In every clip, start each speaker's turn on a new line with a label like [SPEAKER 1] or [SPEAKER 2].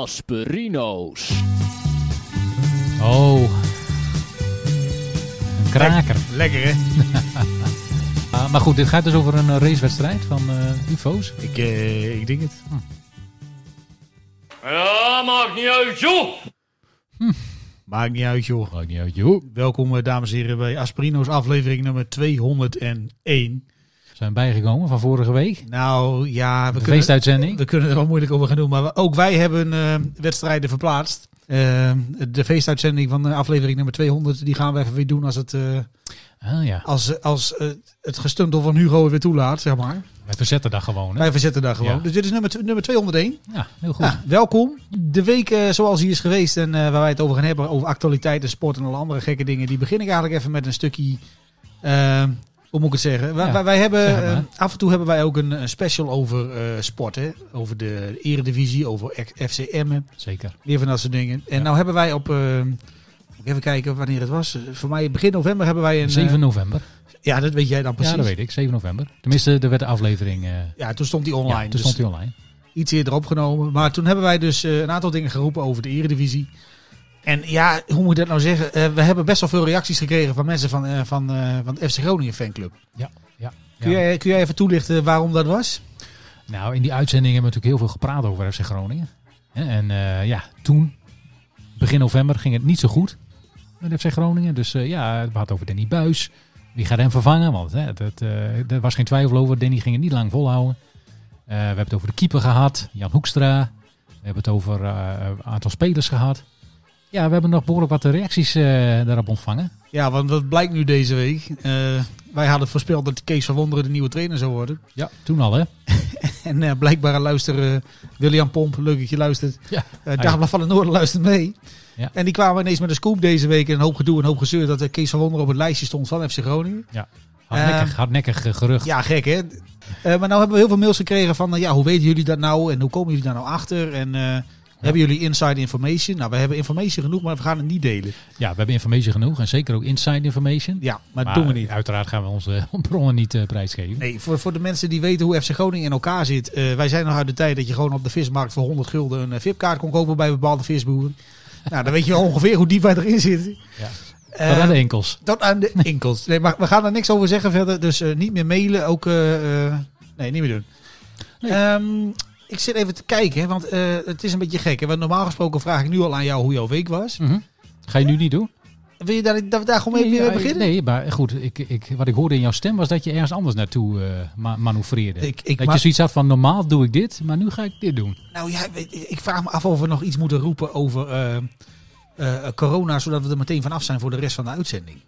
[SPEAKER 1] Gasperino's.
[SPEAKER 2] Oh. Een kraker.
[SPEAKER 3] Lekker hè?
[SPEAKER 2] Ah, maar goed, dit gaat dus over een eh, racewedstrijd van eh, UFO's. Hm,
[SPEAKER 3] Ik, eh, ik denk het.
[SPEAKER 1] Ja, maakt niet uit, joh!
[SPEAKER 3] Maakt niet uit joh.
[SPEAKER 2] Maakt niet uit, joh.
[SPEAKER 3] Welkom eh, dames en heren bij Asperino's aflevering nummer 201.
[SPEAKER 2] We zijn bijgekomen van vorige week.
[SPEAKER 3] Nou ja, we
[SPEAKER 2] De
[SPEAKER 3] kunnen,
[SPEAKER 2] feestuitzending.
[SPEAKER 3] we kunnen er wel moeilijk over gaan doen. Maar ook wij hebben eh, wedstrijden verplaatst. Eh, de feestuitzending van eh, aflevering nummer 200, die gaan we even weer doen als het, eh,
[SPEAKER 2] Ah ja,
[SPEAKER 3] als, als, eh, het gestuntel van Hugo het weer toelaat, zeg maar.
[SPEAKER 2] wij verzetten dat gewoon. Hè?
[SPEAKER 3] Wij verzetten daar gewoon.
[SPEAKER 2] Ja.
[SPEAKER 3] Dus dit is nummer, tw- nummer 201.
[SPEAKER 2] Ja, heel goed.
[SPEAKER 3] Ja, welkom. De week eh, zoals die is geweest en eh, waar wij het over gaan hebben, over actualiteiten, sport en alle andere gekke dingen, die begin ik eigenlijk even met een stukje, eh, hoe moet ik het zeggen? Wij,
[SPEAKER 2] Ja,
[SPEAKER 3] wij, wij hebben,
[SPEAKER 2] zeg het maar.
[SPEAKER 3] eh, af en toe hebben wij ook een, een special over eh, sport, hè? over de eredivisie, over ex- FCM'en,
[SPEAKER 2] Zeker.
[SPEAKER 3] meer van dat soort dingen. En
[SPEAKER 2] Ja.
[SPEAKER 3] nou hebben wij op, eh, even kijken wanneer het was, voor mij begin november hebben wij een... eh,
[SPEAKER 2] 7 november.
[SPEAKER 3] ja, dat weet jij dan precies.
[SPEAKER 2] Ja, dat weet ik. 7 november. Tenminste, er werd de aflevering eh,
[SPEAKER 3] Ja, toen stond die
[SPEAKER 2] ja,
[SPEAKER 3] online.
[SPEAKER 2] toen
[SPEAKER 3] dus-
[SPEAKER 2] stond die online.
[SPEAKER 3] iets eerder opgenomen. Maar toen hebben wij dus eh, een aantal dingen geroepen over de Eredivisie. En ja, hoe moet ik dat nou zeggen? Eh, we hebben best wel veel reacties gekregen van mensen van, eh, van, eh, van de FC Groningen fanclub. Kun,
[SPEAKER 2] Ja.
[SPEAKER 3] jij, kun jij even toelichten waarom dat was?
[SPEAKER 2] Nou, in die uitzending hebben we natuurlijk heel veel gepraat over FC Groningen. Hè, En eh, ja, toen, begin november, ging het niet zo goed met FC Groningen. Dus eh, ja, we hadden het over Danny Buis. Wie gaat hem vervangen? Want hè, dat, eh, er was geen twijfel over. Danny ging het niet lang volhouden. Eh, we hebben het over de keeper gehad, Jan Hoekstra. We hebben het over eh, een aantal spelers gehad. Ja, we hebben nog behoorlijk wat reacties eh, daarop ontvangen.
[SPEAKER 3] Ja, want wat blijkt nu deze week? Eh, wij hadden voorspeld dat Kees van Wonderen de nieuwe trainer zou worden.
[SPEAKER 2] Ja, toen al hè.
[SPEAKER 3] En eh, blijkbaar luisteren William Pomp, leuk dat je luistert.
[SPEAKER 2] Ja.
[SPEAKER 3] Eh, Dagblad van het Noorden luistert mee.
[SPEAKER 2] Ja.
[SPEAKER 3] En die kwamen ineens met een scoop deze week. En een hoop gedoe en een hoop gezeur dat eh, Kees van Wonderen op het lijstje stond van FC Groningen.
[SPEAKER 2] Hardnekkig, hardnekkig eh, gerucht.
[SPEAKER 3] Ja, gek hè. Eh, maar nou hebben we heel veel mails gekregen van, eh, ja, hoe weten jullie dat nou en hoe komen jullie daar nou achter? En eh, hebben jullie inside information? Nou, we hebben informatie genoeg, maar we gaan het niet delen.
[SPEAKER 2] ja, we hebben informatie genoeg en zeker ook inside information.
[SPEAKER 3] Ja, maar, dat doen we niet.
[SPEAKER 2] Uiteraard gaan we onze bronnen niet eh, prijsgeven.
[SPEAKER 3] Nee, voor, voor de mensen die weten hoe FC Groningen in elkaar zit. eh, wij zijn nog uit de tijd dat je gewoon op de vismarkt voor 100 gulden een eh, VIP-kaart kon kopen bij bepaalde visboeren. nou, dan weet je wel ongeveer hoe diep wij erin zitten.
[SPEAKER 2] Ja.
[SPEAKER 3] Eh,
[SPEAKER 2] Tot aan de enkels.
[SPEAKER 3] Tot aan de enkels. Nee, maar we gaan er niks over zeggen verder. Dus eh, niet meer mailen. Ook, eh, eh, nee, niet meer doen.
[SPEAKER 2] Nee.
[SPEAKER 3] Ehm, ik zit even te kijken, hè, want eh, het is een beetje gek. Hè? Want normaal gesproken vraag ik nu al aan jou hoe jouw week was.
[SPEAKER 2] Ga je nu niet doen?
[SPEAKER 3] Wil je daar, dat we daar gewoon mee, Mhm. weer
[SPEAKER 2] ja,
[SPEAKER 3] mee beginnen?
[SPEAKER 2] nee, maar goed, ik, ik, wat ik hoorde in jouw stem was dat je ergens anders naartoe eh, ma- manoeuvreerde.
[SPEAKER 3] Ik, ik,
[SPEAKER 2] dat
[SPEAKER 3] ma-
[SPEAKER 2] je zoiets had van normaal doe ik dit, maar nu ga ik dit doen.
[SPEAKER 3] nou, ja, weet je, ik vraag me af of we nog iets moeten roepen over eh, eh, corona, zodat we er meteen vanaf zijn voor de rest van de uitzending.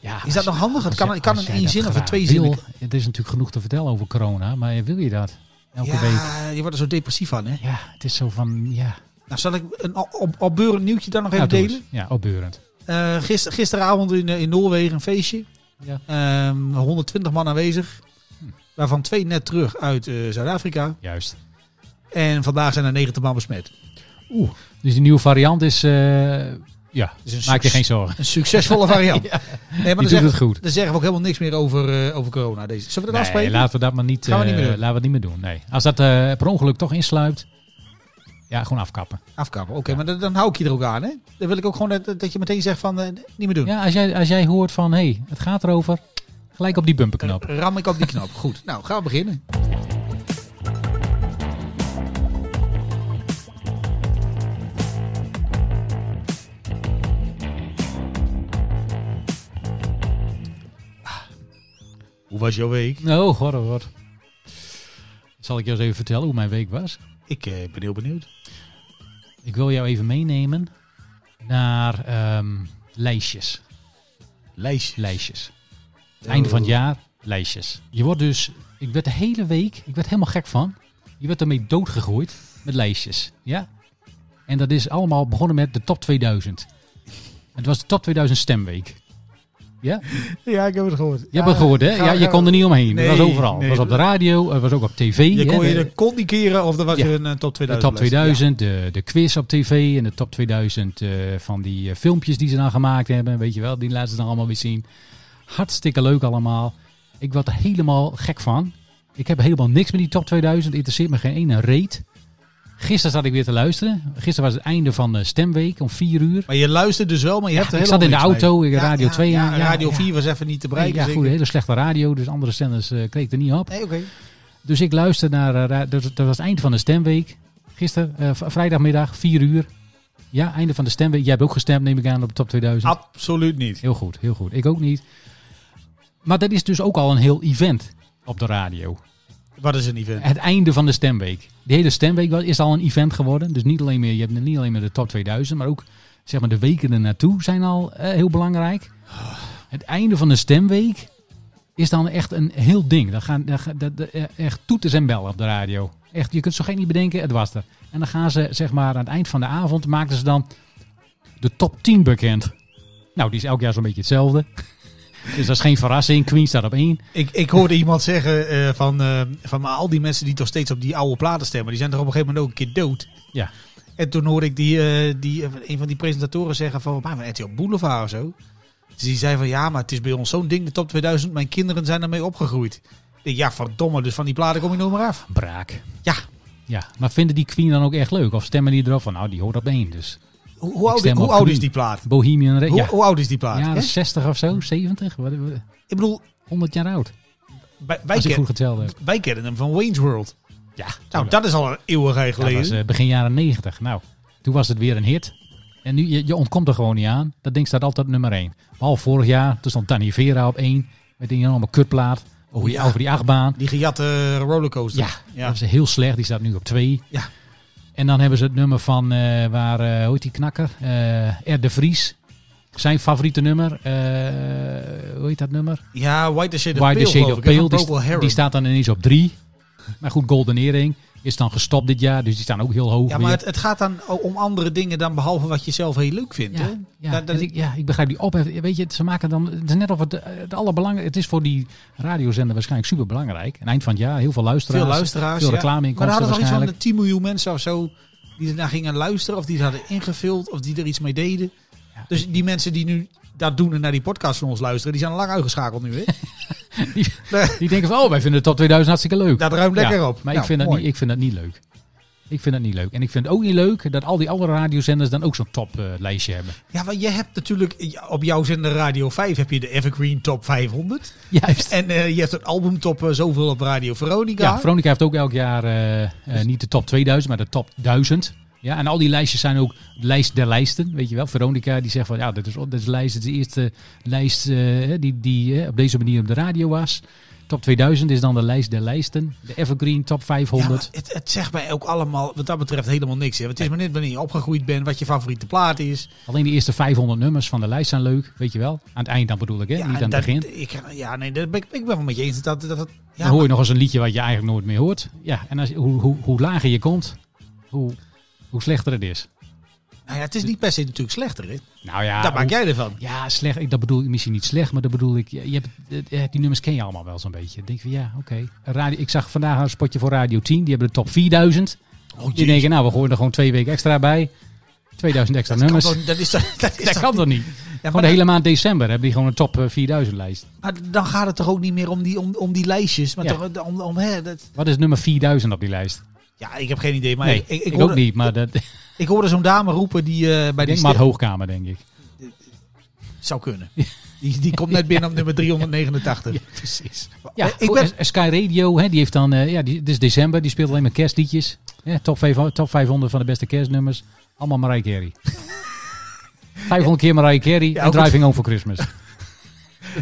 [SPEAKER 2] Ja,
[SPEAKER 3] Is dat nog handig? Het kan, het kan in één zin of in twee
[SPEAKER 2] zinnen.
[SPEAKER 3] zinnen.
[SPEAKER 2] Het is natuurlijk genoeg te vertellen over corona, maar wil je dat? Elke week.
[SPEAKER 3] Ja, je wordt er zo depressief van, hè?
[SPEAKER 2] Ja, het is zo van, ja.
[SPEAKER 3] Nou, zal ik een op, op, opbeurend nieuwtje dan nog
[SPEAKER 2] Nou,
[SPEAKER 3] even
[SPEAKER 2] doe
[SPEAKER 3] delen?
[SPEAKER 2] eens. Ja, opbeurend.
[SPEAKER 3] Eh, gister, gisteravond in, eh, in Noorwegen een feestje.
[SPEAKER 2] Ja.
[SPEAKER 3] Ehm, 120 man aanwezig.
[SPEAKER 2] Hm.
[SPEAKER 3] Waarvan twee net terug uit eh, Zuid-Afrika.
[SPEAKER 2] Juist.
[SPEAKER 3] En vandaag zijn er 90 man besmet.
[SPEAKER 2] Dus die nieuwe variant is, eh, ja,
[SPEAKER 3] Dus een,
[SPEAKER 2] maak je
[SPEAKER 3] suc-
[SPEAKER 2] geen zorgen.
[SPEAKER 3] een succesvolle variant. Nee, maar
[SPEAKER 2] Die
[SPEAKER 3] dan
[SPEAKER 2] doet
[SPEAKER 3] zeggen,
[SPEAKER 2] het goed.
[SPEAKER 3] dan zeggen we ook helemaal niks meer over, eh, over corona. Deze. Zullen we dat
[SPEAKER 2] Nee,
[SPEAKER 3] afspelen?
[SPEAKER 2] laten we dat maar niet,
[SPEAKER 3] Gaan we
[SPEAKER 2] eh,
[SPEAKER 3] niet meer doen.
[SPEAKER 2] laten we het niet meer doen. Nee. Als dat eh, per ongeluk toch insluipt, ja, gewoon afkappen.
[SPEAKER 3] Afkappen. Oké,
[SPEAKER 2] Ja.
[SPEAKER 3] maar dan, dan hou ik je er ook aan. Hè? Dan wil ik ook gewoon dat, dat je meteen zegt van eh, niet meer doen.
[SPEAKER 2] Ja, als jij, als jij hoort van, hé, hey, het gaat erover, gelijk op die bumperknop.
[SPEAKER 3] Dan Ram ik op die knop. Goed, nou gaan we beginnen. Hoe was jouw week?
[SPEAKER 2] Oh, god, oh, god. Zal ik jou eens even vertellen hoe mijn week was?
[SPEAKER 3] Ik eh, ben heel benieuwd.
[SPEAKER 2] Ik wil jou even meenemen naar ehm, lijstjes.
[SPEAKER 3] Lijstje.
[SPEAKER 2] Lijstjes. Het
[SPEAKER 3] Oh.
[SPEAKER 2] einde van het jaar, lijstjes. Je wordt dus, ik werd de hele week, ik werd helemaal gek van. Je werd ermee doodgegooid met lijstjes. Ja? En dat is allemaal begonnen met de top 2000. Het was de top 2000 stemweek. Ja? Je
[SPEAKER 3] Ja, ik heb het gehoord.
[SPEAKER 2] hebt het gehoord, hè? Ja, je kon er niet omheen.
[SPEAKER 3] Nee,
[SPEAKER 2] het was overal.
[SPEAKER 3] nee.
[SPEAKER 2] Het was op de radio, het was ook op tv.
[SPEAKER 3] Je
[SPEAKER 2] hè,
[SPEAKER 3] kon je
[SPEAKER 2] de-
[SPEAKER 3] de kont niet keren of er was
[SPEAKER 2] Ja.
[SPEAKER 3] een eh, top 2000.
[SPEAKER 2] de top
[SPEAKER 3] lijst.
[SPEAKER 2] 2000, de, de quiz op tv en de top 2000 eh, van die eh, filmpjes die ze dan gemaakt hebben. Weet je wel, die laten ze dan allemaal weer zien. Hartstikke leuk allemaal. Ik word er helemaal gek van. Ik heb helemaal niks met die top 2000. Interesseert me geen ene reet. Gisteren zat ik weer te luisteren. Gisteren was het einde van eh, Stemweek om vier uur.
[SPEAKER 3] Maar je luistert dus wel, maar je
[SPEAKER 2] Ja,
[SPEAKER 3] hebt er
[SPEAKER 2] ik
[SPEAKER 3] helemaal
[SPEAKER 2] zat in de
[SPEAKER 3] niks
[SPEAKER 2] auto,
[SPEAKER 3] mee.
[SPEAKER 2] ik had Radio 2 aan, ja,
[SPEAKER 3] radio
[SPEAKER 2] ja.
[SPEAKER 3] 4 was even niet te bereiken.
[SPEAKER 2] ja,
[SPEAKER 3] zeker.
[SPEAKER 2] goed, hele slechte radio, dus andere zenders eh, kreeg ik er niet op.
[SPEAKER 3] Nee, oké.
[SPEAKER 2] Dus ik luister naar, eh, ra- dat, dat was het eind van de stemweek. Gisteren, eh, v- vrijdagmiddag, 4 uur. Ja, einde van de stemweek. Jij hebt ook gestemd, neem ik aan, op de top 2000.
[SPEAKER 3] Absoluut niet.
[SPEAKER 2] Heel goed, heel goed. Ik ook niet. Maar dat is dus ook al een heel event op de radio.
[SPEAKER 3] Wat is een event?
[SPEAKER 2] Het einde van de stemweek. Die hele stemweek was- is al een event geworden. Dus niet alleen meer, je hebt niet alleen meer de top 2000, maar ook zeg maar, de weken ernaartoe zijn al eh, heel belangrijk. Het einde van de stemweek is dan echt een heel ding. Dan gaan, dan gaan- dat- dat- eh, echt toeters en bellen op de radio. Echt, je kunt zo geen niet bedenken, het was er. En dan gaan ze zeg maar, aan het eind van de avond maken ze dan de top 10 bekend. Nou, die is elk jaar zo'n beetje hetzelfde. dus dat is geen verrassing. Queen staat op één.
[SPEAKER 3] Ik, ik hoorde iemand zeggen eh, van, eh, van maar al die mensen die toch steeds op die oude platen stemmen, die zijn toch op een gegeven moment ook een keer dood.
[SPEAKER 2] Ja.
[SPEAKER 3] En toen hoorde ik die, eh, die, eh, een van die presentatoren zeggen van, maar van RTL Boulevard of zo. Dus die zei van, ja, maar het is bij ons zo'n ding, de top 2000, mijn kinderen zijn ermee opgegroeid. Ik denk, ja, verdomme, dus van die platen kom je nooit meer af.
[SPEAKER 2] Braak.
[SPEAKER 3] Ja,
[SPEAKER 2] Ja, maar vinden die Queen dan ook echt leuk? Of stemmen die erop van, nou, die hoort op één. Dus
[SPEAKER 3] hoe, hoe, oud,
[SPEAKER 2] stem
[SPEAKER 3] hoe
[SPEAKER 2] op
[SPEAKER 3] oud
[SPEAKER 2] Queen.
[SPEAKER 3] is die plaat?
[SPEAKER 2] Bohemian Rhapsody.
[SPEAKER 3] Hoe,
[SPEAKER 2] Ja,
[SPEAKER 3] hoe oud is die plaat?
[SPEAKER 2] jaren
[SPEAKER 3] hè?
[SPEAKER 2] 60 of zo, 70, wat, wat-
[SPEAKER 3] Ik bedoel,
[SPEAKER 2] 100 jaar oud.
[SPEAKER 3] wij, wij,
[SPEAKER 2] Als ik
[SPEAKER 3] ken-
[SPEAKER 2] goed geteld heb.
[SPEAKER 3] wij kennen hem van Wayne's World.
[SPEAKER 2] Ja,
[SPEAKER 3] Nou, dat is al een eeuwigheid
[SPEAKER 2] dat
[SPEAKER 3] geleden.
[SPEAKER 2] was eh, begin jaren 90. Nou, toen was het weer een hit. En nu, je, je ontkomt er gewoon niet aan. Dat ding staat altijd op nummer 1. Behalve vorig jaar, toen stond Danny Vera op 1. Met die enorme kutplaat over die,
[SPEAKER 3] Oh Ja.
[SPEAKER 2] over die achtbaan.
[SPEAKER 3] die gejatte rollercoaster.
[SPEAKER 2] eh, Ja, dat was heel slecht. Die staat nu op 2.
[SPEAKER 3] Ja.
[SPEAKER 2] En dan hebben ze het nummer van, eh, waar, eh hoe heet die knakker? Eh Ed de Vries. Zijn favoriete nummer. eh, hoe heet dat nummer?
[SPEAKER 3] Ja, White the Shade of
[SPEAKER 2] Why
[SPEAKER 3] Pale,
[SPEAKER 2] the Shade
[SPEAKER 3] geloof
[SPEAKER 2] of
[SPEAKER 3] ik, hè, van
[SPEAKER 2] Pale, die,
[SPEAKER 3] Purple
[SPEAKER 2] st-
[SPEAKER 3] Heron.
[SPEAKER 2] die staat dan ineens op drie. Maar goed, Golden Earring is dan gestopt dit jaar, dus die staan ook heel hoog
[SPEAKER 3] ja,
[SPEAKER 2] weer.
[SPEAKER 3] maar het, het gaat dan o- om andere dingen dan behalve wat je zelf heel leuk vindt. hè?
[SPEAKER 2] ja, ja,
[SPEAKER 3] dat- dat-
[SPEAKER 2] en ik, ja, ik begrijp die ophef. Weet je, ze maken dan, het is net of het, eh, het allerbelangrijkste, het is voor die radiozender waarschijnlijk superbelangrijk. En eind van het jaar, heel veel luisteraars.
[SPEAKER 3] Veel luisteraars.
[SPEAKER 2] Veel
[SPEAKER 3] ja. Maar er
[SPEAKER 2] reclameinkomsten
[SPEAKER 3] hadden toch iets van
[SPEAKER 2] waarschijnlijk.
[SPEAKER 3] de 10 miljoen mensen of zo die ernaar gingen luisteren of die het hadden ingevuld of die er iets mee deden.
[SPEAKER 2] Ja.
[SPEAKER 3] Dus die mensen die nu dat doen en naar die podcast van ons luisteren, die zijn al lang uitgeschakeld nu. Hè?
[SPEAKER 2] Die-
[SPEAKER 3] Nee,
[SPEAKER 2] Die denken van, oh, wij vinden de top 2000 hartstikke leuk.
[SPEAKER 3] dat ruimt lekker op.
[SPEAKER 2] Maar
[SPEAKER 3] Nou,
[SPEAKER 2] ik, vind dat
[SPEAKER 3] mooi.
[SPEAKER 2] niet, ik vind dat niet leuk. Ik vind dat niet leuk. En ik vind het ook niet leuk dat al die andere radiozenders dan ook zo'n toplijstje hebben.
[SPEAKER 3] Ja, want je hebt natuurlijk op jouw zender Radio 5 heb je de Evergreen Top 500.
[SPEAKER 2] Juist.
[SPEAKER 3] En eh, je hebt het albumtop eh, zoveel op Radio Veronica.
[SPEAKER 2] Ja, Veronica heeft ook elk jaar eh, eh,
[SPEAKER 3] Dus-
[SPEAKER 2] niet de top 2000, maar de top 1000. Ja, en al die lijstjes zijn ook de lijst der lijsten, weet je wel. Veronica die zegt van, ja, dit is, dit is, lijst, dit is de eerste lijst eh, die, die eh, op deze manier op de radio was. Top 2000 is dan de lijst der lijsten. De Evergreen Top 500.
[SPEAKER 3] Ja, maar het, het zegt mij ook allemaal wat dat betreft helemaal niks. Hè? Want het is maar net wanneer je opgegroeid bent, wat je favoriete plaat is.
[SPEAKER 2] Alleen de eerste 500 nummers van de lijst zijn leuk, weet je wel. Aan het eind dan bedoel ik, hè, niet aan het
[SPEAKER 3] dat-
[SPEAKER 2] begin.
[SPEAKER 3] Ik, ja, nee, dat ben ik, ik ben wel met je eens. Dat, dat, dat, ja,
[SPEAKER 2] dan hoor je nog eens een liedje wat je eigenlijk nooit meer hoort. Ja, en als, hoe, hoe, hoe lager je komt, hoe, hoe slechter het is.
[SPEAKER 3] nou ja, het is niet per se natuurlijk slechter. Hè?
[SPEAKER 2] Nou ja,
[SPEAKER 3] Daar
[SPEAKER 2] hoe-
[SPEAKER 3] maak jij ervan.
[SPEAKER 2] Ja, slecht. Ik- Dat bedoel ik misschien niet slecht, maar dat bedoel ik. Je je hebt, eh, eh, die nummers ken je allemaal wel zo'n beetje. Dan denk je van ja, oké. Radio- Ik zag vandaag een spotje voor Radio 10. Die hebben de top 4000.
[SPEAKER 3] Oh,
[SPEAKER 2] Die denken, nou, we gooien er gewoon twee weken extra bij. 2000 extra
[SPEAKER 3] dat, kan
[SPEAKER 2] nummers.
[SPEAKER 3] toch, dat is toch- dat is
[SPEAKER 2] dat
[SPEAKER 3] toch-
[SPEAKER 2] kan toch niet?
[SPEAKER 3] Ja,
[SPEAKER 2] gewoon
[SPEAKER 3] maar,
[SPEAKER 2] de hele maand december hebben die gewoon een top eh, 4000 lijst.
[SPEAKER 3] maar dan gaat het toch ook niet meer om die, om, om die lijstjes. Maar
[SPEAKER 2] Ja.
[SPEAKER 3] toch, eh, om, om, hè, dat,
[SPEAKER 2] Wat is nummer 4000 op die lijst?
[SPEAKER 3] ja, ik heb geen idee. Maar
[SPEAKER 2] nee,
[SPEAKER 3] ik, ik,
[SPEAKER 2] ik
[SPEAKER 3] hoorde,
[SPEAKER 2] ook niet. Maar dat
[SPEAKER 3] ik hoorde zo'n dame roepen die eh, bij die
[SPEAKER 2] denk maar
[SPEAKER 3] stem-
[SPEAKER 2] hoogkamer, denk ik.
[SPEAKER 3] zou kunnen. Die, die komt net binnen op nummer 389.
[SPEAKER 2] Ja, precies. Ja,
[SPEAKER 3] ik
[SPEAKER 2] voor-
[SPEAKER 3] ben,
[SPEAKER 2] eh, Sky Radio, hè, die heeft dan, eh, ja, die, dit is december, die speelt alleen maar kerstliedjes. Hè, top, vijf- top 500 van de beste kerstnummers. Allemaal Mariah Carey. 500 keer Mariah Carey en
[SPEAKER 3] ook het-
[SPEAKER 2] Driving Home for Christmas.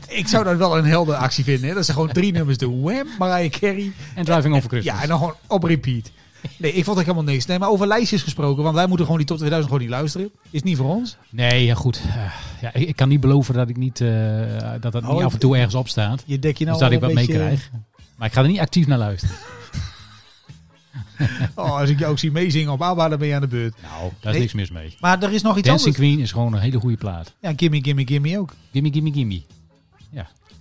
[SPEAKER 3] Ik zou dat wel een heldenactie vinden. Hè? Dat ze gewoon drie nummers doen. Wham, Mariah Carey.
[SPEAKER 2] En Driving Home for Christmas.
[SPEAKER 3] Ja, en dan gewoon op repeat. Nee, ik vond het helemaal niks. Nee, maar over lijstjes gesproken. Want wij moeten gewoon die top 2000 gewoon niet luisteren. Is niet voor ons.
[SPEAKER 2] Nee, ja, goed. Eh, ja, ik, ik kan niet beloven dat ik niet, eh, dat, dat
[SPEAKER 3] Oh,
[SPEAKER 2] niet
[SPEAKER 3] ik-
[SPEAKER 2] af en toe ergens op staat.
[SPEAKER 3] Je dek je nou
[SPEAKER 2] dus dat
[SPEAKER 3] wel
[SPEAKER 2] ik wat
[SPEAKER 3] een beetje-
[SPEAKER 2] meekrijg. Maar ik ga er niet actief naar luisteren.
[SPEAKER 3] Oh, als ik jou ook zie meezingen op ABBA, dan ben je aan de beurt.
[SPEAKER 2] Nou, daar is
[SPEAKER 3] Nee.
[SPEAKER 2] niks mis mee.
[SPEAKER 3] Maar er is nog iets
[SPEAKER 2] Dancing
[SPEAKER 3] anders.
[SPEAKER 2] Queen is gewoon een hele goede plaat.
[SPEAKER 3] Ja, Gimme Gimme Gimme ook.
[SPEAKER 2] Gimme, gimme, gimme.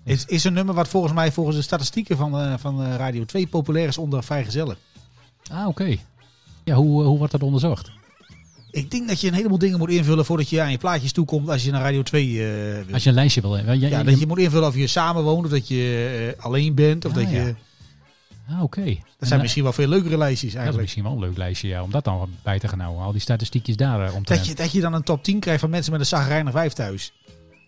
[SPEAKER 3] Is, is een nummer wat volgens mij volgens de statistieken van, eh, van eh, Radio 2 populair is onder vrijgezellen.
[SPEAKER 2] Ah, oké. Ja, hoe, eh, hoe wordt dat onderzocht?
[SPEAKER 3] Eh. Ik denk dat je een heleboel dingen moet invullen voordat je aan je plaatjes toekomt als je naar Radio 2 eh, wilt.
[SPEAKER 2] Als je een lijstje wil hebben. Ja,
[SPEAKER 3] Ja, dat je moet invullen of je samen woont, of dat je eh, alleen bent, of
[SPEAKER 2] Ah,
[SPEAKER 3] dat je...
[SPEAKER 2] ja. Ah, Oké.
[SPEAKER 3] Dat
[SPEAKER 2] En,
[SPEAKER 3] zijn
[SPEAKER 2] eh,
[SPEAKER 3] misschien wel veel leukere lijstjes
[SPEAKER 2] dat is
[SPEAKER 3] eigenlijk.
[SPEAKER 2] misschien wel een leuk lijstje ja, om dat dan wat bij te gaan houden. Al die statistiekjes daar eh, om te
[SPEAKER 3] Dat je, dat je dan een top 10 krijgt van mensen met een zagrijnig vijf thuis.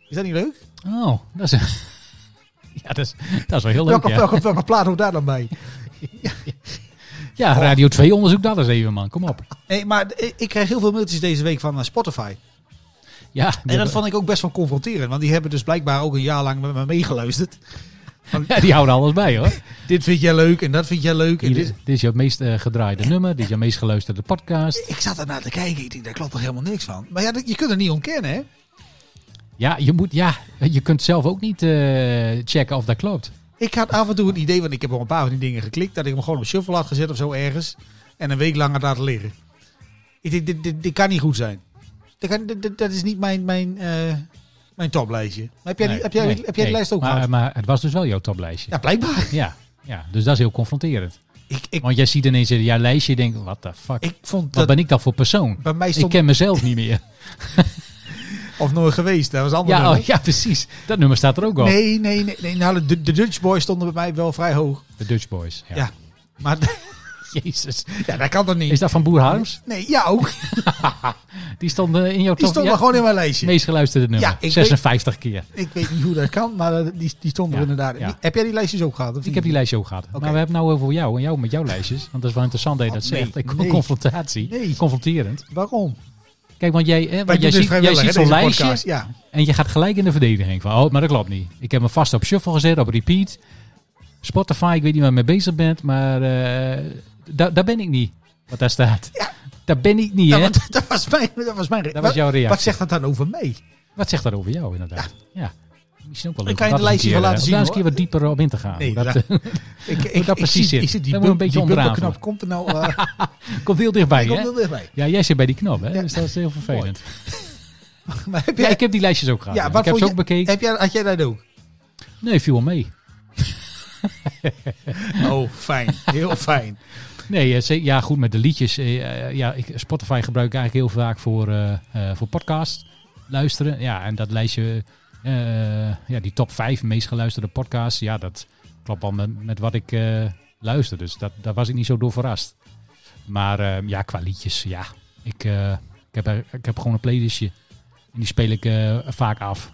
[SPEAKER 3] Is dat niet leuk?
[SPEAKER 2] Oh, dat is... ja, dat is, dat is wel heel leuk.
[SPEAKER 3] Welke,
[SPEAKER 2] Ja.
[SPEAKER 3] welke, welke plaat hoort daar dan bij?
[SPEAKER 2] ja, Radio 2 onderzoek dat eens even, man. Kom op.
[SPEAKER 3] Nee, maar ik- ik krijg heel veel mailtjes deze week van eh, Spotify.
[SPEAKER 2] Ja,
[SPEAKER 3] En
[SPEAKER 2] die,
[SPEAKER 3] dat
[SPEAKER 2] hebben-
[SPEAKER 3] vond ik ook best wel confronterend. Want die hebben dus blijkbaar ook een jaar lang met me meegeluisterd.
[SPEAKER 2] ja, die houden alles bij, hoor.
[SPEAKER 3] Dit vind jij leuk en dat vind jij leuk. En
[SPEAKER 2] Hier,
[SPEAKER 3] dit...
[SPEAKER 2] dit is jouw meest eh, gedraaide nummer. Dit is jouw meest geluisterde podcast.
[SPEAKER 3] Ik zat ernaar te kijken. Ik denk, daar klopt toch helemaal niks van. Maar ja, dat- je kunt het niet ontkennen, hè?
[SPEAKER 2] Ja, je, moet, ja, je kunt zelf ook niet eh, checken of dat klopt.
[SPEAKER 3] Ik had af en toe het idee, want ik heb op een paar van die dingen geklikt, dat ik hem gewoon op shuffle had gezet of zo ergens. En een week lang had laten liggen. Ik denk, dit, dit, dit kan niet goed zijn. Dat, kan, dit- dit- dat is niet mijn, mijn, eh, mijn toplijstje. Maar heb jij, die,
[SPEAKER 2] Nee,
[SPEAKER 3] heb jij,
[SPEAKER 2] nee,
[SPEAKER 3] heb jij
[SPEAKER 2] nee.
[SPEAKER 3] die lijst ook gehad?
[SPEAKER 2] maar, maar het was dus wel jouw toplijstje.
[SPEAKER 3] ja, blijkbaar.
[SPEAKER 2] Ja. ja, dus dat is heel confronterend.
[SPEAKER 3] Ik, ik,
[SPEAKER 2] Want jij ziet ineens in jouw lijstje en denkt, what the fuck?
[SPEAKER 3] ik vond
[SPEAKER 2] Wat
[SPEAKER 3] dat
[SPEAKER 2] ben ik dan voor persoon?
[SPEAKER 3] bij mij
[SPEAKER 2] Ik
[SPEAKER 3] stond,
[SPEAKER 2] ken mezelf niet meer.
[SPEAKER 3] of nooit geweest. Dat was een ander
[SPEAKER 2] Ja,
[SPEAKER 3] nummer.
[SPEAKER 2] oh, ja, precies. Dat nummer staat er ook al.
[SPEAKER 3] Nee, nee, nee. nee. Nou, de, de Dutch Boys stonden bij mij wel vrij hoog.
[SPEAKER 2] De Dutch Boys. Ja.
[SPEAKER 3] Ja. Maar
[SPEAKER 2] Jezus.
[SPEAKER 3] ja, dat kan toch niet?
[SPEAKER 2] Is dat van Boer Harms?
[SPEAKER 3] Nee, ja ook.
[SPEAKER 2] Die stond eh, in jouw
[SPEAKER 3] Die
[SPEAKER 2] top
[SPEAKER 3] stonden
[SPEAKER 2] ja,
[SPEAKER 3] gewoon in mijn lijstje.
[SPEAKER 2] meest geluisterde nummer.
[SPEAKER 3] Ja, ik weet-
[SPEAKER 2] 56 keer.
[SPEAKER 3] Ik weet niet hoe dat kan, maar eh, die, die stonden
[SPEAKER 2] Ja,
[SPEAKER 3] er inderdaad.
[SPEAKER 2] ja.
[SPEAKER 3] Heb jij die lijstjes ook gehad? Of
[SPEAKER 2] Ik heb die lijstje ook gehad. Maar we hebben het nou over jou en jou met jouw lijstjes. Want dat is wel interessant dat je dat
[SPEAKER 3] Oh, nee,
[SPEAKER 2] zegt. Ik-
[SPEAKER 3] nee.
[SPEAKER 2] Confrontatie.
[SPEAKER 3] Nee.
[SPEAKER 2] Confronterend.
[SPEAKER 3] Waarom?
[SPEAKER 2] Kijk, want jij, hè,
[SPEAKER 3] Wij
[SPEAKER 2] want jij,
[SPEAKER 3] doen
[SPEAKER 2] ziet,
[SPEAKER 3] dit
[SPEAKER 2] jij
[SPEAKER 3] vrijwillig,
[SPEAKER 2] ziet
[SPEAKER 3] hè,
[SPEAKER 2] zo'n
[SPEAKER 3] deze
[SPEAKER 2] lijstje
[SPEAKER 3] podcast. Ja.
[SPEAKER 2] en je gaat gelijk in de verdediging. Van, oh, maar dat klopt niet. Ik heb me vast op shuffle gezet, op repeat. Spotify, ik weet niet waar je mee bezig bent, maar eh, da- daar ben ik niet. Wat daar staat.
[SPEAKER 3] Ja.
[SPEAKER 2] Daar ben ik niet,
[SPEAKER 3] Ja,
[SPEAKER 2] hè?
[SPEAKER 3] Nou, want dat was mijn, dat was mijn
[SPEAKER 2] Dat
[SPEAKER 3] wat,
[SPEAKER 2] was Nou, jouw reactie.
[SPEAKER 3] wat zegt dat dan over mij?
[SPEAKER 2] Wat zegt dat over jou, inderdaad? Ja. Misschien ook wel
[SPEAKER 3] Dan
[SPEAKER 2] leuk.
[SPEAKER 3] kan je
[SPEAKER 2] om
[SPEAKER 3] de
[SPEAKER 2] dat
[SPEAKER 3] lijstje
[SPEAKER 2] eens een keer,
[SPEAKER 3] wel laten
[SPEAKER 2] eh, om
[SPEAKER 3] zien,
[SPEAKER 2] Daar eens een keer wat dieper op in te gaan.
[SPEAKER 3] Nee,
[SPEAKER 2] dat
[SPEAKER 3] dat-
[SPEAKER 2] eh,
[SPEAKER 3] Ik, ik,
[SPEAKER 2] dat precies
[SPEAKER 3] zie,
[SPEAKER 2] zit.
[SPEAKER 3] ik zie die,
[SPEAKER 2] Dat moet
[SPEAKER 3] bum,
[SPEAKER 2] een beetje
[SPEAKER 3] die
[SPEAKER 2] onderaan
[SPEAKER 3] bumperknop. Komt er nou eh,
[SPEAKER 2] komt heel dichtbij,
[SPEAKER 3] komt
[SPEAKER 2] hè?
[SPEAKER 3] er dichtbij.
[SPEAKER 2] Ja, jij zit bij die knop, hè?
[SPEAKER 3] Ja.
[SPEAKER 2] Dus dat is heel vervelend.
[SPEAKER 3] Maar heb
[SPEAKER 2] Ja,
[SPEAKER 3] jij,
[SPEAKER 2] ik heb die lijstjes ook gehad.
[SPEAKER 3] Ja,
[SPEAKER 2] ja.
[SPEAKER 3] wat
[SPEAKER 2] Ik heb ze
[SPEAKER 3] vond
[SPEAKER 2] ook bekeken.
[SPEAKER 3] heb jij, had jij dat ook?
[SPEAKER 2] Nee, viel wel mee.
[SPEAKER 3] Oh, fijn. Heel fijn.
[SPEAKER 2] Nee, eh, ze- ja, goed met de liedjes. eh, eh, Ja, ik, Spotify gebruik ik eigenlijk heel vaak voor, eh, eh, voor podcast luisteren. Ja, en dat lijstje, eh, ja, die top 5 meest geluisterde podcasts, ja, dat klopt wel met, met wat ik eh, luister. Dus dat, daar was ik niet zo door verrast. Maar eh, ja, qua liedjes, ja. Ik, eh, ik, heb, er- ik heb gewoon een playlistje. En die speel ik eh, vaak af.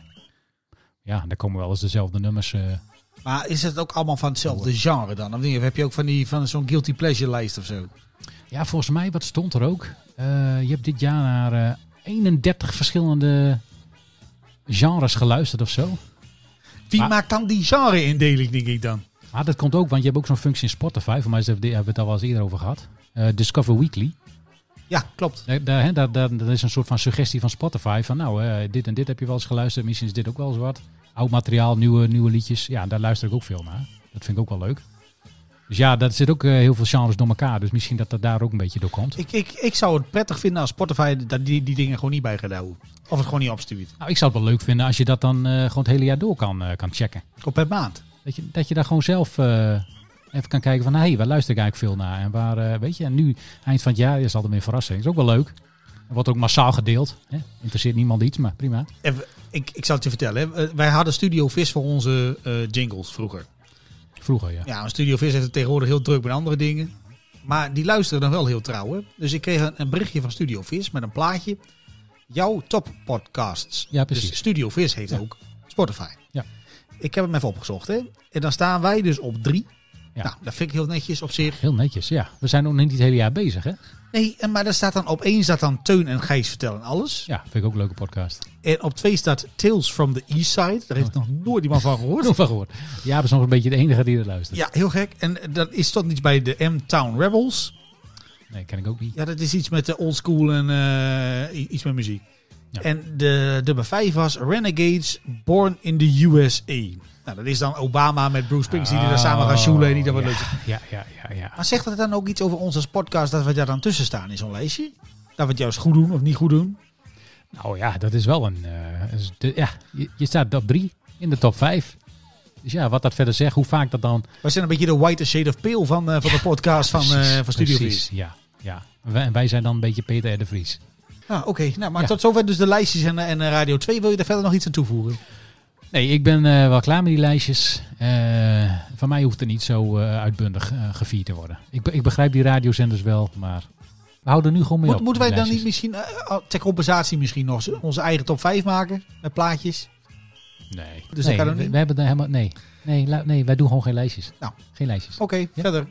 [SPEAKER 2] Ja, daar komen wel eens dezelfde nummers. eh,
[SPEAKER 3] Maar is het ook allemaal van hetzelfde genre dan? Of niet? Of heb je ook van, die, van zo'n guilty pleasure lijst of zo?
[SPEAKER 2] Ja, volgens mij, wat stond er ook? Eh, je hebt dit jaar naar eh, 31 verschillende genres geluisterd of zo.
[SPEAKER 3] Wie
[SPEAKER 2] Maar-
[SPEAKER 3] maakt dan die genre-indeling, denk ik dan?
[SPEAKER 2] Maar dat komt ook, want je hebt ook zo'n functie in Spotify. Voor mij is dat- hebben we het al wel eens eerder over gehad. Eh, Discover Weekly.
[SPEAKER 3] Ja, klopt.
[SPEAKER 2] Daar, daar, hè, daar- daar- dat is een soort van suggestie van Spotify. Van nou, eh, dit en dit heb je wel eens geluisterd. Misschien is dit ook wel eens wat. Oud materiaal, nieuwe, nieuwe liedjes. Ja, daar luister ik ook veel naar. Dat vind ik ook wel leuk. Dus ja, daar zit ook eh, heel veel genres door elkaar. Dus misschien dat dat daar ook een beetje door komt.
[SPEAKER 3] Ik, ik, ik zou het prettig vinden als Spotify dat die, die dingen gewoon niet bij gaat houden. Of het gewoon niet opstuurt.
[SPEAKER 2] Nou, ik zou het wel leuk vinden als je dat dan eh, gewoon het hele jaar door kan, eh, kan checken.
[SPEAKER 3] Op per maand.
[SPEAKER 2] Dat je, dat je daar gewoon zelf eh, even kan kijken van... hé, hey, waar luister ik eigenlijk veel naar? En waar, eh, weet je, en nu, eind van het jaar, is altijd weer een verrassing. Is ook wel leuk. Er wordt ook massaal gedeeld. Hè? Interesseert niemand iets, maar prima.
[SPEAKER 3] En we- ik, ik zal het je vertellen. hè. Eh, Wij hadden Studio Vis voor onze eh, jingles vroeger.
[SPEAKER 2] Vroeger, ja.
[SPEAKER 3] Ja, maar Studio Vis heeft het tegenwoordig heel druk met andere dingen. Maar die luisteren dan wel heel trouw. Hè? Dus ik kreeg een, een berichtje van Studio Vis met een plaatje. Jouw top podcasts.
[SPEAKER 2] Ja, precies.
[SPEAKER 3] Dus Studio Vis heeft
[SPEAKER 2] Ja.
[SPEAKER 3] ook Spotify.
[SPEAKER 2] Ja.
[SPEAKER 3] Ik heb hem even opgezocht. Hè? En dan staan wij dus op drie.
[SPEAKER 2] Ja.
[SPEAKER 3] Nou, dat vind ik heel netjes op zich.
[SPEAKER 2] Heel netjes, ja. We zijn nog niet het hele jaar bezig, hè?
[SPEAKER 3] Nee, en maar daar staat dan op één staat dan Teun en Gijs vertellen alles.
[SPEAKER 2] Ja, vind ik ook een leuke podcast.
[SPEAKER 3] En op twee staat Tales from the East Side. Daar
[SPEAKER 2] Oh.
[SPEAKER 3] heeft nog nooit iemand van gehoord.
[SPEAKER 2] Nog van gehoord. Ja, is nog een beetje de enige die er luistert.
[SPEAKER 3] Ja, heel gek. En eh, dat is toch iets bij de M-Town Rebels.
[SPEAKER 2] Nee, ken ik ook niet.
[SPEAKER 3] Ja, dat is iets met de old school en eh, i- iets met muziek.
[SPEAKER 2] Ja.
[SPEAKER 3] En de nummer vijf was Renegades Born in the USA. Nou, dat is dan Obama met Bruce Springsteen die daar samen gaan joelen en die dat wat
[SPEAKER 2] Oh, ja.
[SPEAKER 3] leuk.
[SPEAKER 2] Ja, ja, ja, ja.
[SPEAKER 3] Maar zegt dat dan ook iets over ons als podcast dat we daar dan tussen staan in zo'n lijstje? Dat we het juist goed doen of niet goed doen?
[SPEAKER 2] Nou ja, dat is wel een... eh, is de- ja, je, je staat op drie in de top vijf. Dus ja, wat dat verder zegt, hoe vaak dat dan
[SPEAKER 3] Wij zijn een beetje de white shade of pale van, eh, van de podcast van, eh,
[SPEAKER 2] Precies,
[SPEAKER 3] van Studio
[SPEAKER 2] precies,
[SPEAKER 3] Vis.
[SPEAKER 2] Ja, ja. En wij- en wij zijn dan een beetje Peter R. de Vries.
[SPEAKER 3] Ah, oké. Nou, maar
[SPEAKER 2] Ja.
[SPEAKER 3] tot zover dus de lijstjes en, eh, en eh, Radio 2. Wil je daar verder nog iets aan toevoegen?
[SPEAKER 2] Nee, ik ben eh, wel klaar met die lijstjes. Eh, van mij hoeft er niet zo eh, uitbundig eh, gevierd te worden. Ik, be- ik begrijp die radiozenders wel, maar we houden er nu gewoon mee
[SPEAKER 3] Moet,
[SPEAKER 2] op.
[SPEAKER 3] moeten wij
[SPEAKER 2] die
[SPEAKER 3] dan niet
[SPEAKER 2] lijstjes.
[SPEAKER 3] misschien, eh, ter compensatie misschien nog, z- onze eigen top 5 maken met plaatjes?
[SPEAKER 2] Nee.
[SPEAKER 3] Dus
[SPEAKER 2] nee,
[SPEAKER 3] dat kan ook
[SPEAKER 2] we,
[SPEAKER 3] niet?
[SPEAKER 2] we hebben daar helemaal... Nee. Nee, lu- nee, wij doen gewoon geen lijstjes.
[SPEAKER 3] Nou.
[SPEAKER 2] Geen lijstjes.
[SPEAKER 3] Oké, verder.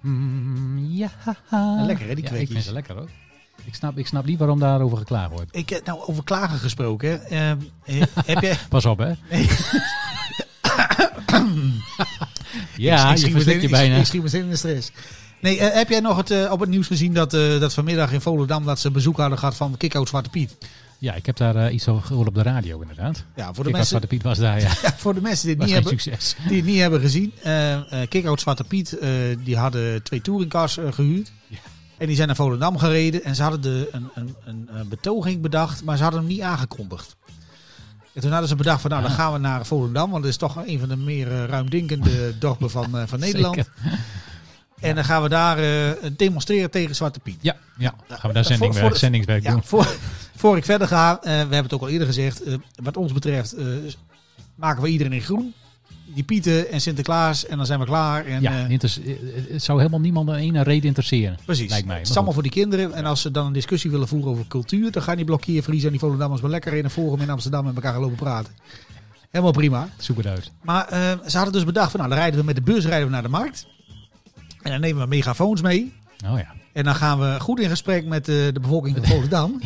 [SPEAKER 2] Mm, ja.
[SPEAKER 3] Ja, lekker, hè, die
[SPEAKER 2] ja, ik
[SPEAKER 3] kwekjes.
[SPEAKER 2] vind ze lekker ook. Ik snap, ik snap niet waarom daarover geklaagd wordt.
[SPEAKER 3] Ik heb nou over klagen gesproken. hè. Ehm, eh, heb je...
[SPEAKER 2] Pas op, hè.
[SPEAKER 3] Nee.
[SPEAKER 2] ja,
[SPEAKER 3] ik,
[SPEAKER 2] je
[SPEAKER 3] schiet
[SPEAKER 2] verslikt
[SPEAKER 3] meteen,
[SPEAKER 2] je
[SPEAKER 3] ik-
[SPEAKER 2] bijna.
[SPEAKER 3] ik schiet meteen in de stress. Nee, eh, heb jij nog het, eh, op het nieuws gezien dat, eh, dat vanmiddag in Volendam dat ze bezoek hadden gehad van Kick-Out Zwarte Piet?
[SPEAKER 2] Ja, ik heb daar eh, iets over gehoord op de radio, inderdaad.
[SPEAKER 3] Ja,
[SPEAKER 2] Ik
[SPEAKER 3] voor de,
[SPEAKER 2] was
[SPEAKER 3] mensen,
[SPEAKER 2] Zwarte Piet was daar, ja.
[SPEAKER 3] ja, voor de mensen die het
[SPEAKER 2] was
[SPEAKER 3] niet
[SPEAKER 2] geen
[SPEAKER 3] hebben,
[SPEAKER 2] succes.
[SPEAKER 3] die het niet hebben gezien. eh eh Kick-Out Zwarte Piet, eh, die hadden twee touringcars eh, gehuurd.
[SPEAKER 2] Ja.
[SPEAKER 3] En die zijn naar Volendam gereden. En ze hadden de, een, een, een, eh, betoging bedacht, maar ze hadden hem niet aangekondigd. En toen hadden ze bedacht van nou,
[SPEAKER 2] Ah.
[SPEAKER 3] dan gaan we naar Volendam. Want dat is toch een van de meer eh, ruimdenkende dorpen van, eh, van Nederland.
[SPEAKER 2] Zeker.
[SPEAKER 3] En dan gaan we daar eh, demonstreren tegen Zwarte Piet.
[SPEAKER 2] Ja, ja. gaan we
[SPEAKER 3] eh, Voor-
[SPEAKER 2] daar zendingwerk,
[SPEAKER 3] voor de-
[SPEAKER 2] zendingswerk
[SPEAKER 3] Ja,
[SPEAKER 2] doen.
[SPEAKER 3] voor, voor ik verder ga, eh, we hebben het ook al eerder gezegd. eh, wat ons betreft eh, maken we iedereen in groen. Die Pieten en Sinterklaas en dan zijn we klaar. En,
[SPEAKER 2] ja,
[SPEAKER 3] eh,
[SPEAKER 2] inter- eh, het zou helemaal niemand een ene reden interesseren.
[SPEAKER 3] precies.
[SPEAKER 2] lijkt mij, maar
[SPEAKER 3] het is allemaal
[SPEAKER 2] goed.
[SPEAKER 3] voor die kinderen. En als ze dan een discussie willen voeren over cultuur, dan gaan die blokkeerverliezen en die Volendammers maar lekker in een forum in Amsterdam met elkaar gaan lopen praten. Helemaal prima.
[SPEAKER 2] Zoek het uit.
[SPEAKER 3] Maar eh, ze hadden dus bedacht van nou, dan rijden we met de bus rijden we naar de markt. En dan nemen we megafoons mee.
[SPEAKER 2] Oh ja.
[SPEAKER 3] En dan gaan we goed in gesprek met eh, de bevolking van Volendam.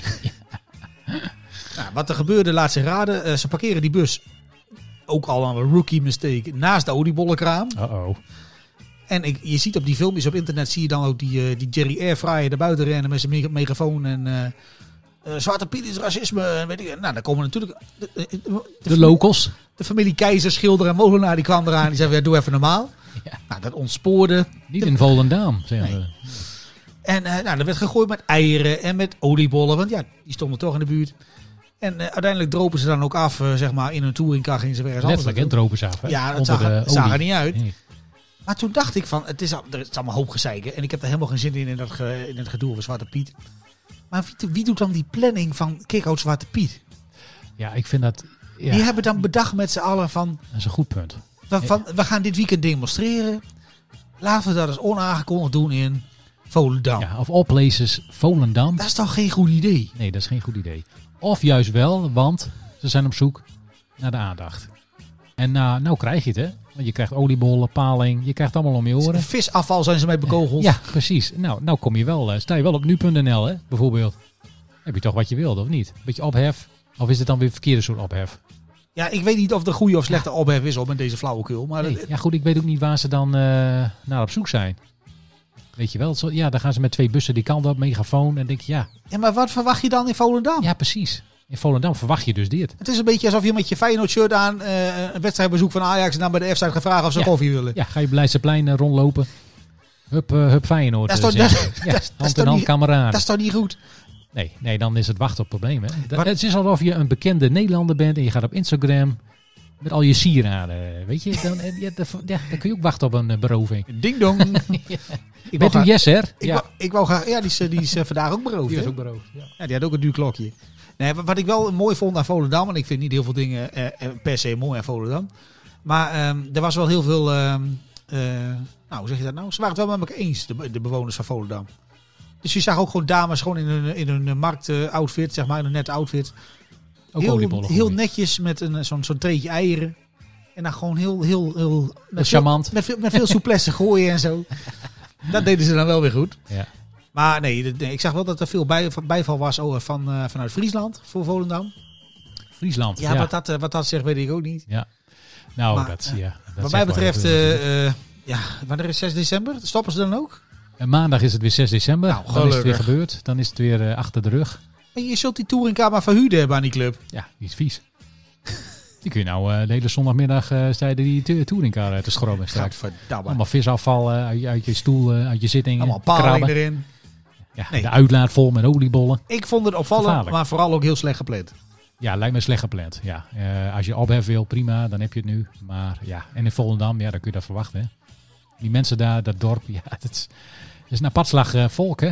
[SPEAKER 3] nou, wat er gebeurde, laat ze raden. Eh, ze parkeren die bus, ook al een rookie mistake, naast de oliebollenkraam.
[SPEAKER 2] Uh-oh.
[SPEAKER 3] En ik, je ziet op die filmpjes op internet, zie je dan ook die, eh, die Jerry Airfryer naar buiten rennen met zijn mega- megafoon. En eh, eh, Zwarte Piet is racisme. en Weet ik. Nou, dan komen natuurlijk... De, de- de-
[SPEAKER 2] De locals.
[SPEAKER 3] de familie Keizer, Schilder en Molenaar die kwam eraan. Die zei, ja, doe even normaal.
[SPEAKER 2] Ja.
[SPEAKER 3] Nou, dat ontspoorde.
[SPEAKER 2] Niet in Volendam, zeggen
[SPEAKER 3] Nee.
[SPEAKER 2] we.
[SPEAKER 3] En eh nou, er werd gegooid met eieren en met oliebollen, want ja, die stonden toch in de buurt. En eh, uiteindelijk dropen ze dan ook af, eh, zeg maar, in hun touringcar gingen ze weer eens anders
[SPEAKER 2] Letterlijk, hè,
[SPEAKER 3] naartoe.
[SPEAKER 2] dropen ze af. hè,
[SPEAKER 3] Ja, dat
[SPEAKER 2] onder
[SPEAKER 3] zag, er-
[SPEAKER 2] de
[SPEAKER 3] het zag er
[SPEAKER 2] olie.
[SPEAKER 3] niet uit.
[SPEAKER 2] Nee.
[SPEAKER 3] Maar toen dacht ik van, het is, al- er is allemaal hoop gezeiken en ik heb er helemaal geen zin in, in, dat ge- in het gedoe over Zwarte Piet. Maar wie, wie doet dan die planning van Kick-Out Zwarte Piet?
[SPEAKER 2] Ja, ik vind dat, ja,
[SPEAKER 3] Die hebben dan bedacht met z'n allen van,
[SPEAKER 2] dat is een goed punt.
[SPEAKER 3] van, van, we gaan dit weekend demonstreren. Laten we dat eens onaangekondigd doen in Volendam.
[SPEAKER 2] Ja, of oplezers Volendam.
[SPEAKER 3] Oh. Dat is toch geen goed idee?
[SPEAKER 2] Nee, dat is geen goed idee. Of juist wel, want ze zijn op zoek naar de aandacht. En nou, nou krijg je het, hè? Want je krijgt oliebollen, paling, je krijgt het allemaal om je oren.
[SPEAKER 3] Visafval zijn ze mee bekogeld.
[SPEAKER 2] Ja, precies. Nou, nou kom je wel, eh, sta je wel op nu.nl, hè? Bijvoorbeeld. Heb je toch wat je wilde, of niet? Beetje ophef. Of is het dan weer verkeerde soort ophef?
[SPEAKER 3] Ja, ik weet niet of de goede of slechte ophef is op met deze flauwekul. Maar
[SPEAKER 2] Nee. Ja, goed, ik weet ook niet waar ze dan eh, naar op zoek zijn. Weet je wel, zo, ja, dan gaan ze met twee bussen die kant op, megafoon. En denk je, ja,
[SPEAKER 3] ja, maar wat verwacht je dan in Volendam?
[SPEAKER 2] ja, precies. In Volendam verwacht je dus dit.
[SPEAKER 3] Het is een beetje alsof je met je Feyenoord shirt aan eh, een wedstrijdbezoek van Ajax en dan bij de F-site gaat vragen of ze
[SPEAKER 2] Ja.
[SPEAKER 3] koffie willen.
[SPEAKER 2] Ja, ga je op Leidseplein eh, rondlopen. Hup, eh, hup Feyenoord.
[SPEAKER 3] Dat is
[SPEAKER 2] eh,
[SPEAKER 3] toch- dat-
[SPEAKER 2] zeggen. ja,
[SPEAKER 3] dat is
[SPEAKER 2] hand in
[SPEAKER 3] toch
[SPEAKER 2] hand
[SPEAKER 3] niet- Dat
[SPEAKER 2] kameraden.
[SPEAKER 3] is toch niet goed?
[SPEAKER 2] Nee, nee, dan is het wachten op problemen. hè. Dat-
[SPEAKER 3] Wat-
[SPEAKER 2] Het is alsof je een bekende Nederlander bent en je gaat op Instagram met al je sieraden. eh, Weet je, dan, eh, ja, dan- ja, dan kun je ook wachten op een eh, beroving.
[SPEAKER 3] Ding dong. ik, wou
[SPEAKER 2] Bent u
[SPEAKER 3] graag,
[SPEAKER 2] yes, hè?
[SPEAKER 3] ik, wou, ik wou graag... Ja, die is, eh, die is eh, vandaag ook beroofd. hè?
[SPEAKER 2] beroofd.
[SPEAKER 3] Ja, die had ook een duur klokje. Nee, wa- wat ik wel mooi vond aan Volendam, en ik vind niet heel veel dingen eh, eh, per se mooi aan Volendam. Maar ehm, er was wel heel veel. ehm, eh, nou, hoe zeg je dat nou? Ze waren het wel met elkaar eens, de, be- de bewoners van Volendam. Dus je zag ook gewoon dames gewoon in hun, in hun eh, markt-outfit, zeg maar, in hun net outfit.
[SPEAKER 2] Ook
[SPEAKER 3] heel,
[SPEAKER 2] oliebollen
[SPEAKER 3] heel
[SPEAKER 2] gooien.
[SPEAKER 3] netjes met een, eh, zo'n zo'n treetje eieren. En dan gewoon heel, heel, heel.
[SPEAKER 2] Dat
[SPEAKER 3] Met
[SPEAKER 2] is
[SPEAKER 3] veel,
[SPEAKER 2] charmant.
[SPEAKER 3] met veel, met veel souplesse gooien en zo. Dat deden ze dan wel weer goed.
[SPEAKER 2] Ja.
[SPEAKER 3] Maar nee, d- nee, ik zag wel dat er veel bij, bijval was oh, van, eh, vanuit Friesland voor Volendam.
[SPEAKER 2] Friesland.
[SPEAKER 3] Ja, Wat, dat, eh, wat dat zegt weet ik ook niet.
[SPEAKER 2] Nou,
[SPEAKER 3] Maar,
[SPEAKER 2] dat,
[SPEAKER 3] eh,
[SPEAKER 2] ja, dat
[SPEAKER 3] wat
[SPEAKER 2] zegt
[SPEAKER 3] mij
[SPEAKER 2] wel
[SPEAKER 3] betreft,
[SPEAKER 2] heel veel.
[SPEAKER 3] eh, eh, ja, wanneer is 6 december? Stoppen ze dan ook?
[SPEAKER 2] En maandag is het weer 6 december.
[SPEAKER 3] Nou,
[SPEAKER 2] dan is het weer
[SPEAKER 3] gelukkig.
[SPEAKER 2] gebeurd. Dan is het weer eh, achter de rug.
[SPEAKER 3] Maar je zult die touringkamer verhuurden hebben aan die club.
[SPEAKER 2] Ja, die is vies. die kun je nou eh, de hele zondagmiddag eh stijden die tu- touringcar uit te schrobben straks.
[SPEAKER 3] Gadverdamme. Allemaal,
[SPEAKER 2] Allemaal visafval eh, uit, je- uit je stoel, eh, uit je zitting.
[SPEAKER 3] paling
[SPEAKER 2] krabben.
[SPEAKER 3] erin.
[SPEAKER 2] Ja,
[SPEAKER 3] Nee.
[SPEAKER 2] De uitlaat vol met oliebollen.
[SPEAKER 3] Ik vond het opvallend,
[SPEAKER 2] Gevaarlijk.
[SPEAKER 3] maar vooral ook heel slecht gepland.
[SPEAKER 2] Ja, lijkt me slecht gepland. Ja. Eh, als je ophef wil, prima, dan heb je het nu. Maar ja, en in Volendam, ja, dan kun je dat verwachten. Hè. Die mensen daar, dat dorp, ja, dat is, dat is een apart slag eh, volk, hè?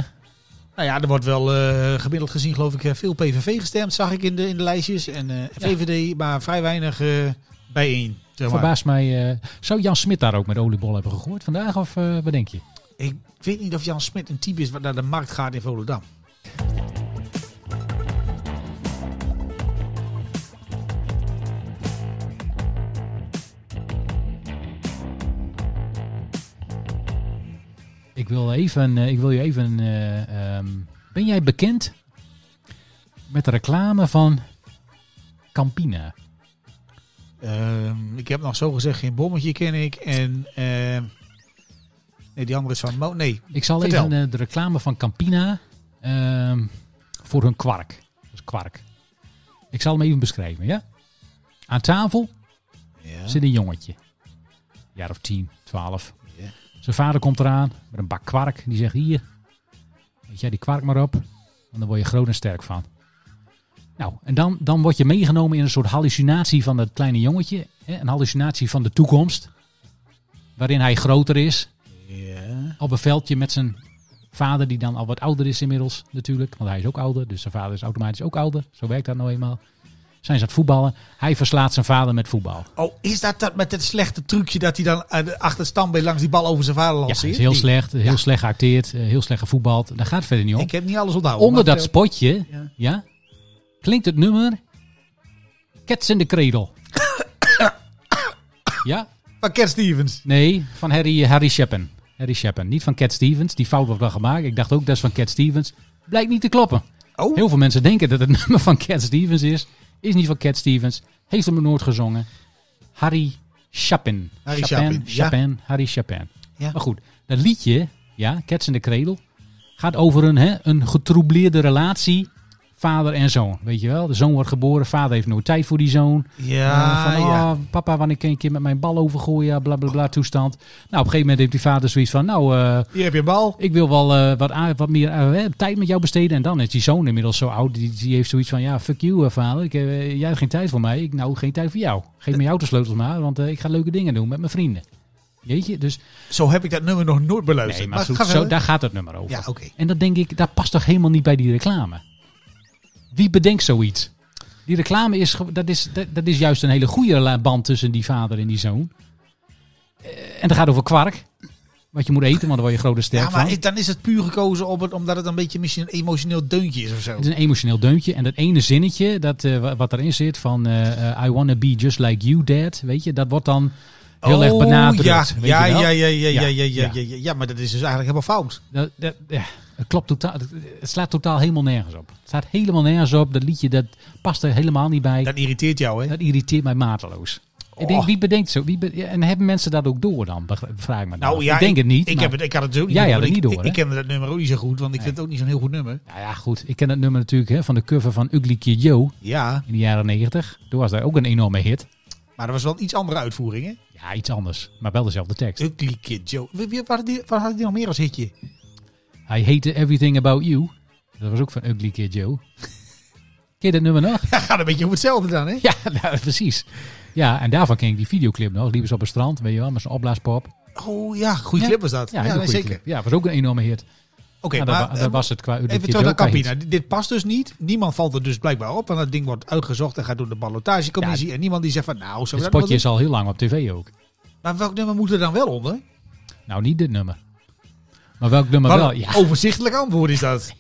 [SPEAKER 3] Nou ja, er wordt wel eh, gemiddeld gezien, geloof ik, eh, veel PVV gestemd, zag ik in de, in de lijstjes. En eh, VVD, maar vrij weinig eh, bijeen. Zeg maar.
[SPEAKER 2] Verbaast mij. eh, zou Jan Smit daar ook met oliebol hebben gegooid vandaag? Of eh, wat denk je?
[SPEAKER 3] Ik weet niet of Jan Smit een type is wat naar de markt gaat in Volendam.
[SPEAKER 2] Ik wil, even, eh, ik wil je even. eh, ehm, ben jij bekend met de reclame van Campina?
[SPEAKER 3] Ehm, ik heb nog zo gezegd geen bommetje, ken ik. En ehm, nee, die andere is van Mo. Nee,
[SPEAKER 2] Ik zal
[SPEAKER 3] Vertel.
[SPEAKER 2] even eh, de reclame van Campina ehm, voor hun kwark. Dus kwark. Ik zal hem even beschrijven, ja? Aan tafel zit een jongetje. Een jaar of 10, 12.
[SPEAKER 3] Ja.
[SPEAKER 2] Zijn vader komt eraan met een bak kwark. Die zegt: Hier, weet jij die kwark maar op. En dan word je groot en sterk van. Nou, en dan, dan word je meegenomen in een soort hallucinatie van dat kleine jongetje. Hè? Een hallucinatie van de toekomst. Waarin hij groter is
[SPEAKER 3] Ja.
[SPEAKER 2] op een veldje met zijn vader, die dan al wat ouder is inmiddels natuurlijk. Want hij is ook ouder, dus zijn vader is automatisch ook ouder. Zo werkt dat nou eenmaal. Zijn ze aan het voetballen. Hij verslaat zijn vader met voetbal.
[SPEAKER 3] Oh, is dat dat met het slechte trucje dat hij dan uit de- achter het standbeen langs die bal over zijn vader
[SPEAKER 2] Ja,
[SPEAKER 3] lanceert?
[SPEAKER 2] hij is heel
[SPEAKER 3] Die-
[SPEAKER 2] slecht, heel
[SPEAKER 3] Ja.
[SPEAKER 2] slecht geacteerd, eh, heel slecht gevoetbald. Daar gaat het verder niet om.
[SPEAKER 3] Ik heb niet alles onthouden.
[SPEAKER 2] Onder
[SPEAKER 3] maar
[SPEAKER 2] dat
[SPEAKER 3] vertel.
[SPEAKER 2] spotje, ja.
[SPEAKER 3] Oh, Ja.
[SPEAKER 2] klinkt het nummer Cats in the Cradle. ja?
[SPEAKER 3] Van Cat Stevens.
[SPEAKER 2] Nee, van Harry, Harry Sheppen. Harry Sheppen, niet van Cat Stevens. Die fout wordt wel gemaakt. Ik dacht ook dat is van Cat Stevens. Blijkt niet te kloppen.
[SPEAKER 3] Oh,
[SPEAKER 2] Heel veel mensen denken dat het nummer van Cat Stevens is. Is niet van Cat Stevens. Heeft hem nooit gezongen. Harry Chapin.
[SPEAKER 3] Harry Chapin, ja.
[SPEAKER 2] Chapin. Harry Chapin.
[SPEAKER 3] Ja.
[SPEAKER 2] Maar goed, dat liedje, ja, Cats in de Kredel, gaat over een, hè, een getroubleerde relatie vader en zoon. Weet je wel, de zoon wordt geboren, vader heeft nooit tijd voor die zoon.
[SPEAKER 3] ja,
[SPEAKER 2] Eh, van,
[SPEAKER 3] Ah, ja.
[SPEAKER 2] oh, papa, wanneer kan ik een keer met mijn bal overgooien, bla bla bla, toestand. Nou, op een gegeven moment heeft die vader zoiets van, nou, eh,
[SPEAKER 3] Hier heb je een bal.
[SPEAKER 2] ik wil wel eh, wat, a- wat meer eh, tijd met jou besteden. En dan is die zoon inmiddels zo oud. Die, die heeft zoiets van, ja, fuck you, eh, vader. Ik, eh, jij hebt geen tijd voor mij. Ik nou geen tijd voor jou. Geef me je autosleutels maar, want eh, ik ga leuke dingen doen met mijn vrienden. Jeetje, dus
[SPEAKER 3] Zo heb ik dat nummer nog nooit beluisterd.
[SPEAKER 2] nee, maar
[SPEAKER 3] Maar
[SPEAKER 2] goed,
[SPEAKER 3] ga
[SPEAKER 2] zo,
[SPEAKER 3] verder.
[SPEAKER 2] daar gaat het nummer over.
[SPEAKER 3] Ja, oké.
[SPEAKER 2] En dat denk ik, dat past toch helemaal niet bij die reclame? Wie bedenkt zoiets? Die reclame is, ge- dat is, dat, dat is juist een hele goede la- band tussen die vader en die zoon. Eh, en dat gaat over kwark. Wat je moet eten, want dan word je grote sterk
[SPEAKER 3] Ja, maar
[SPEAKER 2] van.
[SPEAKER 3] is- dan is het puur gekozen op het, omdat het een beetje misschien een emotioneel deuntje is of zo.
[SPEAKER 2] Het is een emotioneel deuntje. En dat ene zinnetje dat, eh, wa- wat erin zit van eh, eh, I wanna be just like you dad. Weet je, dat wordt dan heel erg
[SPEAKER 3] Oh,
[SPEAKER 2] benadrukt.
[SPEAKER 3] Ja,
[SPEAKER 2] weet
[SPEAKER 3] ja,
[SPEAKER 2] je
[SPEAKER 3] ja,
[SPEAKER 2] wel?
[SPEAKER 3] ja, ja, ja, ja, ja,
[SPEAKER 2] Ja,
[SPEAKER 3] ja, ja, ja, maar dat is dus eigenlijk helemaal fout.
[SPEAKER 2] Dat, dat- ja, het klopt totaal. het- Het slaat totaal helemaal nergens op. Het staat helemaal nergens op. Dat liedje dat past er helemaal niet bij. Dat,
[SPEAKER 3] Dat irriteert jou, hè?
[SPEAKER 2] irriteert mij mateloos. Ik denk,
[SPEAKER 3] Oh.
[SPEAKER 2] wie bedenkt zo? Wie be- ja, en hebben mensen dat ook door dan? Begrijp- Vraag ik me dan
[SPEAKER 3] Nou
[SPEAKER 2] af.
[SPEAKER 3] ja,
[SPEAKER 2] ik denk het niet.
[SPEAKER 3] Ik,
[SPEAKER 2] maar-
[SPEAKER 3] heb het, ik had het zo niet
[SPEAKER 2] Jij
[SPEAKER 3] door,
[SPEAKER 2] had het
[SPEAKER 3] want
[SPEAKER 2] niet
[SPEAKER 3] ik,
[SPEAKER 2] door,
[SPEAKER 3] Ik, ik ken dat nummer ook niet zo goed, want
[SPEAKER 2] Nee.
[SPEAKER 3] ik vind het ook niet zo'n heel goed nummer.
[SPEAKER 2] Nou ja, goed. Ik ken het nummer natuurlijk hè, van de cover van Ugly Kid Joe
[SPEAKER 3] Ja,
[SPEAKER 2] in de jaren 90. Toen was daar ook een enorme hit.
[SPEAKER 3] maar dat was wel een iets andere uitvoering, hè?
[SPEAKER 2] Ja, iets anders. Maar wel dezelfde tekst.
[SPEAKER 3] Ugly Kid Joe. Wie- wie- Waar had die- waar had hij nog meer als hitje?
[SPEAKER 2] Hij heette Everything About You. Dat was ook van Ugly Kid Joe. Ken je dat nummer nog?
[SPEAKER 3] Ja, gaat een beetje om hetzelfde dan, hè?
[SPEAKER 2] Ja, nou, precies. Ja, en daarvan ken ik die videoclip nog. Liepen ze op het strand, weet je wel, met zo'n opblaaspop.
[SPEAKER 3] Oh ja, goede
[SPEAKER 2] Ja.
[SPEAKER 3] clip was dat. Ja,
[SPEAKER 2] een hele
[SPEAKER 3] nee,
[SPEAKER 2] goede
[SPEAKER 3] zeker.
[SPEAKER 2] clip. Ja, was ook een enorme hit.
[SPEAKER 3] Oké,
[SPEAKER 2] Nou, dat,
[SPEAKER 3] maar
[SPEAKER 2] wa-
[SPEAKER 3] eh,
[SPEAKER 2] dat was het qua Ugly
[SPEAKER 3] even
[SPEAKER 2] Kid
[SPEAKER 3] terug naar
[SPEAKER 2] Joe qua hit.
[SPEAKER 3] Campina. Dit- Dit past dus niet. Niemand valt er dus blijkbaar op, want dat ding wordt uitgezocht en gaat door de ballotagecommissie. en niemand die zegt van, nou, zo
[SPEAKER 2] Het
[SPEAKER 3] dat wel
[SPEAKER 2] spotje
[SPEAKER 3] doen?
[SPEAKER 2] is al heel lang op tv ook.
[SPEAKER 3] Maar welk nummer moet er dan wel onder?
[SPEAKER 2] Nou, niet dit nummer. Maar welk nummer
[SPEAKER 3] Wat
[SPEAKER 2] wel?
[SPEAKER 3] een
[SPEAKER 2] Ja,
[SPEAKER 3] Overzichtelijk antwoord is dat.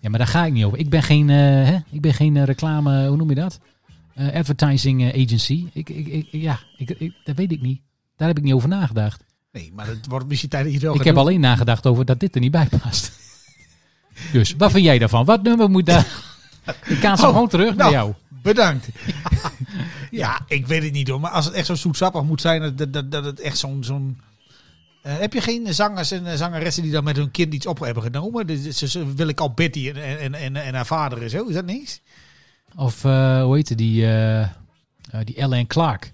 [SPEAKER 2] ja, maar daar ga ik niet over. Ik ben geen, eh, hè? Ik ben geen eh, reclame, hoe noem je dat? Eh, advertising eh, agency. Ik, ik, ik, ja, ik, ik, dat weet ik niet. Daar heb ik niet over nagedacht.
[SPEAKER 3] Nee, maar het wordt misschien tijd dat je het wel
[SPEAKER 2] Ik
[SPEAKER 3] gaat
[SPEAKER 2] heb
[SPEAKER 3] doen.
[SPEAKER 2] alleen nagedacht over dat dit er niet bij past. Dus, wat vind jij daarvan? Wat nummer moet daar... Ik kaats hem
[SPEAKER 3] Oh,
[SPEAKER 2] gewoon terug naar
[SPEAKER 3] nou.
[SPEAKER 2] jou.
[SPEAKER 3] Bedankt. Ja. ik weet het niet hoor. Maar als het echt zo zoetsappig moet zijn, dat, dat, dat het echt zo'n... zo'n eh, heb je geen zangers en eh, zangeressen die dan met hun kind iets op hebben genomen? Dus Ze, ze wil ik al Betty en, en, en, en haar vader en zo. Is dat niks?
[SPEAKER 2] Of, eh, hoe heette die... eh eh, die Ellen Clark.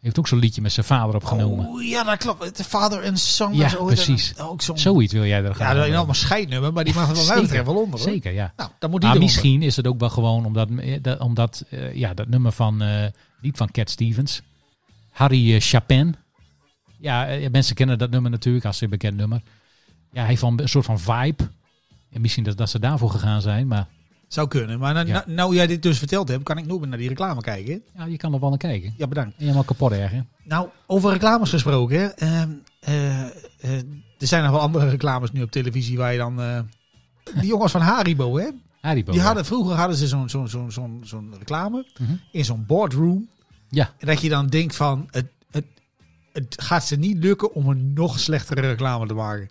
[SPEAKER 2] heeft ook zo'n liedje met zijn vader opgenomen.
[SPEAKER 3] Oh, ja, dat klopt. De vader en Song. was
[SPEAKER 2] Ja,
[SPEAKER 3] ooit een-
[SPEAKER 2] precies.
[SPEAKER 3] Ook zo'n...
[SPEAKER 2] Zoiets wil jij er gaan
[SPEAKER 3] Oh, Ja, dat is
[SPEAKER 2] doen.
[SPEAKER 3] allemaal scheidnummer, maar die mag er wel
[SPEAKER 2] Zeker.
[SPEAKER 3] mij betreft wel onder. Hoor.
[SPEAKER 2] Zeker, ja.
[SPEAKER 3] Nou, dan moet die
[SPEAKER 2] Maar
[SPEAKER 3] eronder.
[SPEAKER 2] Ah, misschien is het ook wel gewoon omdat, eh, dat, omdat eh, ja, dat nummer van, eh niet van Cat Stevens, Harry eh, Chapin. Ja, eh, mensen kennen dat nummer natuurlijk als een bekend nummer. Ja, hij heeft wel een soort van vibe. En misschien dat, dat ze daarvoor gegaan zijn, maar
[SPEAKER 3] Zou kunnen. Maar nou,
[SPEAKER 2] Ja.
[SPEAKER 3] nou, nou jij dit dus verteld hebt, kan ik nooit meer naar die reclame kijken. hè?
[SPEAKER 2] ja, je kan er wel naar kijken.
[SPEAKER 3] Ja, bedankt.
[SPEAKER 2] Helemaal kapot erg, hè?
[SPEAKER 3] Nou, over reclames gesproken. hè. Ehm, eh, eh, er zijn nog wel andere reclames nu op televisie waar je dan... eh, die jongens van Haribo, hè?
[SPEAKER 2] Haribo.
[SPEAKER 3] Die
[SPEAKER 2] ja.
[SPEAKER 3] hadden, vroeger hadden ze zo'n zo'n zo'n zo'n zo'n reclame
[SPEAKER 2] Mhm.
[SPEAKER 3] in zo'n boardroom.
[SPEAKER 2] Ja.
[SPEAKER 3] En dat je dan denkt van, het, het, het gaat ze niet lukken om een nog slechtere reclame te maken.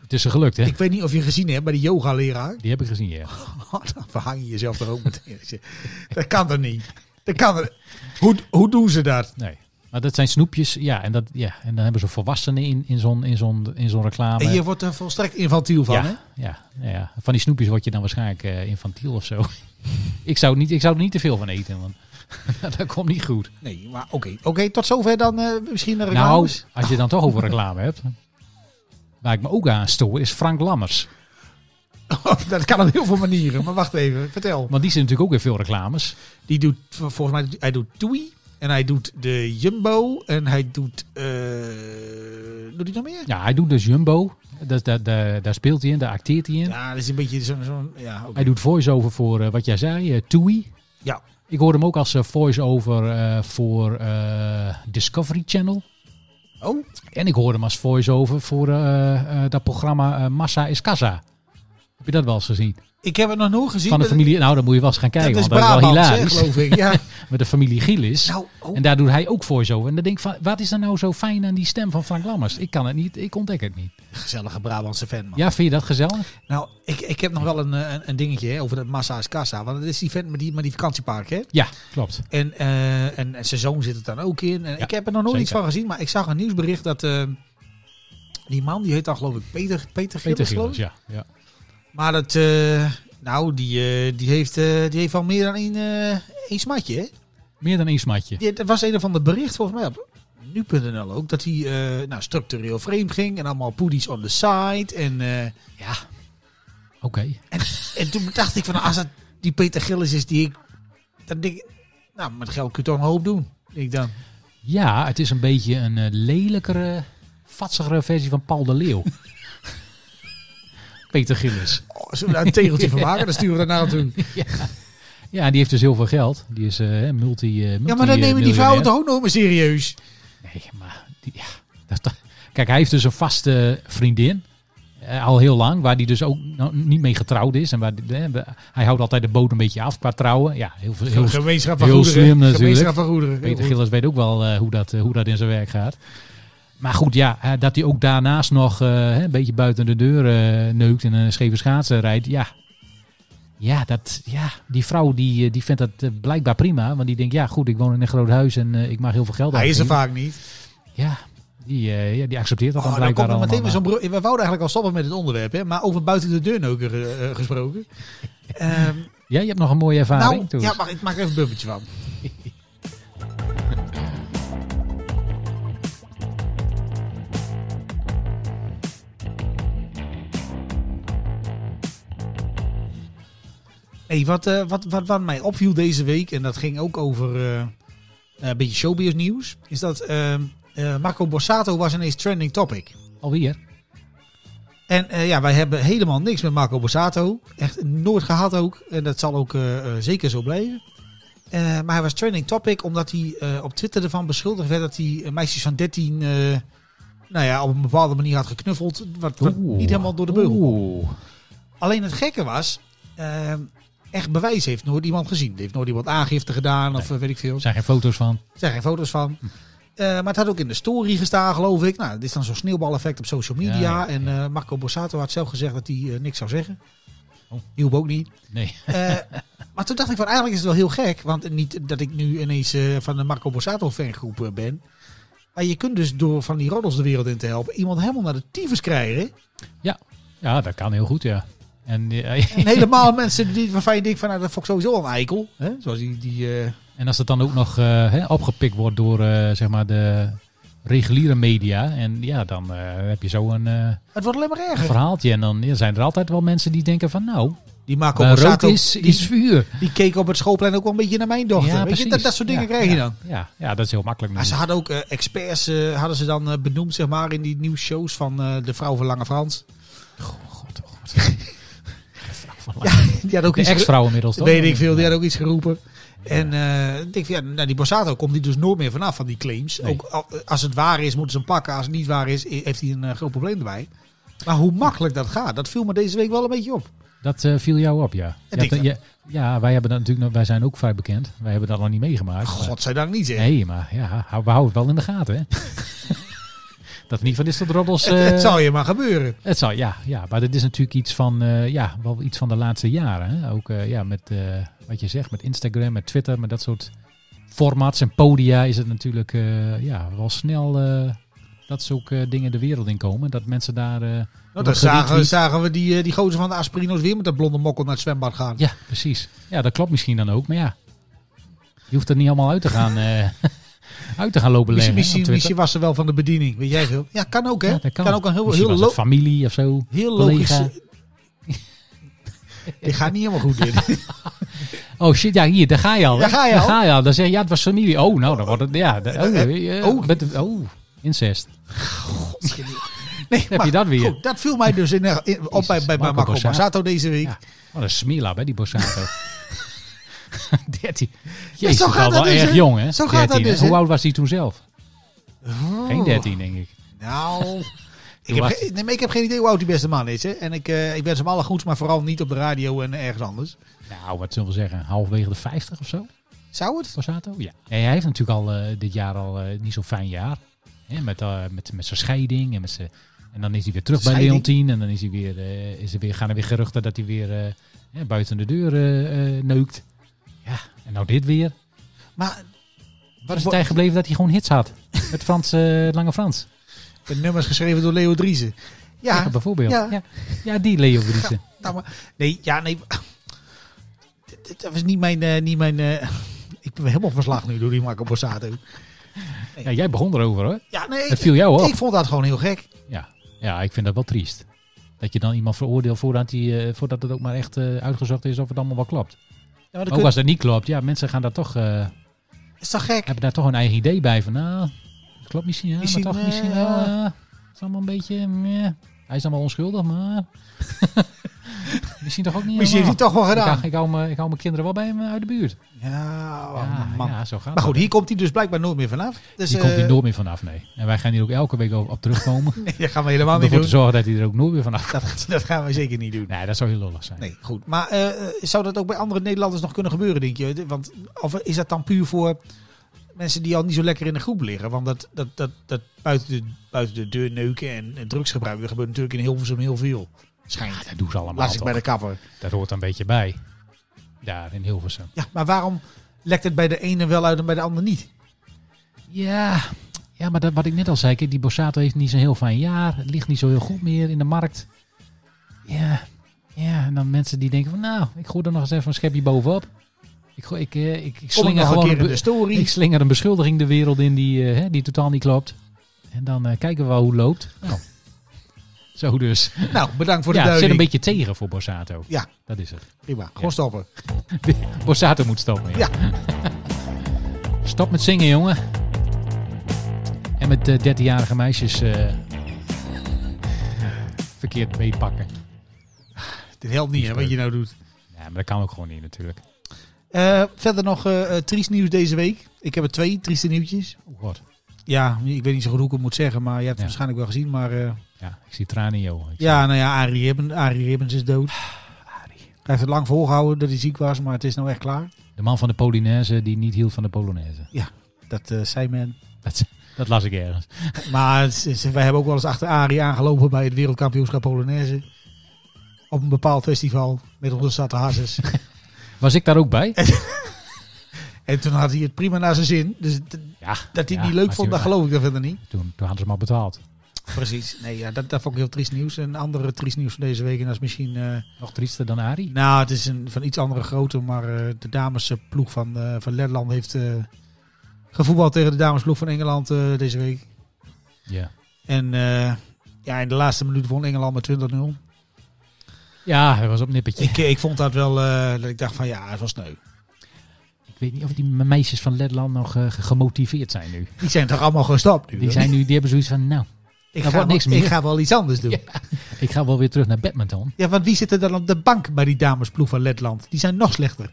[SPEAKER 2] Het is ze gelukt, hè?
[SPEAKER 3] Ik weet niet of je gezien hebt, maar die yoga-leraar.
[SPEAKER 2] Die heb ik gezien, ja.
[SPEAKER 3] dan verhang je jezelf er ook meteen. Ik zeg, Dat kan er niet. Dat kan er. Hoe, hoe doen ze dat?
[SPEAKER 2] Nee. Maar dat zijn snoepjes, ja. En, dat, ja, en dan hebben ze volwassenen in, in zo'n in zo'n in zo'n reclame.
[SPEAKER 3] En je wordt er volstrekt infantiel van,
[SPEAKER 2] ja,
[SPEAKER 3] hè?
[SPEAKER 2] Ja, nou ja, van die snoepjes word je dan waarschijnlijk eh, infantiel of zo. ik, zou niet, ik zou er niet te veel van eten, want dat komt niet goed.
[SPEAKER 3] Nee, maar oké. Oké, tot zover dan eh, misschien de
[SPEAKER 2] Nou,
[SPEAKER 3] reclames.
[SPEAKER 2] als je het dan toch over reclame hebt. Waar ik me ook aan stoor is Frank Lammers.
[SPEAKER 3] dat kan op heel veel manieren. Maar wacht even, vertel.
[SPEAKER 2] Want die zit natuurlijk ook weer veel reclames.
[SPEAKER 3] Die doet, vol- volgens mij, hij doet Toei. En hij doet de Jumbo. En hij doet, eh doet hij nog meer?
[SPEAKER 2] Ja, hij doet dus Jumbo. Dat, dat, dat, daar speelt hij in, daar acteert hij in.
[SPEAKER 3] Ja, dat is een beetje zo'n, zo'n ja, oké.
[SPEAKER 2] Hij doet voice-over voor eh, wat jij zei, eh, Toei.
[SPEAKER 3] Ja.
[SPEAKER 2] Ik hoorde hem ook als eh, voice-over eh, voor eh, Discovery Channel.
[SPEAKER 3] Oh,
[SPEAKER 2] En ik hoorde hem als voice-over voor eh, eh, dat programma eh, Massa is Casa. Heb je dat wel eens gezien?
[SPEAKER 3] ik heb het nog nooit gezien.
[SPEAKER 2] Van de
[SPEAKER 3] maar
[SPEAKER 2] familie... Nou, dan moet je wel eens gaan kijken,
[SPEAKER 3] dat is
[SPEAKER 2] want dat is wel
[SPEAKER 3] Brabant, hè,
[SPEAKER 2] hilarisch.
[SPEAKER 3] geloof ik. Ja.
[SPEAKER 2] Met de familie Gielis.
[SPEAKER 3] Nou, oh.
[SPEAKER 2] En daar doet hij ook voice-over. En dan denk ik van, wat is er nou zo fijn aan die stem van Frank Lammers? Ik kan het niet, ik ontdek het niet.
[SPEAKER 3] gezellige Brabantse fan, man.
[SPEAKER 2] Ja, vind je dat gezellig?
[SPEAKER 3] Nou, ik, ik heb nog wel een, eh, een, een dingetje hè, over dat Massa's Kassa. Want dat is die vent met die, met die vakantiepark, hè?
[SPEAKER 2] Ja, klopt.
[SPEAKER 3] En, eh, en, en zijn zoon zit het dan ook in. En
[SPEAKER 2] Ja,
[SPEAKER 3] ik heb er nog nooit
[SPEAKER 2] zeker.
[SPEAKER 3] iets van gezien, maar ik zag een nieuwsbericht dat... eh, die man, die heet dan geloof ik Peter, Peter Gillis,
[SPEAKER 2] Peter
[SPEAKER 3] geloof
[SPEAKER 2] Gielis,
[SPEAKER 3] ik.
[SPEAKER 2] ja. ja.
[SPEAKER 3] Maar dat, eh, nou, die, eh, die, heeft, eh, die heeft al meer dan één, eh, één smatje, hè?
[SPEAKER 2] Meer dan één smatje.
[SPEAKER 3] Die, er was een of ander bericht, volgens mij, op nu.nl ook, dat hij eh, nou, structureel vreemd ging en allemaal poedies on the side. En, eh,
[SPEAKER 2] Ja. Oké.
[SPEAKER 3] en toen dacht ik van, als dat die Peter Gillis is die ik, dan denk ik, nou, met geld kun je toch een hoop doen, denk ik dan.
[SPEAKER 2] Ja, het is een beetje een eh, lelijkere, vatsigere versie van Paul de Leeuw. Peter Gillis.
[SPEAKER 3] Oh, zullen we daar een tegeltje van maken? Dan sturen we daarna naartoe.
[SPEAKER 2] Ja, die heeft dus heel veel geld. Die is eh, multi, eh, multi
[SPEAKER 3] Ja, maar dan
[SPEAKER 2] eh,
[SPEAKER 3] nemen die
[SPEAKER 2] miljonair.
[SPEAKER 3] vrouwen toch ook nog maar serieus?
[SPEAKER 2] Nee, maar... Die, ja, dat, dat- kijk, hij heeft dus een vaste vriendin. eh, al heel lang. Waar die dus ook nou, niet mee getrouwd is. En waar die- eh, we- hij houdt altijd de boot een beetje af qua trouwen. Ja, heel, veel- heel,
[SPEAKER 3] Gemeenschap van
[SPEAKER 2] heel
[SPEAKER 3] goederen.
[SPEAKER 2] slim natuurlijk.
[SPEAKER 3] Gemeenschap van goederen. Heel
[SPEAKER 2] Peter
[SPEAKER 3] goed.
[SPEAKER 2] Gillis weet ook wel eh, hoe, dat, eh, hoe dat in zijn werk gaat. Maar goed, ja, eh, dat hij ook daarnaast nog eh, hè, een beetje buiten de deur eh, neukt en een scheve schaatsen rijdt. Ja, ja, dat, ja die vrouw die, eh, die vindt dat eh, blijkbaar prima. Want die denkt, ja goed, ik woon in een groot huis en eh, ik mag heel veel geld
[SPEAKER 3] Hij is er
[SPEAKER 2] uitgeven.
[SPEAKER 3] vaak niet.
[SPEAKER 2] Ja, die, eh, ja, die accepteert dat
[SPEAKER 3] Oh,
[SPEAKER 2] dan
[SPEAKER 3] dan
[SPEAKER 2] blijkbaar
[SPEAKER 3] komt er meteen weer
[SPEAKER 2] allemaal.
[SPEAKER 3] zo'n bro- We wouden eigenlijk al stoppen met het onderwerp, hè? maar over buiten de deur neuken eh, eh, gesproken. Ehm,
[SPEAKER 2] Ja, je hebt nog een mooie ervaring.
[SPEAKER 3] nou,
[SPEAKER 2] Toes.
[SPEAKER 3] ja, maar ik maak er even een bubbeltje van. Hey, wat, eh, wat, wat, wat mij opviel deze week, en dat ging ook over eh, een beetje showbiz nieuws, is dat eh, eh, Marco Borsato was ineens trending topic.
[SPEAKER 2] Alweer.
[SPEAKER 3] En eh, ja, wij hebben helemaal niks met Marco Borsato. Echt nooit gehad ook. En dat zal ook eh, eh, zeker zo blijven. Eh, maar hij was trending topic omdat hij eh, op Twitter ervan beschuldigd werd dat hij eh, meisjes van 13 eh, nou ja, op een bepaalde manier had geknuffeld. Wat, wat
[SPEAKER 2] Oeh.
[SPEAKER 3] niet helemaal door de beugel. kwam.
[SPEAKER 2] Oeh.
[SPEAKER 3] Alleen het gekke was, eh, echt bewijs heeft nooit iemand gezien. Er heeft nooit iemand aangifte gedaan of eh, weet ik veel.
[SPEAKER 2] Er zijn geen foto's van.
[SPEAKER 3] Er zijn geen foto's van. Eh, maar het had ook in de story gestaan, geloof ik. Nou, dit is dan zo'n sneeuwbaleffect op social media.
[SPEAKER 2] Ja, ja,
[SPEAKER 3] En eh, Marco Borsato had zelf gezegd dat hij eh, niks zou zeggen. Die hoef ook niet.
[SPEAKER 2] Nee.
[SPEAKER 3] Eh, maar toen dacht ik van, eigenlijk is het wel heel gek. Want niet dat ik nu ineens eh, van de Marco Borsato fangroep eh, ben. Maar je kunt dus door van die roddels de wereld in te helpen... iemand helemaal naar de tyfus krijgen.
[SPEAKER 2] Ja, dat kan heel goed, ja. En, eh,
[SPEAKER 3] En helemaal mensen die, waarvan je denkt van... Nou, dat vond ik sowieso al een eikel. Hè? Zoals die, die eh,
[SPEAKER 2] En als dat dan ook nog eh, hè, opgepikt wordt door eh, zeg maar de reguliere media. En ja, dan eh, heb je zo een, eh,
[SPEAKER 3] Het wordt alleen maar
[SPEAKER 2] een
[SPEAKER 3] erger.
[SPEAKER 2] verhaaltje. En dan ja, zijn er altijd wel mensen die denken van nou,
[SPEAKER 3] Die Marco
[SPEAKER 2] waar rook
[SPEAKER 3] Borsato,
[SPEAKER 2] is,
[SPEAKER 3] die,
[SPEAKER 2] is vuur.
[SPEAKER 3] die keek op het schoolplein ook wel een beetje naar mijn dochter.
[SPEAKER 2] Ja,
[SPEAKER 3] Weet je,
[SPEAKER 2] precies.
[SPEAKER 3] dat, dat soort dingen
[SPEAKER 2] Ja,
[SPEAKER 3] krijg je
[SPEAKER 2] ja.
[SPEAKER 3] dan.
[SPEAKER 2] Ja, ja, dat is heel makkelijk.
[SPEAKER 3] Maar ze
[SPEAKER 2] natuurlijk.
[SPEAKER 3] hadden ook eh, experts eh, hadden ze dan eh, benoemd zeg maar, in die nieuwsshows van eh, de vrouw van Lange Frans.
[SPEAKER 2] Goh, god, oh god.
[SPEAKER 3] Die had ook
[SPEAKER 2] De
[SPEAKER 3] iets ge-
[SPEAKER 2] ex-vrouw inmiddels toch?
[SPEAKER 3] Weet ik veel, die had ook iets geroepen. En eh, ik denk van, ja, nou, die Borsato komt die dus nooit meer vanaf van die claims.
[SPEAKER 2] Nee.
[SPEAKER 3] Ook al- eh, als het waar is, moeten ze hem pakken. Als het niet waar is, i- heeft hij een eh, groot probleem erbij. Maar hoe makkelijk dat gaat, dat viel me deze week wel een beetje op.
[SPEAKER 2] Dat eh, viel jou op, ja.
[SPEAKER 3] En
[SPEAKER 2] Ja,
[SPEAKER 3] ik
[SPEAKER 2] dat-
[SPEAKER 3] dan.
[SPEAKER 2] ja, ja, wij, hebben dat natuurlijk, nog- wij zijn ook vrij bekend. Wij hebben dat nog niet meegemaakt. maar-
[SPEAKER 3] Godzijdank niet, zeg.
[SPEAKER 2] Nee, maar ja, hou- we houden het wel in de gaten, hè. dat we niet van dit soort roddels...
[SPEAKER 3] Het, het
[SPEAKER 2] eh,
[SPEAKER 3] zou je maar gebeuren. Nou,
[SPEAKER 2] Het zou, ja, ja, maar dat is natuurlijk iets van, eh, ja, wel iets van de laatste jaren. Hè? Ook eh, ja, met eh, wat je zegt, met Instagram, met Twitter, met dat soort formats en podia is het natuurlijk eh, ja, wel snel eh, dat zulke ook dingen de wereld in komen. Dat mensen daar. eh,
[SPEAKER 3] Nou, dan
[SPEAKER 2] wordt
[SPEAKER 3] zagen, we-
[SPEAKER 2] geretweet.
[SPEAKER 3] zagen we die, eh, die gozer van de Aspirino's weer met dat blonde mokkel naar het zwembad gaan.
[SPEAKER 2] Ja, precies. Ja, dat klopt misschien dan ook, maar ja. Je hoeft er niet allemaal uit te gaan, eh, uit te gaan lopen leggen.
[SPEAKER 3] Misschien,
[SPEAKER 2] hè,
[SPEAKER 3] misschien,
[SPEAKER 2] op Twitter.
[SPEAKER 3] misschien was ze wel van de bediening, weet jij veel. Ja, kan ook, hè.
[SPEAKER 2] Ja, dat
[SPEAKER 3] kan.
[SPEAKER 2] kan.
[SPEAKER 3] ook een heel,
[SPEAKER 2] Misschien
[SPEAKER 3] heel,
[SPEAKER 2] was
[SPEAKER 3] lo-
[SPEAKER 2] het familie of zo.
[SPEAKER 3] heel
[SPEAKER 2] collega.
[SPEAKER 3] logisch... Ik ga niet helemaal goed in.
[SPEAKER 2] Oh shit, ja, hier, daar ga je al. hè?
[SPEAKER 3] Daar ga je al.
[SPEAKER 2] Daar Dan zeg je, ja, het was familie. Oh, nou, dan wordt het, ja. dat- oh, eh,
[SPEAKER 3] Oh.
[SPEAKER 2] met- oh, incest.
[SPEAKER 3] Nee,
[SPEAKER 2] heb je dat weer.
[SPEAKER 3] Goed, dat viel mij dus in, eh, in- op bij, bij
[SPEAKER 2] Marco
[SPEAKER 3] Marco
[SPEAKER 2] Borsato.
[SPEAKER 3] Borsato deze week.
[SPEAKER 2] Ja. Wat een smeerlap, hè, die Borsato. 13. Jezus,
[SPEAKER 3] zo gaat
[SPEAKER 2] wel,
[SPEAKER 3] dat
[SPEAKER 2] wel
[SPEAKER 3] dus,
[SPEAKER 2] erg
[SPEAKER 3] hè?
[SPEAKER 2] jong, hè?
[SPEAKER 3] Zo gaat dat
[SPEAKER 2] 13, hè?
[SPEAKER 3] dus, hè?
[SPEAKER 2] Hoe oud was hij toen zelf?
[SPEAKER 3] Oh.
[SPEAKER 2] Geen 13, denk ik.
[SPEAKER 3] Nou, ik heb,
[SPEAKER 2] was
[SPEAKER 3] geen- nee, maar ik heb geen idee hoe oud die beste man is. Hè. En ik, eh, ik wens hem alle goeds, maar vooral niet op de radio en ergens anders.
[SPEAKER 2] Nou, wat zullen we zeggen? Halverwege de 50 of zo?
[SPEAKER 3] Zou het?
[SPEAKER 2] Borsato? Ja. Nee, hij heeft natuurlijk al eh, dit jaar al eh, niet zo'n fijn jaar. Hè, met, eh, met, met zijn scheiding en met zijn... En dan is hij weer terug bij
[SPEAKER 3] Scheiding?
[SPEAKER 2] Leontien. En dan is hij weer, eh, is er weer, gaan er weer geruchten dat hij weer eh, hè, buiten de deur eh, eh, neukt. Ja, en nou dit weer.
[SPEAKER 3] Maar
[SPEAKER 2] Waar is het tijd gebleven dat hij gewoon hits had? Met Frans, eh, Lange Frans.
[SPEAKER 3] de nummers geschreven door Leo Driessen. Ja,
[SPEAKER 2] Ja, bijvoorbeeld.
[SPEAKER 3] ja.
[SPEAKER 2] Ja. Ja, die Leo Driessen.
[SPEAKER 3] nou, maar, nee, ja, nee. Dit- dit- Dat was niet mijn... eh, niet mijn eh, ik ben helemaal verslag nu door die Marco Borsato.
[SPEAKER 2] Ja, jij begon erover hoor.
[SPEAKER 3] Ja, nee,
[SPEAKER 2] Het
[SPEAKER 3] ik,
[SPEAKER 2] viel jou op.
[SPEAKER 3] ik vond dat gewoon heel gek.
[SPEAKER 2] Ja. ja, ik vind dat wel triest. Dat je dan iemand veroordeelt voordat, die, eh, voordat het ook maar echt eh, uitgezocht is of het allemaal wel klopt.
[SPEAKER 3] Ja, maar dat
[SPEAKER 2] Maar ook
[SPEAKER 3] kun-
[SPEAKER 2] als dat niet klopt, ja, mensen gaan daar toch, eh,
[SPEAKER 3] is toch gek?
[SPEAKER 2] hebben daar toch een eigen idee bij. Van nou, dat klopt misschien, ja,
[SPEAKER 3] Misschien,
[SPEAKER 2] maar toch
[SPEAKER 3] eh,
[SPEAKER 2] misschien wel. eh, het is allemaal een beetje, meh. hij is allemaal onschuldig, maar misschien toch ook niet
[SPEAKER 3] Misschien heeft
[SPEAKER 2] helemaal.
[SPEAKER 3] hij het toch wel
[SPEAKER 2] Ik
[SPEAKER 3] gedaan.
[SPEAKER 2] hou- Ik hou, mijn- ik hou mijn kinderen wel bij hem eh, uit de buurt.
[SPEAKER 3] Ja, oh,
[SPEAKER 2] ja,
[SPEAKER 3] man.
[SPEAKER 2] ja, zo gaat
[SPEAKER 3] Maar
[SPEAKER 2] dat.
[SPEAKER 3] goed, hier komt hij dus blijkbaar nooit meer vanaf. Dus,
[SPEAKER 2] Die komt
[SPEAKER 3] eh,
[SPEAKER 2] hier nooit meer vanaf, nee. En wij gaan hier ook elke week op, op terugkomen.
[SPEAKER 3] Nee, dat gaan we helemaal
[SPEAKER 2] om
[SPEAKER 3] niet
[SPEAKER 2] ervoor
[SPEAKER 3] doen.
[SPEAKER 2] te zorgen dat hij er ook nooit meer vanaf
[SPEAKER 3] Dat, dat gaan we zeker niet doen.
[SPEAKER 2] Nee, dat zou heel lollig zijn.
[SPEAKER 3] Nee, goed. Maar eh, eh, zou dat ook bij andere Nederlanders nog kunnen gebeuren, denk je? Want, of is dat dan puur voor mensen die al niet zo lekker in de groep liggen? Want dat, dat, dat, dat buiten, de, buiten de deur neuken en, en drugsgebruik, dat gebeurt natuurlijk in Hilversum heel veel.
[SPEAKER 2] Schijnt. Dat doen ze allemaal
[SPEAKER 3] Laat ik
[SPEAKER 2] toch?
[SPEAKER 3] bij de kapper.
[SPEAKER 2] Dat hoort een beetje bij. Daar in Hilversum.
[SPEAKER 3] Ja, maar waarom lekt het bij de ene wel uit en bij de ander niet?
[SPEAKER 2] Ja, ja maar dat, wat ik net al zei. Kijk, die Borsato heeft niet zo'n heel fijn jaar. Het ligt niet zo heel goed meer in de markt. Ja, ja en dan mensen die denken van... Nou, ik gooi er nog eens even een schepje bovenop. Ik, gooi, ik, eh, ik, ik
[SPEAKER 3] Kom ik
[SPEAKER 2] slinger
[SPEAKER 3] nog een
[SPEAKER 2] gewoon...
[SPEAKER 3] keer in
[SPEAKER 2] be-
[SPEAKER 3] de story?
[SPEAKER 2] Ik slinger een beschuldiging de wereld in die, eh, hè, die totaal niet klopt. En dan eh, kijken we wel hoe het loopt. Nou, zo dus.
[SPEAKER 3] Nou, bedankt voor de
[SPEAKER 2] ja, het zit
[SPEAKER 3] duiding.
[SPEAKER 2] een beetje tegen voor Borsato.
[SPEAKER 3] Ja.
[SPEAKER 2] Dat is het.
[SPEAKER 3] Prima, gewoon
[SPEAKER 2] Ja.
[SPEAKER 3] stoppen.
[SPEAKER 2] Borsato moet stoppen. Ja.
[SPEAKER 3] Ja.
[SPEAKER 2] Stop met zingen, jongen. En met eh, 13-jarige meisjes eh, verkeerd meepakken.
[SPEAKER 3] Dit helpt niet, hè, wat je nou doet.
[SPEAKER 2] Ja, maar dat kan ook gewoon niet natuurlijk.
[SPEAKER 3] Eh, verder nog eh eh, triest nieuws deze week. Ik heb er twee trieste nieuwtjes.
[SPEAKER 2] Oh god.
[SPEAKER 3] Ja, ik weet niet zo goed hoe ik het moet zeggen, maar je hebt het
[SPEAKER 2] Ja.
[SPEAKER 3] waarschijnlijk wel gezien. Maar eh,
[SPEAKER 2] Ja, ik zie tranen in je ogen. Ik
[SPEAKER 3] ja, nou ja, Arie Ribbons, Arie Ribbons is dood.
[SPEAKER 2] Ah,
[SPEAKER 3] Hij heeft het lang volgehouden dat hij ziek was, maar het is nou echt klaar.
[SPEAKER 2] zie- De man van de Polonaise die niet hield van de Polonaise.
[SPEAKER 3] Dat eh, zei men.
[SPEAKER 2] Dat, dat las ik ergens.
[SPEAKER 3] Maar het is- wij hebben ook wel eens achter Arie aangelopen bij het wereldkampioenschap Polonaise. Op een bepaald festival met onze zatte hazes.
[SPEAKER 2] Was ik daar ook bij?
[SPEAKER 3] en toen had hij het prima naar zijn zin. Dus d-
[SPEAKER 2] Ja.
[SPEAKER 3] dat hij het
[SPEAKER 2] Ja,
[SPEAKER 3] niet leuk
[SPEAKER 2] maar
[SPEAKER 3] vond, dat
[SPEAKER 2] tuurlijk.
[SPEAKER 3] geloof ik dan verder niet.
[SPEAKER 2] Toen, toen hadden ze hem al betaald.
[SPEAKER 3] Precies. Nee, ja, dat, dat vond ik heel triest nieuws. Een andere triest nieuws van deze week, en dat is misschien... eh,
[SPEAKER 2] Nog triester dan Arie.
[SPEAKER 3] Nou, het is een, van iets andere grootte, maar eh, de damesploeg van, eh, van Letland heeft eh, gevoetbald tegen de damesploeg van Engeland eh, deze week.
[SPEAKER 2] Ja.
[SPEAKER 3] En eh, ja, in de laatste minuut won Engeland met 20-0.
[SPEAKER 2] Ja, hij was op nippertje.
[SPEAKER 3] Ik, ik vond dat wel, eh, dat ik dacht van ja, het was sneu.
[SPEAKER 2] Ik weet niet of die me- meisjes van Letland nog eh, ge- gemotiveerd zijn nu.
[SPEAKER 3] Die zijn toch allemaal gestopt nu?
[SPEAKER 2] Die,
[SPEAKER 3] hè?
[SPEAKER 2] zijn nu, die hebben zoiets van, nou,
[SPEAKER 3] ik,
[SPEAKER 2] dat
[SPEAKER 3] ga
[SPEAKER 2] wordt niks
[SPEAKER 3] wel, ik
[SPEAKER 2] meer.
[SPEAKER 3] ga wel iets anders doen. Ja.
[SPEAKER 2] ik ga wel weer terug naar badminton.
[SPEAKER 3] want wie zit er dan op de bank bij die damesploeg van Letland? Die zijn nog slechter.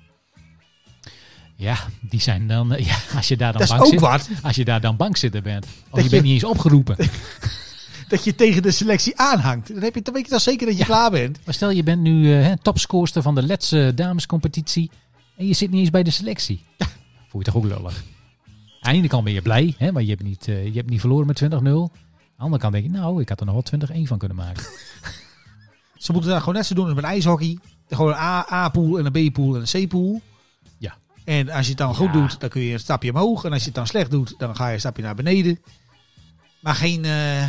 [SPEAKER 2] Ja, die zijn dan, eh, ja, als je daar dan
[SPEAKER 3] dat is
[SPEAKER 2] bang
[SPEAKER 3] ook
[SPEAKER 2] zit.
[SPEAKER 3] wat.
[SPEAKER 2] Als je daar dan bang zitten bent. Of
[SPEAKER 3] Dat
[SPEAKER 2] je bent
[SPEAKER 3] je-
[SPEAKER 2] niet eens opgeroepen.
[SPEAKER 3] Dat je tegen de selectie aanhangt. Dan, heb je, dan weet je toch zeker dat je klaar bent.
[SPEAKER 2] Maar stel je bent nu eh, hè, topscoorster van de Letse damescompetitie. En je zit niet eens bij de selectie. Voel je toch ook lullig. Aan de ene kant ben je blij, hè, maar je hebt, niet, eh, je hebt niet verloren met 20-0. Aan de andere kant denk je, nou, ik had er nog wel 20-1 van kunnen maken.
[SPEAKER 3] Ze moeten daar gewoon net zo doen als met ijshockey. Gewoon een A- A-pool en een B-pool en een C-pool.
[SPEAKER 2] Ja.
[SPEAKER 3] En als je het dan goed
[SPEAKER 2] Ja.
[SPEAKER 3] doet, dan kun je een stapje omhoog. En als je het dan slecht doet, dan ga je een stapje naar beneden. Maar geen... eh,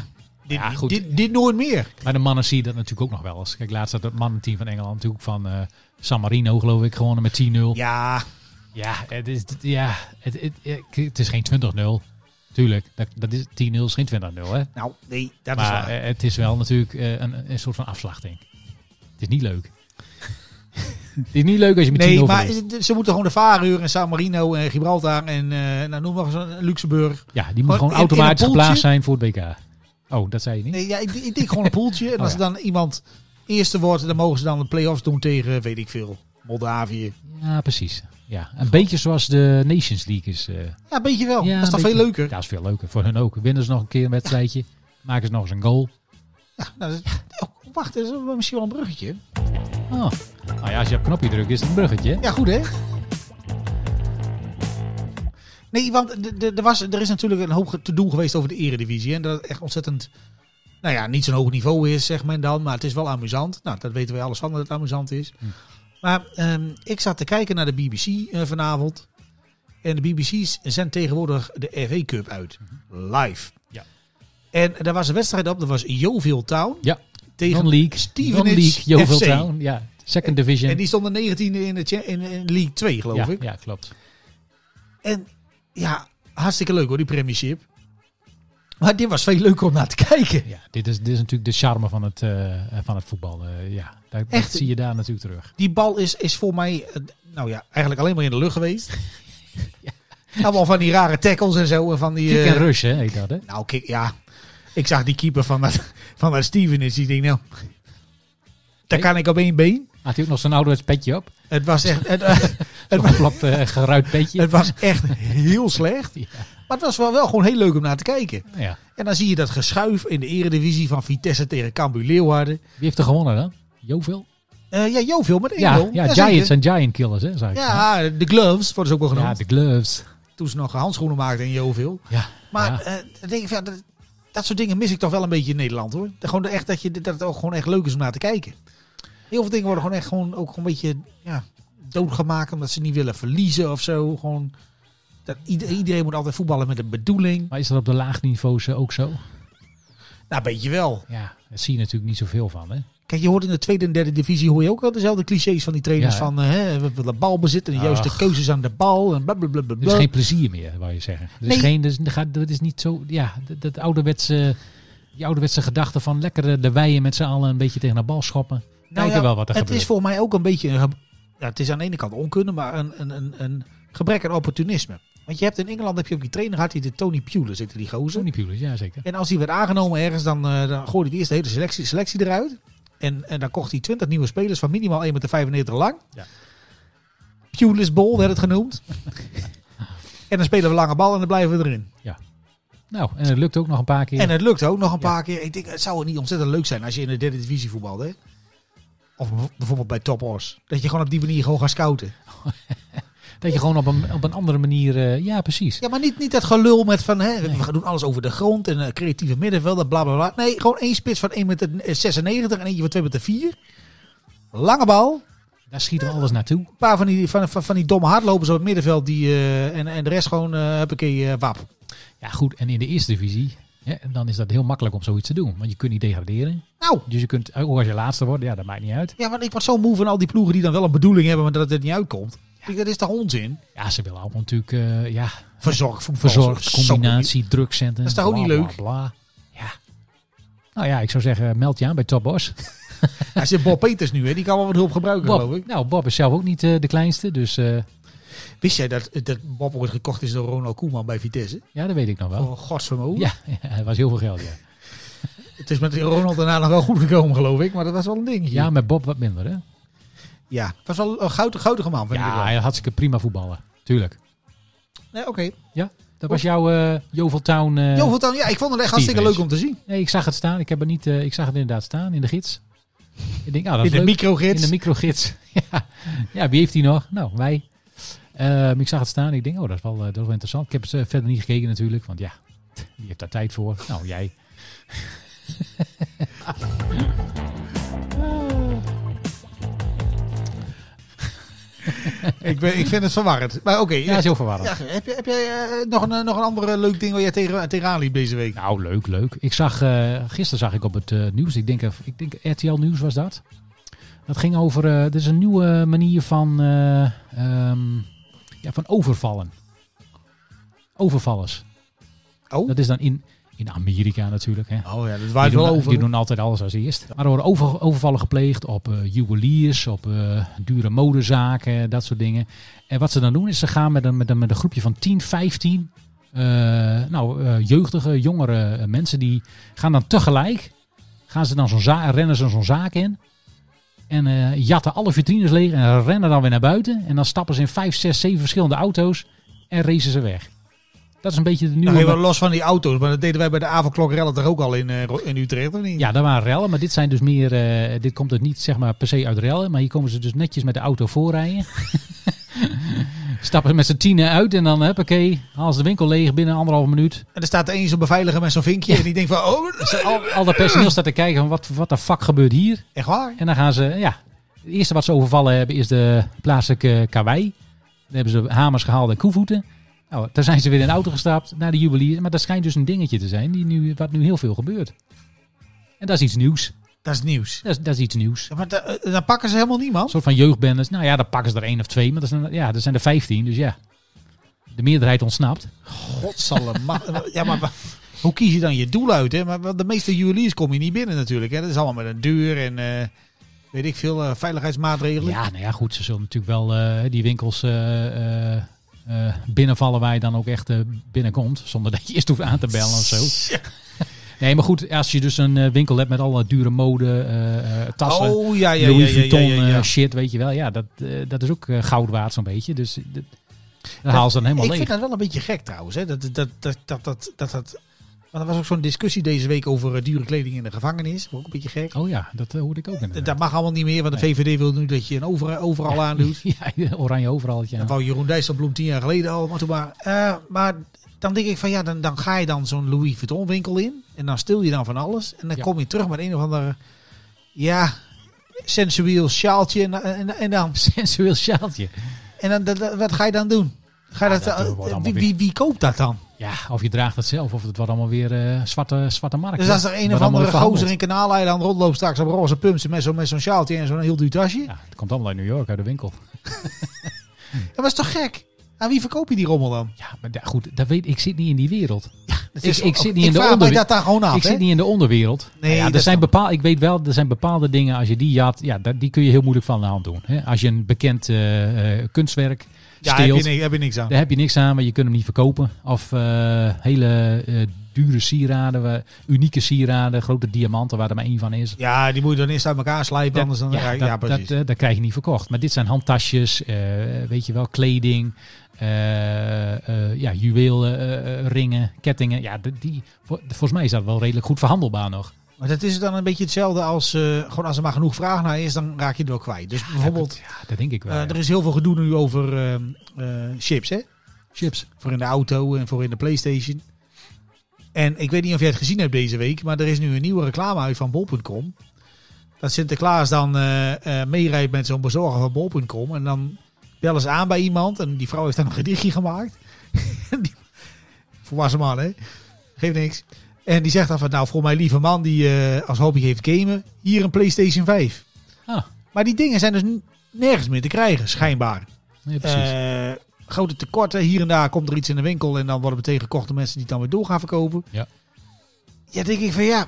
[SPEAKER 3] dit,
[SPEAKER 2] Ja, goed.
[SPEAKER 3] Dit, dit nooit meer.
[SPEAKER 2] Maar de mannen zie je dat natuurlijk ook nog wel eens. Kijk, laatst had het mannenteam van Engeland natuurlijk van eh, San Marino, geloof ik, gewonnen met 10-0. Ja,
[SPEAKER 3] Ja,
[SPEAKER 2] het, is, ja het, het, het- het is geen 20-0. Tuurlijk, dat, dat is, 10-0 is geen 20-0, hè.
[SPEAKER 3] nou nee, dat is
[SPEAKER 2] Maar
[SPEAKER 3] waar.
[SPEAKER 2] eh, het is wel natuurlijk eh, een, een soort van afslachting. Het is niet leuk. het is niet leuk als je met 10-0
[SPEAKER 3] Nee, maar
[SPEAKER 2] verliest.
[SPEAKER 3] ze moeten gewoon de Vareur en San Marino en Gibraltar en eh, nou, noem maar eens een- Luxemburg.
[SPEAKER 2] Ja, die moet
[SPEAKER 3] gewoon
[SPEAKER 2] gewoon
[SPEAKER 3] in- in een
[SPEAKER 2] automatisch
[SPEAKER 3] poeltje?
[SPEAKER 2] geplaatst zijn voor het WK. Oh, dat zei je niet?
[SPEAKER 3] Nee, ja, ik, ik denk gewoon een poeltje. En
[SPEAKER 2] Oh,
[SPEAKER 3] als
[SPEAKER 2] ja.
[SPEAKER 3] er dan iemand eerste wordt, dan mogen ze dan de play-offs doen tegen, weet ik veel, Moldavië.
[SPEAKER 2] Ja, precies. Ja, een beetje zoals de Nations League is. eh,
[SPEAKER 3] Ja, een beetje wel.
[SPEAKER 2] Ja,
[SPEAKER 3] Oh, dat is
[SPEAKER 2] een
[SPEAKER 3] dan
[SPEAKER 2] beetje.
[SPEAKER 3] veel leuker.
[SPEAKER 2] Ja, is veel leuker. Voor hun ook. Winnen ze nog een keer een wedstrijdje. Maken ze nog eens een goal.
[SPEAKER 3] Ja, nou, dat is- oh, wacht, dat is wel- misschien wel een bruggetje.
[SPEAKER 2] Oh. Nou ja, als je op knopje drukt is het een bruggetje.
[SPEAKER 3] Ja, goed hè? Nee, want de- de- er was- er is natuurlijk een hoop ge- te doen geweest over de eredivisie. hè, En dat het echt ontzettend, nou ja, niet zo'n hoog niveau is, zeg men dan. Maar het is wel amusant. Nou, dat weten wij alles van, dat het amusant is.
[SPEAKER 2] Hm.
[SPEAKER 3] Maar ehm, ik zat te kijken naar de BBC eh, vanavond. En de BBC's zendt tegenwoordig de FA Cup uit. Live.
[SPEAKER 2] Hm. Ja.
[SPEAKER 3] En daar was een wedstrijd op, dat was Yeovil Town.
[SPEAKER 2] Ja.
[SPEAKER 3] Tegen
[SPEAKER 2] Non-league.
[SPEAKER 3] Stevenage
[SPEAKER 2] Non-league. Yeovil
[SPEAKER 3] FC.
[SPEAKER 2] Town. Ja. Second Division.
[SPEAKER 3] En die stonden 19e in, de cha- in, in League 2, geloof
[SPEAKER 2] ja,
[SPEAKER 3] ik.
[SPEAKER 2] ja, klopt.
[SPEAKER 3] En ja, hartstikke leuk hoor, die premiership. Maar dit was veel leuker om naar te kijken.
[SPEAKER 2] Ja, dit is, dit is natuurlijk de charme van het, eh, van het voetbal. eh, ja, dat, dat
[SPEAKER 3] Echt?
[SPEAKER 2] zie je daar natuurlijk terug.
[SPEAKER 3] Die bal is, is voor mij, eh, nou ja, eigenlijk alleen maar in de lucht geweest. Allemaal van die rare tackles en zo. En van die,
[SPEAKER 2] Kick
[SPEAKER 3] eh,
[SPEAKER 2] en rush, hè, heet dat, hè?
[SPEAKER 3] nou, kijk, ja. Ik zag die keeper van dat, van dat Steven is. Die denk, nou, daar kan ik op één been.
[SPEAKER 2] Had hij ook nog zo'n ouderwets petje op?
[SPEAKER 3] Het was echt, het, eh,
[SPEAKER 2] Zo'n geplapt, eh, geruit petje?
[SPEAKER 3] het was echt heel slecht.
[SPEAKER 2] Ja.
[SPEAKER 3] Maar het was wel, wel gewoon heel leuk om naar te kijken.
[SPEAKER 2] Nou ja.
[SPEAKER 3] En dan zie je dat geschuif in de eredivisie van Vitesse tegen Cambuur Leeuwarden.
[SPEAKER 2] Wie heeft er gewonnen dan? Jovil?
[SPEAKER 3] Eh, ja, Jovil met 1-0.
[SPEAKER 2] Ja, ja,
[SPEAKER 3] zeker.
[SPEAKER 2] Giants en Giant Killers, hè, zou ik zeggen.
[SPEAKER 3] Ja, de gloves worden ze ook wel
[SPEAKER 2] ja,
[SPEAKER 3] genoemd.
[SPEAKER 2] de gloves.
[SPEAKER 3] Toen ze nog handschoenen maakten in Jovil.
[SPEAKER 2] Ja,
[SPEAKER 3] Maar
[SPEAKER 2] ja.
[SPEAKER 3] eh, dan denk ik, van, ja, dat, dat soort dingen mis ik toch wel een beetje in Nederland hoor. Dat, gewoon echt, dat, je, dat het ook gewoon echt leuk is om naar te kijken. Heel veel dingen worden gewoon echt gewoon, ook gewoon een beetje ja, doodgemaakt omdat ze niet willen verliezen of zo. Gewoon, dat, ieder- iedereen moet altijd voetballen met een bedoeling.
[SPEAKER 2] Maar is dat op de laagniveaus eh, ook zo?
[SPEAKER 3] Nou, weet je wel.
[SPEAKER 2] Ja, daar zie je natuurlijk niet zoveel van, hè?
[SPEAKER 3] Kijk, je hoort in de tweede en derde divisie hoor je ook wel dezelfde clichés van die trainers
[SPEAKER 2] Ja, hè?
[SPEAKER 3] van eh, hè, we willen balbezit en de juiste
[SPEAKER 2] Ach.
[SPEAKER 3] keuzes aan de bal en blablabla.
[SPEAKER 2] Er is geen plezier meer, wou je zeggen. Er is
[SPEAKER 3] Nee.
[SPEAKER 2] geen, dus, dat is niet zo, ja, dat, dat ouderwetse, die ouderwetse gedachte van lekker eh, de weien met z'n allen een beetje tegen de bal schoppen. Kijken wel wat er
[SPEAKER 3] Nou het
[SPEAKER 2] gebeurt.
[SPEAKER 3] is voor mij ook een beetje. Een, ge- ja, het is aan de ene kant onkunde, maar een, een, een, een gebrek aan opportunisme. Want je hebt in Engeland heb je ook die trainer had die de Tony Pulis zitten die gozer.
[SPEAKER 2] Tony Pulis, ja zeker.
[SPEAKER 3] En als die werd aangenomen ergens, dan, eh, dan gooide hij eerst de hele selectie, selectie eruit. En, en dan kocht hij 20 nieuwe spelers van minimaal 1,95 meter lang.
[SPEAKER 2] Ja.
[SPEAKER 3] Pulis Ball werd het genoemd. en dan spelen we lange bal en dan blijven we erin.
[SPEAKER 2] Nou, en het lukt ook nog een paar keer.
[SPEAKER 3] En het lukt ook nog een
[SPEAKER 2] Ja.
[SPEAKER 3] paar keer. Ik denk, het zou het niet ontzettend leuk zijn als je in de derde divisie voetbalde. hè? Of bijvoorbeeld bij Top Os. Dat je gewoon op die manier gewoon gaat scouten.
[SPEAKER 2] dat je gewoon op een, op een andere manier, eh, ja precies.
[SPEAKER 3] Ja, maar niet, niet dat gelul met van hè,
[SPEAKER 2] Nee.
[SPEAKER 3] we gaan doen alles over de grond en eh, creatieve middenvelden, bla bla bla. Nee, gewoon één spits van 1,96 meter en eentje van 2 meter 4. Lange bal.
[SPEAKER 2] Daar schieten we alles naartoe.
[SPEAKER 3] Een paar van die, van, van, van die domme hardlopers op het middenveld die, eh, en, en de rest gewoon, eh, huppakee, eh, wap.
[SPEAKER 2] Ja, goed. En in de eerste divisie, Ja, en dan is dat heel makkelijk om zoiets te doen. Want je kunt niet degraderen.
[SPEAKER 3] Nou,
[SPEAKER 2] Dus je kunt, ook als je laatste wordt, ja, dat maakt niet uit.
[SPEAKER 3] ja, want ik word zo moe van al die ploegen die dan wel een bedoeling hebben, maar dat het er niet uitkomt. Ik, dat is toch onzin?
[SPEAKER 2] Ja, ze willen allemaal natuurlijk, eh, ja,
[SPEAKER 3] Verzorgd voetbal.
[SPEAKER 2] verzorgd,
[SPEAKER 3] Zo- zo-
[SPEAKER 2] combinatie, drukcentrum.
[SPEAKER 3] Dat is toch ook
[SPEAKER 2] bla,
[SPEAKER 3] niet leuk?
[SPEAKER 2] Bla, bla. Ja. Nou ja, ik zou zeggen, meld je aan bij Top Boss.
[SPEAKER 3] Hij zit Bob Peters nu, hè? die kan wel wat hulp gebruiken, geloof
[SPEAKER 2] Bob,
[SPEAKER 3] ik.
[SPEAKER 2] nou, Bob is zelf ook niet eh, de kleinste, dus eh,
[SPEAKER 3] Wist jij dat, dat Bob ooit gekocht is door Ronald Koeman bij Vitesse? Oh,
[SPEAKER 2] ja, dat weet ik nog wel.
[SPEAKER 3] Voor een godsvermogen.
[SPEAKER 2] Ja, het was heel veel geld, ja.
[SPEAKER 3] Het is met Ronald daarna nog wel goed gekomen, geloof ik. Maar dat was wel een dingetje.
[SPEAKER 2] Ja, met Bob wat minder, hè?
[SPEAKER 3] ja. Het was wel een goud, goudige man, vind ik
[SPEAKER 2] Ja,
[SPEAKER 3] wel.
[SPEAKER 2] hij had hartstikke prima voetballen. Tuurlijk.
[SPEAKER 3] Nee, oké.
[SPEAKER 2] Eh, Dat was jouw eh Joveltown... eh,
[SPEAKER 3] Jo, wat dan? Ja, ik vond het echt hartstikke
[SPEAKER 2] Steve
[SPEAKER 3] leuk om te zien.
[SPEAKER 2] Nee, ik zag het staan. Ik, heb er niet, eh, ik zag het inderdaad staan in de gids. Ik denk, nou, dat
[SPEAKER 3] In
[SPEAKER 2] is
[SPEAKER 3] de
[SPEAKER 2] leuk.
[SPEAKER 3] microgids.
[SPEAKER 2] In de microgids. ja. ja, wie heeft die nog? Nou, wij. Ehm, ik zag het staan. Ik denk, oh, dat is wel, eh, dat is wel interessant. Ik heb het eh, verder niet gekeken natuurlijk. Want ja, wie heeft daar tijd voor? Nou, jij.
[SPEAKER 3] ik, ben, ik vind het verwarrend. Maar oké.
[SPEAKER 2] Ja,
[SPEAKER 3] ja,
[SPEAKER 2] is heel verwarrend.
[SPEAKER 3] ja, heb jij, heb jij eh, nog, een, eh, nog een andere leuk ding waar jij tegen, tegenaan liep deze week?
[SPEAKER 2] Nou, leuk, leuk. Ik zag, eh, gisteren zag ik op het eh, nieuws, ik denk, ik denk RTL Nieuws was dat. Dat ging over, eh dit is een nieuwe manier van, eh, ehm, ja, van overvallen. Overvallers.
[SPEAKER 3] Oh.
[SPEAKER 2] Dat is dan in, in Amerika natuurlijk. Hè.
[SPEAKER 3] Oh ja, dat
[SPEAKER 2] Die
[SPEAKER 3] waait
[SPEAKER 2] doen,
[SPEAKER 3] wel over.
[SPEAKER 2] die doen altijd alles als eerst. Maar er worden over, overvallen gepleegd op eh, juweliers, op eh, dure modezaken, dat soort dingen. En wat ze dan doen is ze gaan met een, met een, met een groepje van 10, 15 eh, nou, eh, jeugdige, jongere eh, mensen. Die gaan dan tegelijk, gaan ze dan zo'n za- rennen ze zo'n zaak in. En eh, jatten alle vitrines leeg en rennen dan weer naar buiten. En dan stappen ze in 5, 6, 7 verschillende auto's en racen ze weg. Dat is een beetje de nieuwe...
[SPEAKER 3] Nou, helemaal los van die auto's. Maar dat deden wij bij de avondklokrellen toch ook al in, eh, Ro- in Utrecht, of niet?
[SPEAKER 2] Ja, dat waren rellen, maar dit zijn dus meer. eh, dit komt dus niet zeg maar per se uit rellen, maar hier komen ze dus netjes met de auto voorrijden. Stappen ze met z'n tienen uit en dan huppakee, halen ze de winkel leeg binnen anderhalf minuut.
[SPEAKER 3] En er staat er één zo'n beveiliger met zo'n vinkje. En die denkt van, oh,
[SPEAKER 2] Dus al, al dat personeel staat te kijken van wat, wat de fuck gebeurt hier.
[SPEAKER 3] echt waar?
[SPEAKER 2] En dan gaan ze, ja, het eerste wat ze overvallen hebben is de plaatselijke kawaii. Daar hebben ze hamers gehaald en koevoeten. Nou, daar zijn ze weer in de auto gestapt naar de juwelier. Maar dat schijnt dus een dingetje te zijn die nu, wat nu heel veel gebeurt. En dat is iets nieuws.
[SPEAKER 3] Dat is nieuws.
[SPEAKER 2] Dat is, dat is iets nieuws.
[SPEAKER 3] Ja, maar da- eh, dan pakken ze helemaal niemand.
[SPEAKER 2] Een soort van jeugdbendes. Nou ja, dan pakken ze er één of twee. Maar dat zijn, ja, dat zijn er vijftien. Dus ja, de meerderheid ontsnapt.
[SPEAKER 3] Godsalle. ja, maar wa- hoe kies je dan je doel uit? Hè? Maar wel, de meeste juweliers kom je niet binnen natuurlijk. Hè? Dat is allemaal met een deur en eh, weet ik veel eh, veiligheidsmaatregelen.
[SPEAKER 2] Ja, nou ja, goed. Ze zullen natuurlijk wel eh, die winkels eh, eh, eh, binnenvallen waar je dan ook echt eh, binnenkomt. Zonder dat je eerst hoeft aan te bellen of zo.
[SPEAKER 3] Ja.
[SPEAKER 2] Nee, maar goed. Als je dus een eh, winkel hebt met alle dure mode, eh, eh, tassen.
[SPEAKER 3] Oh ja, ja, ja,
[SPEAKER 2] Louis
[SPEAKER 3] ja, ja,
[SPEAKER 2] Vuitton
[SPEAKER 3] ja, ja.
[SPEAKER 2] eh, shit, weet je wel. Ja, dat, eh, dat is ook eh, goud waard zo'n beetje. Dus eh, dat, dat halen ze dan helemaal
[SPEAKER 3] Ik
[SPEAKER 2] leeg.
[SPEAKER 3] vind dat wel een beetje gek trouwens. Hè? Dat, dat, dat, dat, dat, dat, dat- want er was ook zo'n discussie deze week over eh, dure kleding in de gevangenis. Ook een beetje gek.
[SPEAKER 2] Oh ja, dat eh, hoorde ik ook inderdaad.
[SPEAKER 3] Dat mag allemaal niet meer, want de VVD wil nu dat je een over, overal aandoet.
[SPEAKER 2] ja, oranje overal. Ja.
[SPEAKER 3] Dat wou Jeroen Dijsselbloem tien jaar geleden al. Maar, toen maar, eh, maar dan denk ik van ja, dan, dan ga je dan zo'n Louis Vuitton winkel in. En dan stil je dan van alles. En dan
[SPEAKER 2] Ja.
[SPEAKER 3] kom je terug met een of ander, ja, sensueel sjaaltje. En, en, en dan,
[SPEAKER 2] Sensueel sjaaltje.
[SPEAKER 3] en dan dat- dat- wat ga je dan doen? Ga je
[SPEAKER 2] Ja,
[SPEAKER 3] dat,
[SPEAKER 2] dat, eh,
[SPEAKER 3] eh,
[SPEAKER 2] wordt allemaal
[SPEAKER 3] wie, wie, wie koopt dat dan?
[SPEAKER 2] Ja, of je draagt het zelf, of het wordt allemaal weer eh, zwarte, zwarte markt.
[SPEAKER 3] Dus
[SPEAKER 2] hè?
[SPEAKER 3] als er een of
[SPEAKER 2] Wordt allemaal
[SPEAKER 3] andere
[SPEAKER 2] weer
[SPEAKER 3] gozer
[SPEAKER 2] verhandeld.
[SPEAKER 3] in Kanaaleiland rondloopt straks op roze pumps met zo'n met zo'n sjaaltje en zo'n heel duur tasje.
[SPEAKER 2] Ja, het komt allemaal uit New York, uit de winkel.
[SPEAKER 3] Dat was toch gek? Aan wie verkoop je die rommel dan?
[SPEAKER 2] Ja, maar da- goed, dat weet, ik zit niet in die wereld.
[SPEAKER 3] Dat
[SPEAKER 2] Ik-
[SPEAKER 3] is-
[SPEAKER 2] ik zit niet in de
[SPEAKER 3] vraag mij
[SPEAKER 2] onderwe-
[SPEAKER 3] dat daar gewoon af.
[SPEAKER 2] ik
[SPEAKER 3] hè?
[SPEAKER 2] zit niet in de onderwereld.
[SPEAKER 3] Nee,
[SPEAKER 2] Nou ja, er
[SPEAKER 3] dat
[SPEAKER 2] zijn
[SPEAKER 3] snap
[SPEAKER 2] bepaal, ik weet wel, er zijn bepaalde dingen, als je die jat, ja, dat, die kun je heel moeilijk van de hand doen. Hè? Als je een bekend eh, eh, kunstwerk
[SPEAKER 3] Ja, heb je,
[SPEAKER 2] steelt,
[SPEAKER 3] ni- heb je niks aan.
[SPEAKER 2] daar heb je niks aan, maar je kunt hem niet verkopen. Of eh, hele eh, dure sieraden, waar- unieke sieraden, grote diamanten waar er maar één van is.
[SPEAKER 3] Ja, die moet je dan eerst uit elkaar slijpen,
[SPEAKER 2] Dat-
[SPEAKER 3] anders dan ja,
[SPEAKER 2] dat,
[SPEAKER 3] ja, precies.
[SPEAKER 2] Dat, eh, dat krijg je niet verkocht. Maar dit zijn handtasjes, eh, weet je wel, kleding, eh, eh, ja, juwelen, eh, eh, ringen, kettingen. Ja, de- die, vol- volgens mij is dat wel redelijk goed verhandelbaar nog.
[SPEAKER 3] maar dat is dan een beetje hetzelfde als eh, gewoon als er maar genoeg vraag naar is, dan raak je er ook kwijt. Dus bijvoorbeeld,
[SPEAKER 2] Ja, dat denk ik wel.
[SPEAKER 3] eh,
[SPEAKER 2] ja.
[SPEAKER 3] er is heel veel gedoe nu over ehm, eh, chips, hè?
[SPEAKER 2] Chips.
[SPEAKER 3] Voor in de auto en voor in de PlayStation. En ik weet niet of jij het gezien hebt deze week, maar er is nu een nieuwe reclame uit van Bol.com. Dat Sinterklaas dan eh eh meerijdt met zo'n bezorger van Bol.com. En dan bellen ze aan bij iemand. En die vrouw heeft dan een gedichtje gemaakt. En die- Volwassen man, hè? Geeft niks. En die zegt dan van, nou, voor mijn lieve man die eh, als hobby heeft gamen, hier een PlayStation 5.
[SPEAKER 2] Ah,
[SPEAKER 3] Maar die dingen zijn dus n- nergens meer te krijgen, schijnbaar.
[SPEAKER 2] nee, precies.
[SPEAKER 3] Eh, grote tekorten. Hier en daar komt er iets in de winkel en dan worden we tegengekocht door mensen die het dan weer door gaan verkopen.
[SPEAKER 2] Ja.
[SPEAKER 3] Ja, denk ik van ja,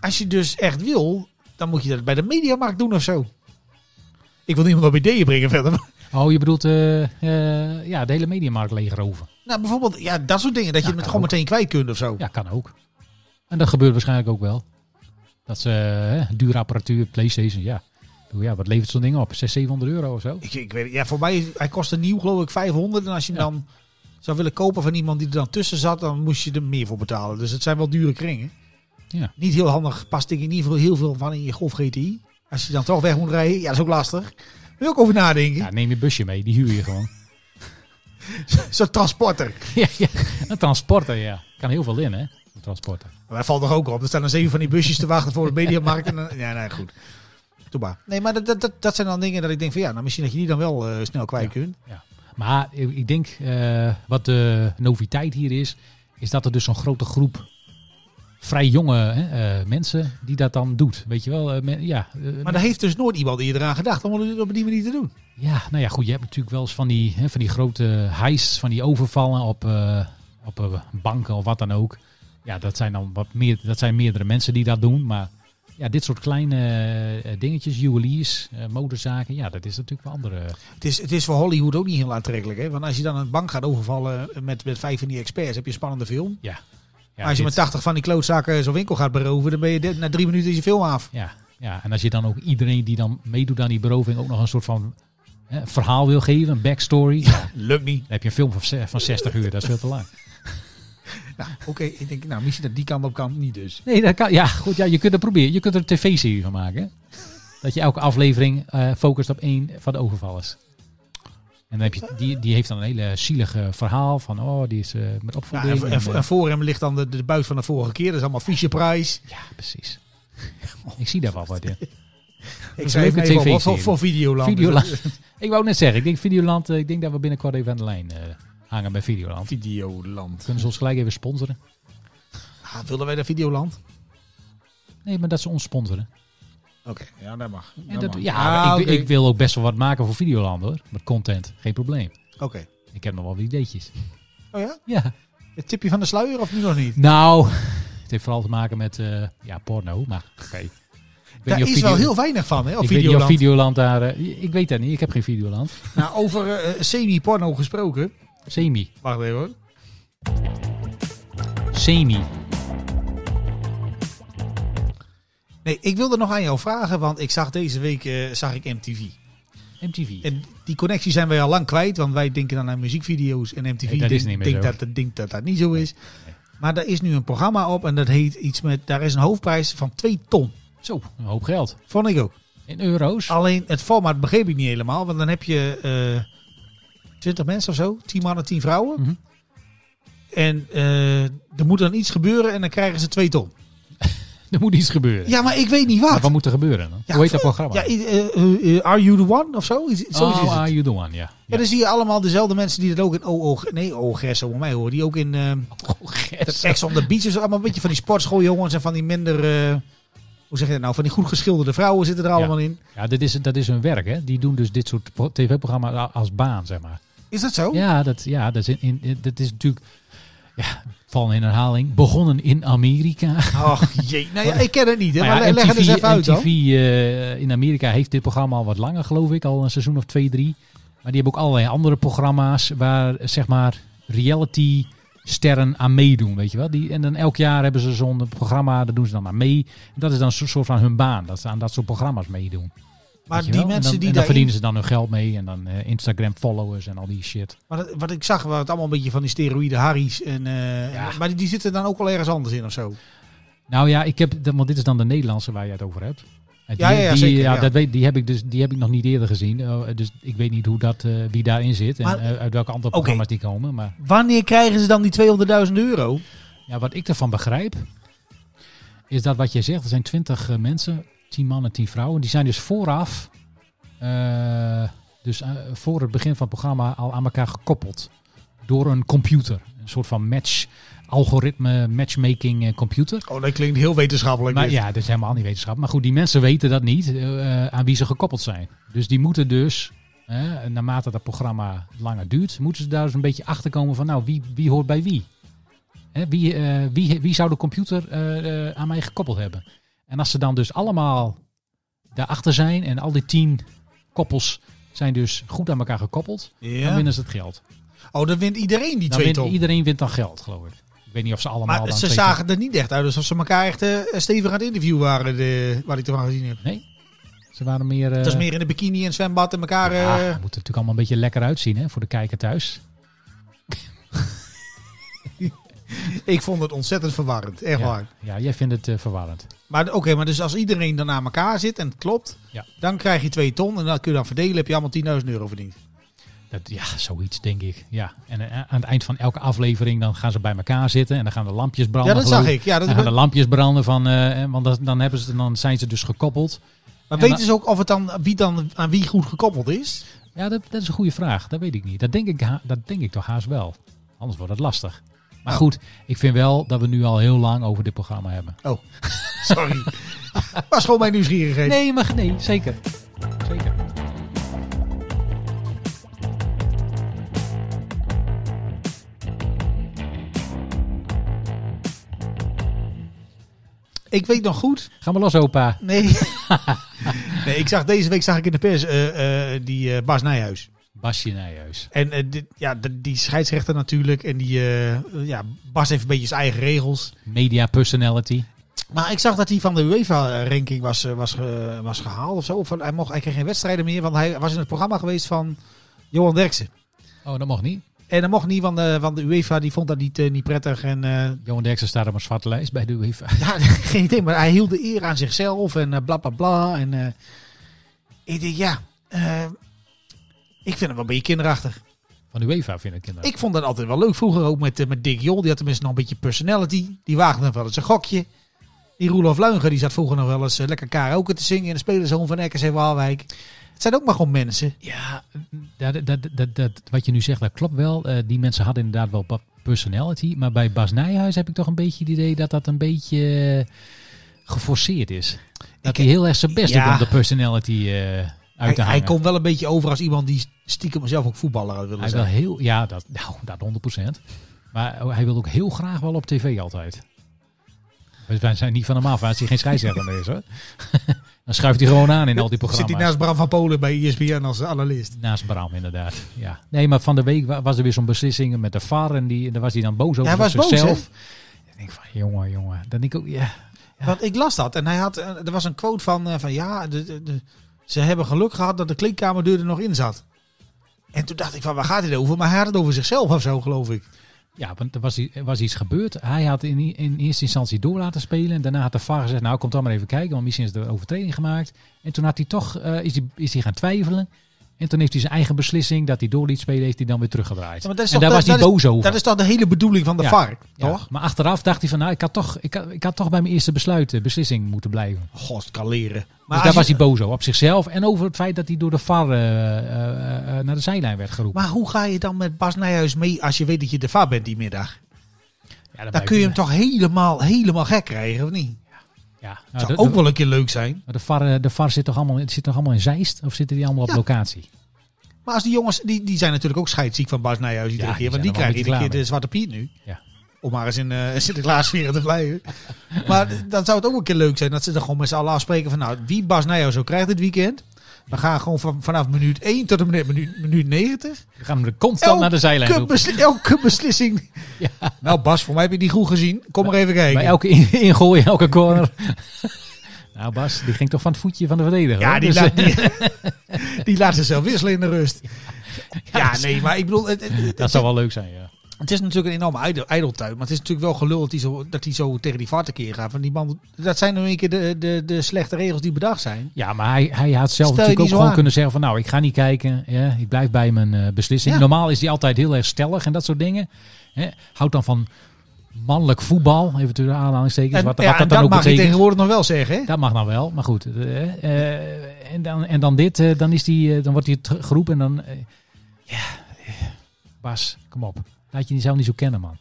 [SPEAKER 3] als je dus echt wil, dan moet je dat bij de mediamarkt doen of zo. Ik wil niemand op ideeën brengen verder.
[SPEAKER 2] oh, je bedoelt eh, eh, ja, de hele mediamarkt leegroven.
[SPEAKER 3] Nou, bijvoorbeeld, ja, dat soort dingen. Dat je
[SPEAKER 2] Ja,
[SPEAKER 3] het met
[SPEAKER 2] kan
[SPEAKER 3] gewoon
[SPEAKER 2] ook.
[SPEAKER 3] meteen kwijt kunt of zo.
[SPEAKER 2] Ja, kan ook. En dat gebeurt waarschijnlijk ook wel. Dat ze eh, hè, dure apparatuur, Playstation, ja. Ik bedoel, Ja, wat levert zo'n ding op? 600, 700 euro of zo?
[SPEAKER 3] Ik, ik weet, het. ja, voor mij, hij kostte nieuw geloof ik 500. En als je hem
[SPEAKER 2] Ja.
[SPEAKER 3] dan zou willen kopen van iemand die er dan tussen zat, dan moest je er meer voor betalen. Dus het zijn wel dure kringen.
[SPEAKER 2] Ja.
[SPEAKER 3] Niet heel handig, past ik in ieder geval heel veel van in je Golf GTI. Als je dan toch weg moet rijden, ja, dat is ook lastig. Wil je ook over nadenken.
[SPEAKER 2] Ja, neem je busje mee, die huur je gewoon.
[SPEAKER 3] Zo'n transporter.
[SPEAKER 2] ja, ja, een transporter, ja. Kan heel veel in, hè? Een transporter.
[SPEAKER 3] Maar dat valt toch ook op. Er staan dan zeven van die busjes te wachten voor de mediamarkt. En dan, ja, nee, goed. Doe maar. Nee, maar dat, dat, dat, dat zijn dan dingen dat ik denk van ja, nou misschien dat je die dan wel eh, snel kwijt kunt.
[SPEAKER 2] Maar ik ik denk, eh, wat de noviteit hier is, is dat er dus zo'n grote groep vrij jonge hè, eh, mensen die dat dan doet. Weet je wel? eh, men- ja, eh,
[SPEAKER 3] Maar daar heeft dus nooit iemand eerder aan gedacht om het op die manier te doen.
[SPEAKER 2] ja, nou ja, goed. Je hebt natuurlijk wel eens van die, hè, van die grote heists, van die overvallen op, eh, op eh, banken of wat dan ook. Ja, dat zijn dan wat meer, dat zijn meerdere mensen die dat doen. Maar ja, dit soort kleine eh, dingetjes, juweliers, eh, modezaken, ja, dat is natuurlijk wel andere.
[SPEAKER 3] Het is, het is voor Hollywood ook niet heel aantrekkelijk. Hè? Want als je dan een bank gaat overvallen met, met vijf van die experts, heb je een spannende film.
[SPEAKER 2] Ja,
[SPEAKER 3] Maar als je
[SPEAKER 2] dit-
[SPEAKER 3] met 80 van die klootzakken zo'n winkel gaat beroven, dan ben je dit- na drie minuten is je film af.
[SPEAKER 2] Ja, ja, en als je dan ook iedereen die dan meedoet aan die beroving ook nog een soort van hè, verhaal wil geven, een backstory. Ja, dan
[SPEAKER 3] Lukt niet.
[SPEAKER 2] heb je een film van, ze- van 60 uur, dat is veel te lang.
[SPEAKER 3] Nou, Oké, ik denk, nou, misschien dat die kant op kan, niet dus.
[SPEAKER 2] Nee, dat kan. Ja, goed, ja, je kunt het proberen. Je kunt er een tv-serie van maken. hè. Dat je elke aflevering eh, focust op één van de overvallers. En dan heb je, die, die heeft dan een hele zielige verhaal van, oh, die is eh, met
[SPEAKER 3] Ja,
[SPEAKER 2] opvoeding.
[SPEAKER 3] en,
[SPEAKER 2] en,
[SPEAKER 3] en-
[SPEAKER 2] eh,
[SPEAKER 3] en voor hem ligt dan de, de buis van de vorige keer. Dat is allemaal Fischer-prijs.
[SPEAKER 2] ja, precies. Ik zie daar wel wat in.
[SPEAKER 3] Ik
[SPEAKER 2] een leuke
[SPEAKER 3] schrijf even wat voor,
[SPEAKER 2] TV-serie.
[SPEAKER 3] voor Videoland.
[SPEAKER 2] Videoland.
[SPEAKER 3] dus.
[SPEAKER 2] ik wou net zeggen, ik denk Videoland, eh, ik denk dat we binnenkort even aan de lijn eh, hangen bij Videoland.
[SPEAKER 3] Videoland.
[SPEAKER 2] Kunnen ze ons gelijk even sponsoren?
[SPEAKER 3] Ah, wilden wij naar Videoland?
[SPEAKER 2] Nee, maar dat ze ons sponsoren.
[SPEAKER 3] Oké, ja, dat mag.
[SPEAKER 2] En dat,
[SPEAKER 3] mag.
[SPEAKER 2] ja,
[SPEAKER 3] Ah,
[SPEAKER 2] ik,
[SPEAKER 3] oké.
[SPEAKER 2] ik wil ook best wel wat maken voor Videoland hoor. Met content, geen probleem.
[SPEAKER 3] Oké.
[SPEAKER 2] Ik heb nog wel wat ideetjes.
[SPEAKER 3] Oh ja?
[SPEAKER 2] Ja.
[SPEAKER 3] Het tipje van de sluier of nu nog niet?
[SPEAKER 2] Nou, het heeft vooral te maken met eh, ja, porno, maar oké. Ik weet
[SPEAKER 3] Daar
[SPEAKER 2] niet
[SPEAKER 3] is
[SPEAKER 2] of Video-
[SPEAKER 3] wel heel weinig van, hè, op
[SPEAKER 2] ik weet niet of
[SPEAKER 3] Videoland.
[SPEAKER 2] Videoland daar... eh, ik weet dat niet, ik heb geen Videoland.
[SPEAKER 3] Nou, over eh, semi-porno gesproken.
[SPEAKER 2] Semi.
[SPEAKER 3] Wacht even hoor.
[SPEAKER 2] Semi.
[SPEAKER 3] Nee, ik wilde nog aan jou vragen, want ik zag deze week eh, zag ik MTV.
[SPEAKER 2] MTV.
[SPEAKER 3] En die connectie zijn wij al lang kwijt, want wij denken dan aan muziekvideo's en MTV
[SPEAKER 2] Nee, dat is
[SPEAKER 3] denkt-
[SPEAKER 2] niet meer
[SPEAKER 3] denkt
[SPEAKER 2] zo.
[SPEAKER 3] dat, dat- denkt dat dat niet zo is. Maar daar is nu een programma op en dat heet iets met, daar is een hoofdprijs van 2 ton.
[SPEAKER 2] Zo, een hoop geld.
[SPEAKER 3] Vond ik ook.
[SPEAKER 2] In euro's.
[SPEAKER 3] Alleen het format begreep ik niet helemaal, want dan heb je eh 20 mensen of zo, 10 mannen, 10 vrouwen.
[SPEAKER 2] Mhm.
[SPEAKER 3] En eh, er moet dan iets gebeuren en dan krijgen ze 2 ton.
[SPEAKER 2] Er moet iets gebeuren.
[SPEAKER 3] Ja, maar ik weet niet
[SPEAKER 2] Maar
[SPEAKER 3] wat.
[SPEAKER 2] wat moet er gebeuren dan?
[SPEAKER 3] Ja,
[SPEAKER 2] Hoe heet dat programma?
[SPEAKER 3] Ja, eh, eh, eh, are you the one of zo? Iets- Zoiets is het.
[SPEAKER 2] oh, are you the one, ja.
[SPEAKER 3] Ja.
[SPEAKER 2] ja.
[SPEAKER 3] dan zie je allemaal dezelfde mensen die dat ook in OO... Nee, OO Gerso, maar mij hoor. Die ook in ehm
[SPEAKER 2] Oh, gers.
[SPEAKER 3] Ex on the Beach. is allemaal een beetje van die sportschooljongens en van die minder... eh, hoe zeg je dat nou? Van die goed geschilderde vrouwen zitten er allemaal in.
[SPEAKER 2] Ja, dit is, dat is hun werk, hè? Die doen dus dit soort pro- tv-programma's a- als baan, zeg maar.
[SPEAKER 3] Is dat zo?
[SPEAKER 2] Ja, dat, ja, dat, is, in, in- in- dat is natuurlijk, ja, val in herhaling, begonnen in Amerika.
[SPEAKER 3] Ach, jee. Nou ja, ik ken het niet. Hè, maar
[SPEAKER 2] Maar ja,
[SPEAKER 3] leg het eens even uit
[SPEAKER 2] MTV
[SPEAKER 3] dan.
[SPEAKER 2] eh, in Amerika heeft dit programma al wat langer, geloof ik, al een seizoen of twee, drie. Maar die hebben ook allerlei andere programma's waar, eh, zeg maar, reality sterren aan meedoen, weet je wel. Die, en dan elk jaar hebben ze zo'n programma, daar doen ze dan aan mee. En dat is dan een soort van hun baan, dat ze aan dat soort programma's meedoen.
[SPEAKER 3] Maar
[SPEAKER 2] Weet je
[SPEAKER 3] die
[SPEAKER 2] wel? En
[SPEAKER 3] mensen
[SPEAKER 2] dan,
[SPEAKER 3] die
[SPEAKER 2] en
[SPEAKER 3] daar
[SPEAKER 2] dan verdienen ze dan hun geld mee en dan eh, Instagram followers en al die shit.
[SPEAKER 3] Maar dat- wat ik zag, waren het allemaal een beetje van die steroïde Harry's. En, eh,
[SPEAKER 2] Ja.
[SPEAKER 3] Maar die, die zitten dan ook wel ergens anders in of zo.
[SPEAKER 2] Nou ja, ik heb, want dit is dan de Nederlandse waar je het over hebt. En
[SPEAKER 3] Ja, ja, ja,
[SPEAKER 2] die,
[SPEAKER 3] zeker, ja.
[SPEAKER 2] Dat weet, die heb ik dus die heb ik nog niet eerder gezien. Eh, dus ik weet niet hoe dat, eh, wie daarin zit en
[SPEAKER 3] Maar-
[SPEAKER 2] eh, uit welke andere
[SPEAKER 3] Oké.
[SPEAKER 2] programma's die komen. Maar
[SPEAKER 3] Wanneer krijgen ze dan die 200.000 euro?
[SPEAKER 2] ja, wat ik ervan begrijp, is dat wat jij zegt, er zijn twintig eh, mensen, tien mannen, tien vrouwen. Die zijn dus vooraf, eh, dus eh, voor het begin van het programma al aan elkaar gekoppeld. Door een computer. Een soort van match algoritme matchmaking eh, computer.
[SPEAKER 3] Oh, dat klinkt heel wetenschappelijk.
[SPEAKER 2] Maar
[SPEAKER 3] dit.
[SPEAKER 2] ja, dat is helemaal niet wetenschap. Maar goed, die mensen weten dat niet, eh, eh, aan wie ze gekoppeld zijn. Dus die moeten dus, eh, naarmate dat programma langer duurt, moeten ze daar dus een beetje achter komen van, nou, wie, wie hoort bij wie? Hè, wie, eh, wie? Wie zou de computer eh, eh, aan mij gekoppeld hebben? En als ze dan dus allemaal daarachter zijn en al die tien koppels zijn dus goed aan elkaar gekoppeld,
[SPEAKER 3] Ja.
[SPEAKER 2] dan winnen ze het geld.
[SPEAKER 3] Oh, dan wint iedereen die
[SPEAKER 2] Dan
[SPEAKER 3] twee
[SPEAKER 2] wint,
[SPEAKER 3] ton.
[SPEAKER 2] iedereen wint dan geld, geloof ik. Ik weet niet of ze allemaal
[SPEAKER 3] Maar
[SPEAKER 2] dan
[SPEAKER 3] ze
[SPEAKER 2] twee ton-
[SPEAKER 3] zagen er niet echt uit alsof ze elkaar echt eh, stevig aan het interview waren, de, waar ik ervan gezien heb.
[SPEAKER 2] Ze waren meer... eh,
[SPEAKER 3] Het was meer in de bikini en zwembad en elkaar...
[SPEAKER 2] Ja,
[SPEAKER 3] eh,
[SPEAKER 2] het moet er natuurlijk allemaal een beetje lekker uitzien hè, voor de kijker thuis.
[SPEAKER 3] eh, ik vond het ontzettend verwarrend, echt
[SPEAKER 2] ja.
[SPEAKER 3] waar.
[SPEAKER 2] Ja, jij vindt het eh, verwarrend.
[SPEAKER 3] Maar oké, maar dus als iedereen dan aan elkaar zit en het klopt,
[SPEAKER 2] Ja.
[SPEAKER 3] dan krijg je twee ton en dat kun je dan verdelen, heb je allemaal 10.000 euro verdiend.
[SPEAKER 2] Dat, ja, zoiets denk ik. Ja. En eh, aan het eind van elke aflevering dan gaan ze bij elkaar zitten en dan gaan de lampjes
[SPEAKER 3] Ja,
[SPEAKER 2] branden.
[SPEAKER 3] dat
[SPEAKER 2] geloof
[SPEAKER 3] zag ik. Ja, dat,
[SPEAKER 2] Dan gaan de lampjes branden van, eh, eh, want dat- dan, hebben ze, dan zijn ze dus gekoppeld.
[SPEAKER 3] maar
[SPEAKER 2] Ja,
[SPEAKER 3] weten ze ook of het dan, wie dan aan wie goed gekoppeld is?
[SPEAKER 2] Ja, dat, dat is een goede vraag. Dat weet ik niet. Dat denk ik, ha- dat denk ik toch haast wel. Anders wordt het lastig. Maar
[SPEAKER 3] Oh.
[SPEAKER 2] goed, ik vind wel dat we nu al heel lang over dit programma hebben.
[SPEAKER 3] Sorry. was gewoon mijn nieuwsgierigheid.
[SPEAKER 2] Nee, maar nee, zeker. Zeker.
[SPEAKER 3] Ik weet nog goed
[SPEAKER 2] Ga maar los, opa.
[SPEAKER 3] Nee. nee, ik zag deze week zag ik in de pers eh, eh, die eh, Bas Nijhuis.
[SPEAKER 2] Basje Nijhuis.
[SPEAKER 3] En eh, dit, ja, d- die scheidsrechter natuurlijk. En die, eh, eh, ja, Bas heeft een beetje zijn eigen regels.
[SPEAKER 2] Media personality.
[SPEAKER 3] Maar ik zag dat hij van de UEFA-ranking was, eh, was, ge- was gehaald of zo. Of van, hij, mocht, hij kreeg geen wedstrijden meer, want hij was in het programma geweest van Johan Derksen.
[SPEAKER 2] Oh, dat mocht niet.
[SPEAKER 3] En dat mocht niet, want, eh, want de UEFA die vond dat niet, eh, niet prettig. En, eh,
[SPEAKER 2] Johan Derksen staat op een zwarte lijst bij de UEFA.
[SPEAKER 3] Ja, geen idee, maar hij hield de eer aan zichzelf en eh, bla bla bla. En eh, ik denk, ja, eh, ik vind hem wel een beetje kinderachtig.
[SPEAKER 2] Van de UEFA vind ik kinderen.
[SPEAKER 3] Ik vond dat altijd wel leuk vroeger, ook met, eh, met Dick Jol. Die had tenminste nog een beetje personality. Die waagde nog wel eens een gokje. Die Roelof Luinger, die zat vroeger nog wel eens eh, lekker karaoke te zingen in de spelerszoon van RKC Waalwijk. Het zijn ook maar gewoon mensen.
[SPEAKER 2] Ja, dat, dat, dat, dat, wat je nu zegt, dat klopt wel. Eh, die mensen hadden inderdaad wel wat personality. Maar bij Bas Nijhuis heb ik toch een beetje het idee dat dat een beetje eh, geforceerd is. Dat
[SPEAKER 3] Ik-
[SPEAKER 2] hij heel erg zijn best
[SPEAKER 3] Ja.
[SPEAKER 2] doet om de personality eh, uit te
[SPEAKER 3] Hij, hij
[SPEAKER 2] hangen.
[SPEAKER 3] komt wel een beetje over als iemand die stiekem zelf ook voetballer had willen
[SPEAKER 2] hij
[SPEAKER 3] zijn.
[SPEAKER 2] wil heel, ja, dat, nou, dat 100%. Maar oh, hij wil ook heel graag wel op tv altijd. Wij zijn niet van hem af, als hij geen scheidsrechter meer is hoor. Dan schuift hij gewoon aan in al die
[SPEAKER 3] Zit
[SPEAKER 2] programma's.
[SPEAKER 3] hij nou naast Bram van Polen bij E ESPN als analist.
[SPEAKER 2] Naast Bram, inderdaad. Ja. Nee, maar van de week wa- was er weer zo'n beslissing met de VAR en die, daar was hij dan boos over
[SPEAKER 3] hij was boos,
[SPEAKER 2] zichzelf. ik denk van, jongen, jongen. Dan denk ik ook, ja. Ja.
[SPEAKER 3] Want ik las dat en hij had, eh, er was een quote van, eh, van ja, de, de- de- ze hebben geluk gehad dat de kleedkamerdeur er nog in zat. En toen dacht ik van, waar gaat dit over? Maar hij had het over zichzelf of zo, geloof ik.
[SPEAKER 2] Ja, want er was, i- er was iets gebeurd. Hij had in, i- in eerste instantie door laten spelen. En daarna had de VAR gezegd, nou, kom dan maar even kijken. Want misschien is er een overtreding gemaakt. En toen had hij toch, eh, is, hij, is hij gaan twijfelen. En toen heeft hij zijn eigen beslissing dat hij door liet spelen, heeft hij dan weer teruggedraaid.
[SPEAKER 3] Ja, maar dat is
[SPEAKER 2] en
[SPEAKER 3] toch-
[SPEAKER 2] daar was
[SPEAKER 3] dat-
[SPEAKER 2] hij boos over.
[SPEAKER 3] Dat is toch de hele bedoeling van de
[SPEAKER 2] Ja.
[SPEAKER 3] VAR,
[SPEAKER 2] Ja,
[SPEAKER 3] toch?
[SPEAKER 2] Maar achteraf dacht hij van, nou, ik had toch, ik had, ik had toch bij mijn eerste besluit, eh, beslissing moeten blijven.
[SPEAKER 3] God, kan leren.
[SPEAKER 2] Maar dus
[SPEAKER 3] als
[SPEAKER 2] daar was
[SPEAKER 3] je-
[SPEAKER 2] hij boos over, op zichzelf en over het feit dat hij door de VAR eh, eh, eh, naar de zijlijn werd geroepen.
[SPEAKER 3] maar hoe ga je dan met Bas Nijhuis mee als je weet dat je de VAR bent die middag?
[SPEAKER 2] ja, dan
[SPEAKER 3] Dan kun je hem toch helemaal, helemaal gek krijgen, of niet?
[SPEAKER 2] Ja, nou,
[SPEAKER 3] Zou
[SPEAKER 2] de,
[SPEAKER 3] ook
[SPEAKER 2] de,
[SPEAKER 3] wel een keer leuk zijn.
[SPEAKER 2] de VAR, eh, de VAR zit, toch allemaal, in- zit toch allemaal in Zeist of zitten die allemaal
[SPEAKER 3] Ja.
[SPEAKER 2] op locatie?
[SPEAKER 3] Maar als die jongens, die, die zijn natuurlijk ook scheidsziek van Bas Nijhuis iedere
[SPEAKER 2] Ja, die
[SPEAKER 3] keer. Want die
[SPEAKER 2] zijn er wel een
[SPEAKER 3] krijgen iedere
[SPEAKER 2] beetje
[SPEAKER 3] keer
[SPEAKER 2] klaar
[SPEAKER 3] de Zwarte Piet nu.
[SPEAKER 2] Ja.
[SPEAKER 3] Om maar eens in eh Sinterklaas weer te blijven. maar d- dan zou het ook een keer leuk zijn dat ze dan gewoon met z'n allen afspreken van... Nou, wie Bas Nijhuis ook krijgt dit weekend... We gaan gewoon van, vanaf minuut 1 tot en met minuut, minuut 90.
[SPEAKER 2] We gaan hem de constant naar de zijlijn
[SPEAKER 3] Elke,
[SPEAKER 2] roepen.
[SPEAKER 3] besli- elke beslissing. Nou Bas, voor mij heb je die goed gezien. Kom maar even kijken.
[SPEAKER 2] Bij elke in- ingooi, elke corner. nou Bas, die ging toch van het voetje van de verdediger.
[SPEAKER 3] Ja,
[SPEAKER 2] hoor.
[SPEAKER 3] die,
[SPEAKER 2] Dus,
[SPEAKER 3] laat,
[SPEAKER 2] eh,
[SPEAKER 3] die, die laat zichzelf wisselen in de rust. Ja,
[SPEAKER 2] dat is-
[SPEAKER 3] nee, maar ik bedoel... het- het- het-
[SPEAKER 2] dat zou wel leuk zijn, ja.
[SPEAKER 3] Het is natuurlijk een enorme ijdel- ijdeltuin. Maar het is natuurlijk wel gelul dat hij zo, dat hij zo tegen die vaart keer gaat. Want die man, dat zijn nu een keer de, de, de slechte regels die bedacht zijn.
[SPEAKER 2] Ja, maar hij, hij had zelf
[SPEAKER 3] Stel je
[SPEAKER 2] natuurlijk
[SPEAKER 3] die
[SPEAKER 2] ook
[SPEAKER 3] zo
[SPEAKER 2] gewoon
[SPEAKER 3] aan.
[SPEAKER 2] kunnen zeggen van nou, ik ga niet kijken. Ja, ik blijf bij mijn eh, beslissing.
[SPEAKER 3] Ja.
[SPEAKER 2] Normaal is hij altijd heel erg stellig en dat soort dingen. Hè. Houdt dan van mannelijk voetbal, even tussen aanhalingstekens.
[SPEAKER 3] En,
[SPEAKER 2] wat,
[SPEAKER 3] ja,
[SPEAKER 2] wat
[SPEAKER 3] en
[SPEAKER 2] dat dan
[SPEAKER 3] dat
[SPEAKER 2] ook
[SPEAKER 3] mag je
[SPEAKER 2] betekent.
[SPEAKER 3] tegenwoordig nog wel zeggen. hè?
[SPEAKER 2] Dat mag dan wel, maar goed. eh, eh, en, dan, en dan dit, eh, dan, is die, eh, dan wordt hij ter- geroepen en dan... eh, ja, eh, Bas, kom op. Laat je jezelf niet zo kennen, man.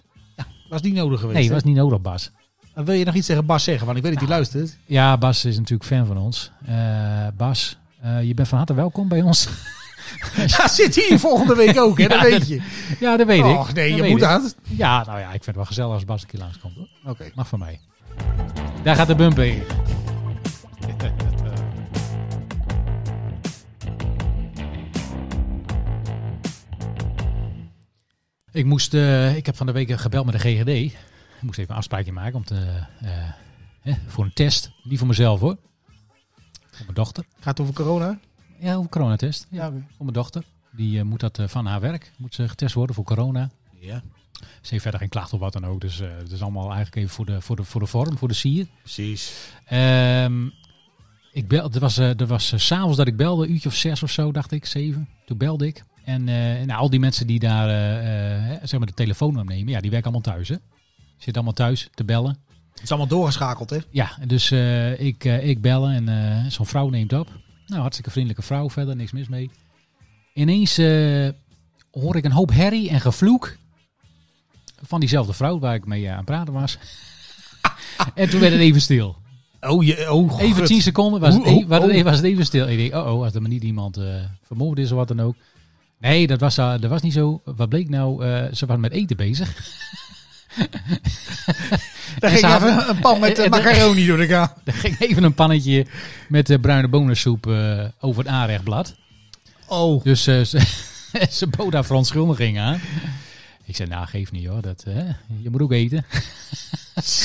[SPEAKER 3] Was niet nodig geweest.
[SPEAKER 2] Nee,
[SPEAKER 3] hè?
[SPEAKER 2] was niet nodig, Bas.
[SPEAKER 3] Maar Wil je nog iets tegen Bas zeggen? Want ik weet dat hij luistert.
[SPEAKER 2] Ja, Bas is natuurlijk fan van ons. Eh, Bas, eh, je bent van harte welkom bij ons.
[SPEAKER 3] Ja, zit hier volgende week ook, hè? Dat
[SPEAKER 2] Ja,
[SPEAKER 3] weet je.
[SPEAKER 2] ja, dat weet ik.
[SPEAKER 3] Och, nee,
[SPEAKER 2] Dat
[SPEAKER 3] je
[SPEAKER 2] weet
[SPEAKER 3] moet
[SPEAKER 2] ik.
[SPEAKER 3] aan.
[SPEAKER 2] Ja, nou ja, ik vind het wel gezellig als Bas een keer langskomt. Hoor.
[SPEAKER 3] Oké.
[SPEAKER 2] Mag van mij. Daar gaat de bump in. Ik, moest, eh, ik heb van de week gebeld met de GGD. Ik moest even een afspraakje maken om te, eh, eh, hè, voor een test. Die voor mezelf hoor. Voor mijn dochter.
[SPEAKER 3] Gaat het over corona?
[SPEAKER 2] Ja, een coronatest. Ja,
[SPEAKER 3] oké.
[SPEAKER 2] voor mijn dochter. Die eh, moet dat eh, van haar werk. Moet ze getest worden voor corona.
[SPEAKER 3] Ja,
[SPEAKER 2] Ze heeft verder geen klacht of wat dan ook. Dus eh, het is allemaal eigenlijk even voor de, voor de, voor de vorm, voor de sier.
[SPEAKER 3] precies.
[SPEAKER 2] Ehm, ik bel, er was, eh, er was eh, 's s'avonds dat ik belde, een uurtje of zes of zo, dacht ik, zeven. Toen belde ik. En eh, nou, al die mensen die daar eh, eh, hè, zeg maar de telefoon aan nemen, ja, die werken allemaal thuis. Hè? Zitten allemaal thuis te bellen.
[SPEAKER 3] Het is allemaal doorgeschakeld, hè?
[SPEAKER 2] Ja, dus eh, ik, eh, ik bellen en eh, zo'n vrouw neemt op. Nou, hartstikke vriendelijke vrouw, verder niks mis mee. Ineens eh, hoor ik een hoop herrie en gevloek van diezelfde vrouw waar ik mee eh, aan het praten was. en toen werd het even stil.
[SPEAKER 3] Oh, je, oh god.
[SPEAKER 2] Even tien seconden was het,
[SPEAKER 3] Hoe-
[SPEAKER 2] e-
[SPEAKER 3] oh.
[SPEAKER 2] was het
[SPEAKER 3] hoe-
[SPEAKER 2] e- was het even stil. Ik denk, oh, oh als er maar niet iemand eh, vermoord is of wat dan ook. Nee, dat was, eh, dat was niet zo. Wat bleek nou? eh, ze was met eten bezig.
[SPEAKER 3] Daar
[SPEAKER 2] En
[SPEAKER 3] ging
[SPEAKER 2] ze
[SPEAKER 3] even een pan met
[SPEAKER 2] en-
[SPEAKER 3] eh,
[SPEAKER 2] en-
[SPEAKER 3] macaroni door de kamer.
[SPEAKER 2] Er ging even een pannetje met eh, bruine bonensoep eh, over het aanrechtblad.
[SPEAKER 3] Oh,
[SPEAKER 2] Dus eh, ze, ze bood daar verontschuldiging aan. Ik zei, nou geef niet hoor, dat, eh, je moet ook eten.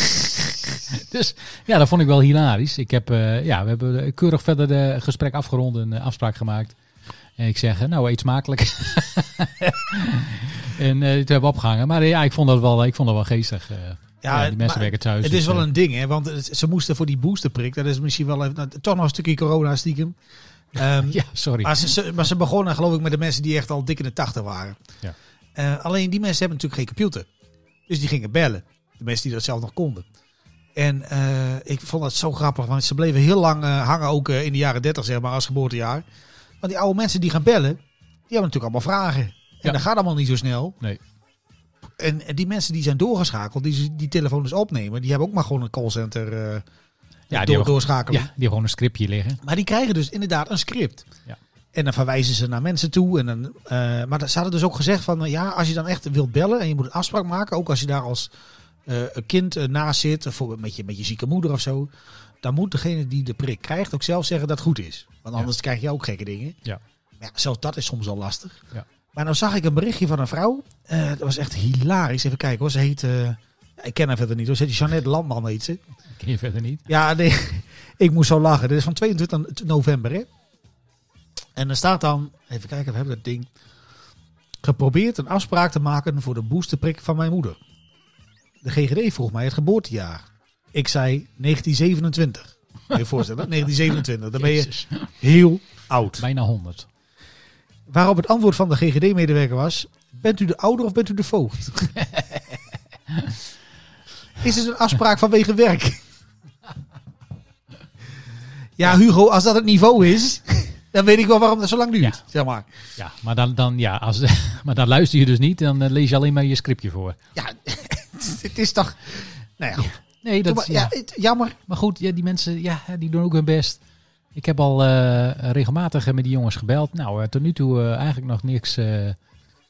[SPEAKER 2] dus ja, dat vond ik wel hilarisch. Ik heb, eh, ja, we hebben eh, keurig verder de gesprek afgerond en eh, afspraak gemaakt. En ik zeg, eh, nou eet smakelijk. en eh het hebben we opgehangen. Maar eh, ja, ik vond dat wel, ik vond dat wel geestig. eh. ja, die mensen
[SPEAKER 3] maar
[SPEAKER 2] werken thuis.
[SPEAKER 3] Het
[SPEAKER 2] dus,
[SPEAKER 3] is wel
[SPEAKER 2] eh,
[SPEAKER 3] een ding, hè? Want het- ze moesten voor die boosterprik, dat is misschien wel even, nou, toch nog een stukje corona stiekem. Ehm,
[SPEAKER 2] Ja, sorry.
[SPEAKER 3] maar, ze, ze- maar ze begonnen geloof ik met de mensen die echt al dik in de tachtig waren.
[SPEAKER 2] Ja.
[SPEAKER 3] Eh, alleen die mensen hebben natuurlijk geen computer. Dus die gingen bellen. De mensen die dat zelf nog konden. En eh, ik vond dat zo grappig, want ze bleven heel lang eh, hangen, ook eh, in de jaren 30, zeg maar, als geboortejaar. Want die oude mensen die gaan bellen, die hebben natuurlijk allemaal vragen. En
[SPEAKER 2] Ja.
[SPEAKER 3] dat gaat allemaal niet zo snel.
[SPEAKER 2] Nee.
[SPEAKER 3] En, en die mensen die zijn doorgeschakeld, die die telefoon dus opnemen, die hebben ook maar gewoon een callcenter eh
[SPEAKER 2] ja, die
[SPEAKER 3] door,
[SPEAKER 2] hebben, ja,
[SPEAKER 3] doorschakelen.
[SPEAKER 2] die hebben gewoon een scriptje liggen.
[SPEAKER 3] Maar die krijgen dus inderdaad een script.
[SPEAKER 2] Ja.
[SPEAKER 3] En dan verwijzen ze naar mensen toe. En dan, eh, maar ze hadden dus ook gezegd van eh, ja, als je dan echt wilt bellen en je moet een afspraak maken, ook als je daar als eh, een kind eh, naast zit, of voor, met, je, met je zieke moeder of zo, dan moet degene die de prik krijgt ook zelf zeggen dat het goed is. Want anders krijg je ook gekke dingen.
[SPEAKER 2] Ja.
[SPEAKER 3] Maar ja, zelfs dat is soms al lastig.
[SPEAKER 2] Ja.
[SPEAKER 3] Maar nou zag ik een berichtje van een vrouw. Eh, dat was echt hilarisch. Even kijken hoor. Ze heet. eh, ik ken haar verder niet hoor. Ze heet Jeannette Landman heet ze.
[SPEAKER 2] Ken je verder niet.
[SPEAKER 3] Ja, nee, ik moest zo lachen. Dit is van 22 november, hè? En er staat dan, even kijken, we hebben dat ding. Geprobeerd een afspraak te maken voor de boosterprik van mijn moeder. De GGD vroeg mij het geboortejaar. Ik zei 1927. Moet je je voorstellen, 1927. Dan ben je
[SPEAKER 2] Jezus.
[SPEAKER 3] heel oud.
[SPEAKER 2] Bijna 100.
[SPEAKER 3] Waarop het antwoord van de GGD-medewerker was: Bent u de ouder of bent u de voogd? Is het een afspraak vanwege werk? ja, Hugo, als dat het niveau is, dan weet ik wel waarom dat zo lang duurt.
[SPEAKER 2] Ja.
[SPEAKER 3] Zeg maar.
[SPEAKER 2] Ja, maar dan, dan, ja, als, maar dan luister je dus niet, dan eh, lees je alleen maar je scriptje voor.
[SPEAKER 3] Ja, het is toch. Nou ja, goed.
[SPEAKER 2] Nee, dat,
[SPEAKER 3] maar,
[SPEAKER 2] ja.
[SPEAKER 3] ja, het- jammer.
[SPEAKER 2] maar goed, ja, die mensen ja, die doen ook hun best. Ik heb al eh, regelmatig eh, met die jongens gebeld. Nou, eh, tot nu toe eh, eigenlijk nog niks eh,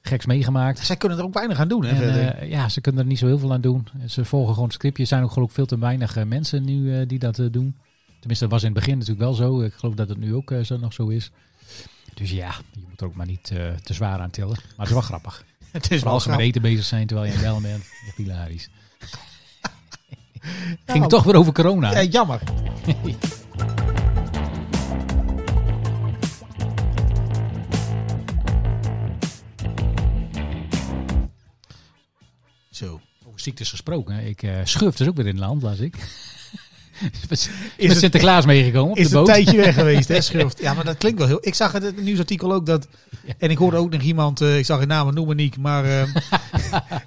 [SPEAKER 2] geks meegemaakt.
[SPEAKER 3] Zij kunnen er ook weinig aan doen. Hè,
[SPEAKER 2] En,
[SPEAKER 3] verder.
[SPEAKER 2] eh, ja, ze kunnen er niet zo heel veel aan doen. Ze volgen gewoon het scriptje. Er zijn ook gelukkig veel te weinig eh, mensen nu eh, die dat eh, doen. Tenminste, dat was in het begin natuurlijk wel zo. Ik geloof dat het nu ook eh, zo, nog zo is. Dus ja, je moet er ook maar niet eh, te zwaar aan tillen. Maar het is wel grappig.
[SPEAKER 3] het is
[SPEAKER 2] Vooral
[SPEAKER 3] wel
[SPEAKER 2] als ze met
[SPEAKER 3] grappig.
[SPEAKER 2] eten bezig zijn terwijl je in bellen bent. Echt hilarisch. Ging
[SPEAKER 3] Nou,
[SPEAKER 2] toch weer over corona.
[SPEAKER 3] Ja, jammer. Zo.
[SPEAKER 2] Over ziektes gesproken. hè. Ik eh schurf dus ook weer in het land, las ik. Is met
[SPEAKER 3] het-
[SPEAKER 2] Sinterklaas meegekomen op
[SPEAKER 3] Is
[SPEAKER 2] de
[SPEAKER 3] een
[SPEAKER 2] boot.
[SPEAKER 3] tijdje weg geweest, hè, Schurft? Ja, maar dat klinkt wel heel... Ik zag in het nieuwsartikel ook dat... En ik hoorde ook nog iemand, eh, ik zag geen namen noemen, Niek, maar eh,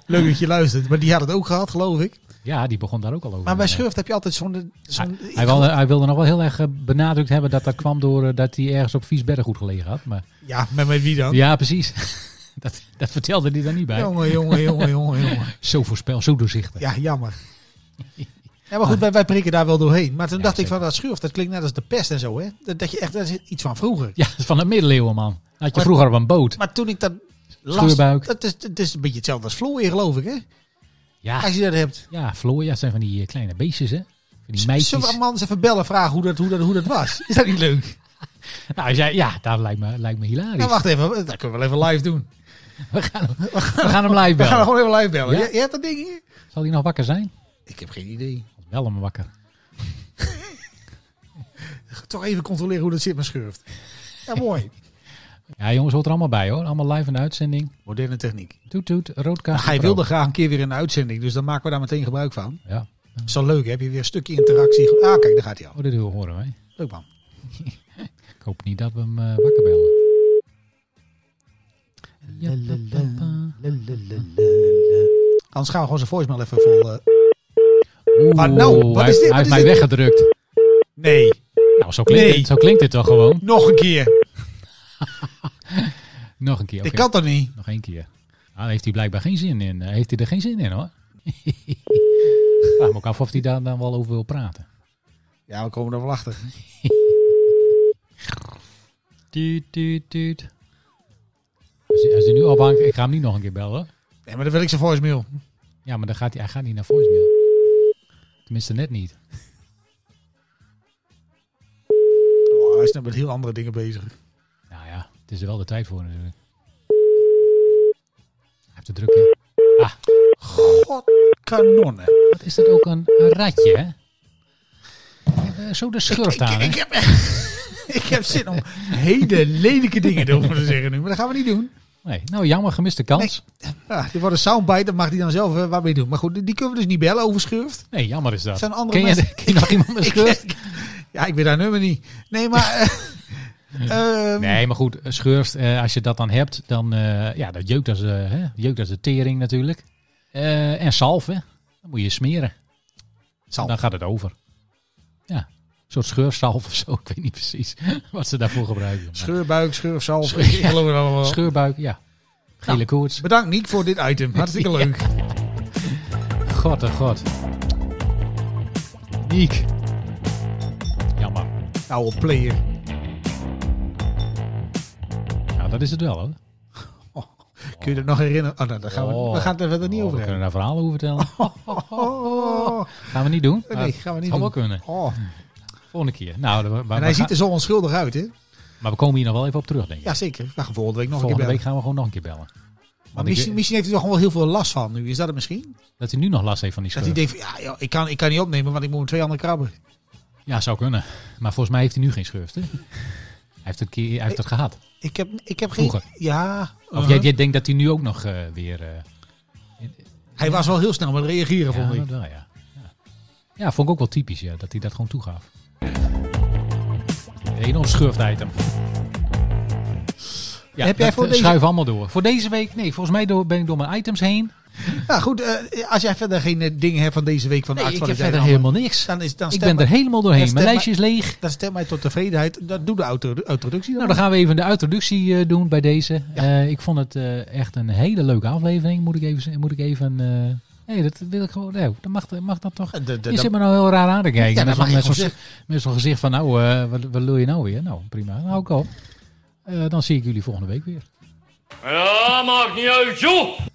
[SPEAKER 3] leuk dat je luistert. Maar die had het ook gehad, geloof ik.
[SPEAKER 2] Ja, die begon daar ook al over.
[SPEAKER 3] Maar bij
[SPEAKER 2] Ja.
[SPEAKER 3] Schurft heb je altijd zo'n... zo'n
[SPEAKER 2] Hij wilde, hij wilde nog wel heel erg eh, benadrukt hebben dat dat kwam door eh, dat hij ergens op vies bedden goed gelegen had. Maar,
[SPEAKER 3] ja, maar met wie dan?
[SPEAKER 2] ja, precies. Dat, dat vertelde hij daar niet bij.
[SPEAKER 3] Jongen, jongen, jongen, jongen, jongen.
[SPEAKER 2] Zo voorspel, zo doorzichtig.
[SPEAKER 3] Ja, jammer. Ja, maar goed, wij, wij prikken daar wel doorheen. Maar toen
[SPEAKER 2] Ja,
[SPEAKER 3] dacht ik
[SPEAKER 2] zeker.
[SPEAKER 3] van dat schuurf, dat klinkt net als de pest en zo, hè? Dat, dat je echt, dat is iets van vroeger.
[SPEAKER 2] Ja, van de middeleeuwen, man. Dat had je
[SPEAKER 3] Maar-
[SPEAKER 2] vroeger op een boot.
[SPEAKER 3] Maar toen ik dat las,
[SPEAKER 2] Schuurbuik.
[SPEAKER 3] dat is, dat is een beetje hetzelfde als vloer, geloof ik, hè?
[SPEAKER 2] Ja,
[SPEAKER 3] Als je dat hebt.
[SPEAKER 2] ja Floor, ja, het zijn van die eh, kleine beestjes, hè? Van die
[SPEAKER 3] Zullen we
[SPEAKER 2] meisjes.
[SPEAKER 3] een man eens even bellen, vragen hoe dat, hoe dat, hoe dat was? Is dat niet leuk?
[SPEAKER 2] Nou, als jij- ja, dat lijkt me, lijkt me hilarisch.
[SPEAKER 3] Nou, wacht even, dat kunnen we wel even live doen.
[SPEAKER 2] we, gaan hem, we gaan hem live
[SPEAKER 3] We gaan
[SPEAKER 2] bellen.
[SPEAKER 3] gewoon even live bellen.
[SPEAKER 2] Ja?
[SPEAKER 3] Je, je hebt dat ding hier?
[SPEAKER 2] Zal hij nog wakker zijn?
[SPEAKER 3] Ik heb geen idee.
[SPEAKER 2] Wel hem wakker.
[SPEAKER 3] Toch even controleren hoe dat zit met schurft. Ja, mooi.
[SPEAKER 2] Ja, jongens, hoort er allemaal bij, hoor. Allemaal live in de uitzending.
[SPEAKER 3] Moderne techniek.
[SPEAKER 2] Toet, toet, roodkaart.
[SPEAKER 3] Hij wilde graag een keer weer in de uitzending, dus dan maken we daar meteen gebruik van.
[SPEAKER 2] Ja,
[SPEAKER 3] Is wel leuk, hè? heb je weer een stukje interactie. Ah, kijk, daar gaat hij al.
[SPEAKER 2] oh, dit wil horen wij.
[SPEAKER 3] Leuk man.
[SPEAKER 2] Ik hoop niet dat we hem eh, wakker bellen. Ja, pa, pa, pa.
[SPEAKER 3] Anders gaan we gewoon zijn voicemail even vol. eh,
[SPEAKER 2] Oeh,
[SPEAKER 3] Ah, nou, wat
[SPEAKER 2] hij,
[SPEAKER 3] is dit?
[SPEAKER 2] hij heeft
[SPEAKER 3] Wat is
[SPEAKER 2] mij
[SPEAKER 3] dit?
[SPEAKER 2] weggedrukt.
[SPEAKER 3] Nee,
[SPEAKER 2] Nou, zo klinkt,
[SPEAKER 3] Nee.
[SPEAKER 2] het, zo klinkt het toch gewoon.
[SPEAKER 3] nog een keer.
[SPEAKER 2] Nog een keer.
[SPEAKER 3] Dit
[SPEAKER 2] oké.
[SPEAKER 3] kan toch niet?
[SPEAKER 2] Nog één keer. Nou, daar heeft hij blijkbaar geen zin in. Eh, Heeft hij er geen zin in hoor. Vraag me ook af of hij daar dan wel over wil praten.
[SPEAKER 3] Ja, we komen er wel achter.
[SPEAKER 2] Tuut, tuut, tuut. Als hij, als hij nu ophangt, ik ga hem niet nog een keer bellen. hoor.
[SPEAKER 3] Nee, maar dan wil ik zijn voicemail.
[SPEAKER 2] Ja, maar dan gaat hij, hij gaat niet naar voicemail. Tenminste, net niet.
[SPEAKER 3] Oh, hij is nou met heel andere dingen bezig.
[SPEAKER 2] Nou ja, het is er wel de tijd voor natuurlijk. Hij heeft te druk hè.
[SPEAKER 3] God, kanonnen.
[SPEAKER 2] Wat is dat ook een, een ratje hè? Eh, zo de schurft aan hè?
[SPEAKER 3] Ik heb, ik heb zin om hele lelijke dingen erover te zeggen nu, maar dat gaan we niet doen.
[SPEAKER 2] Nee, nou jammer, gemiste kans.
[SPEAKER 3] Ja, dit wordt een soundbite, dat mag hij dan zelf eh, wat mee doen. Maar goed, die kunnen we dus niet bellen over schurft.
[SPEAKER 2] Nee, jammer is dat.
[SPEAKER 3] Zijn andere
[SPEAKER 2] ken, je,
[SPEAKER 3] mensen-
[SPEAKER 2] ken je nog iemand met schurft?
[SPEAKER 3] Ja, ik weet haar nummer niet. Nee, maar... eh, ehm,
[SPEAKER 2] Nee, maar goed, schurft, eh, als je dat dan hebt, dan eh, ja, dat jeukt als, eh, hè, jeukt als de tering natuurlijk. Eh, en zalf, hè. Dan moet je smeren.
[SPEAKER 3] Zalf.
[SPEAKER 2] Dan gaat het over. Ja, een soort schurfzalf of zo. Ik weet niet precies wat ze daarvoor gebruiken. Maar
[SPEAKER 3] Scheurbuik, scheursalf.
[SPEAKER 2] Scheur-
[SPEAKER 3] ik geloof het allemaal wel.
[SPEAKER 2] Scheurbuik, ja. Gele
[SPEAKER 3] Nou.
[SPEAKER 2] koorts.
[SPEAKER 3] Bedankt Niek voor dit item. Hartstikke leuk.
[SPEAKER 2] God, oh god. Niek. Jammer.
[SPEAKER 3] Oude player.
[SPEAKER 2] Nou, dat is het wel, hoor.
[SPEAKER 3] Kun je dat nog herinneren? Oh, nou, daar gaan we,
[SPEAKER 2] Oh.
[SPEAKER 3] we gaan het er verder niet
[SPEAKER 2] Oh,
[SPEAKER 3] over
[SPEAKER 2] We kunnen
[SPEAKER 3] hebben.
[SPEAKER 2] daar verhalen over vertellen.
[SPEAKER 3] Oh,
[SPEAKER 2] Gaan we niet doen.
[SPEAKER 3] nee,
[SPEAKER 2] Maar
[SPEAKER 3] gaan we niet
[SPEAKER 2] zou wel
[SPEAKER 3] doen.
[SPEAKER 2] kunnen.
[SPEAKER 3] Oh.
[SPEAKER 2] Volgende keer. Nou, we- we-
[SPEAKER 3] En
[SPEAKER 2] we
[SPEAKER 3] hij
[SPEAKER 2] gaan-
[SPEAKER 3] ziet er zo onschuldig uit, hè?
[SPEAKER 2] Maar we komen hier nog wel even op terug, denk ik.
[SPEAKER 3] Jazeker. We gaan volgende week nog
[SPEAKER 2] Volgende week
[SPEAKER 3] een keer bellen.
[SPEAKER 2] gaan we gewoon nog een keer bellen.
[SPEAKER 3] Maar
[SPEAKER 2] Want
[SPEAKER 3] misschien,
[SPEAKER 2] ik-
[SPEAKER 3] misschien heeft hij toch gewoon wel heel veel last van nu. Is dat het misschien?
[SPEAKER 2] dat hij nu nog last heeft van die
[SPEAKER 3] Dat
[SPEAKER 2] schurft.
[SPEAKER 3] hij denkt van, ja, joh, ik, kan, ik kan niet opnemen, want ik moet met twee andere krabben.
[SPEAKER 2] Ja, zou kunnen. Maar volgens mij heeft hij nu geen schurft. Hè? hij heeft het, keer, hij heeft het gehad.
[SPEAKER 3] Ik heb, ik heb geen...
[SPEAKER 2] Vroeger.
[SPEAKER 3] Ja.
[SPEAKER 2] Of
[SPEAKER 3] uh-huh.
[SPEAKER 2] jij, jij denkt dat hij nu ook nog eh, weer... eh,
[SPEAKER 3] Hij was wel heel snel met reageren,
[SPEAKER 2] ja,
[SPEAKER 3] vond ik.
[SPEAKER 2] dat wel, ja. ja. Ja, vond ik ook wel typisch, ja, dat hij dat gewoon toegaf. Enorm schurft item. Ja,
[SPEAKER 3] Heb jij
[SPEAKER 2] dat,
[SPEAKER 3] voor
[SPEAKER 2] eh,
[SPEAKER 3] deze-
[SPEAKER 2] Schuif allemaal door. Voor deze week, nee, volgens mij door, ben ik door mijn items heen.
[SPEAKER 3] Nou goed, eh, als jij verder geen eh, dingen hebt van deze week van de
[SPEAKER 2] Nee, ik heb
[SPEAKER 3] actualiteit...
[SPEAKER 2] verder
[SPEAKER 3] allemaal,
[SPEAKER 2] helemaal niks.
[SPEAKER 3] Dan, is, dan
[SPEAKER 2] Ik
[SPEAKER 3] stem
[SPEAKER 2] ben er helemaal doorheen.
[SPEAKER 3] stem
[SPEAKER 2] Mijn
[SPEAKER 3] maar-
[SPEAKER 2] lijstje is leeg.
[SPEAKER 3] Dat stemt mij tot tevredenheid. Dat doe de auto- introductie dan.
[SPEAKER 2] Nou, dan gaan we even de introductie eh, doen bij deze.
[SPEAKER 3] Ja.
[SPEAKER 2] Eh, ik vond het eh, echt een hele leuke aflevering. Moet ik even... z- Moet ik even eh, nee, dat wil ik gewoon... Nee, dat mag, mag dat toch...
[SPEAKER 3] De- de- de-
[SPEAKER 2] Je zit me nou heel raar aan te kijken.
[SPEAKER 3] Ja, dat
[SPEAKER 2] met zo'n-
[SPEAKER 3] mag je
[SPEAKER 2] met zo'n
[SPEAKER 3] gewoon
[SPEAKER 2] z- met zo'n gezicht van, nou, eh, wat, wat wil je nou weer? Nou, prima. Nou, hou ik op. Eh, dan zie ik jullie volgende week weer.
[SPEAKER 1] Ja, maakt niet uit, joh!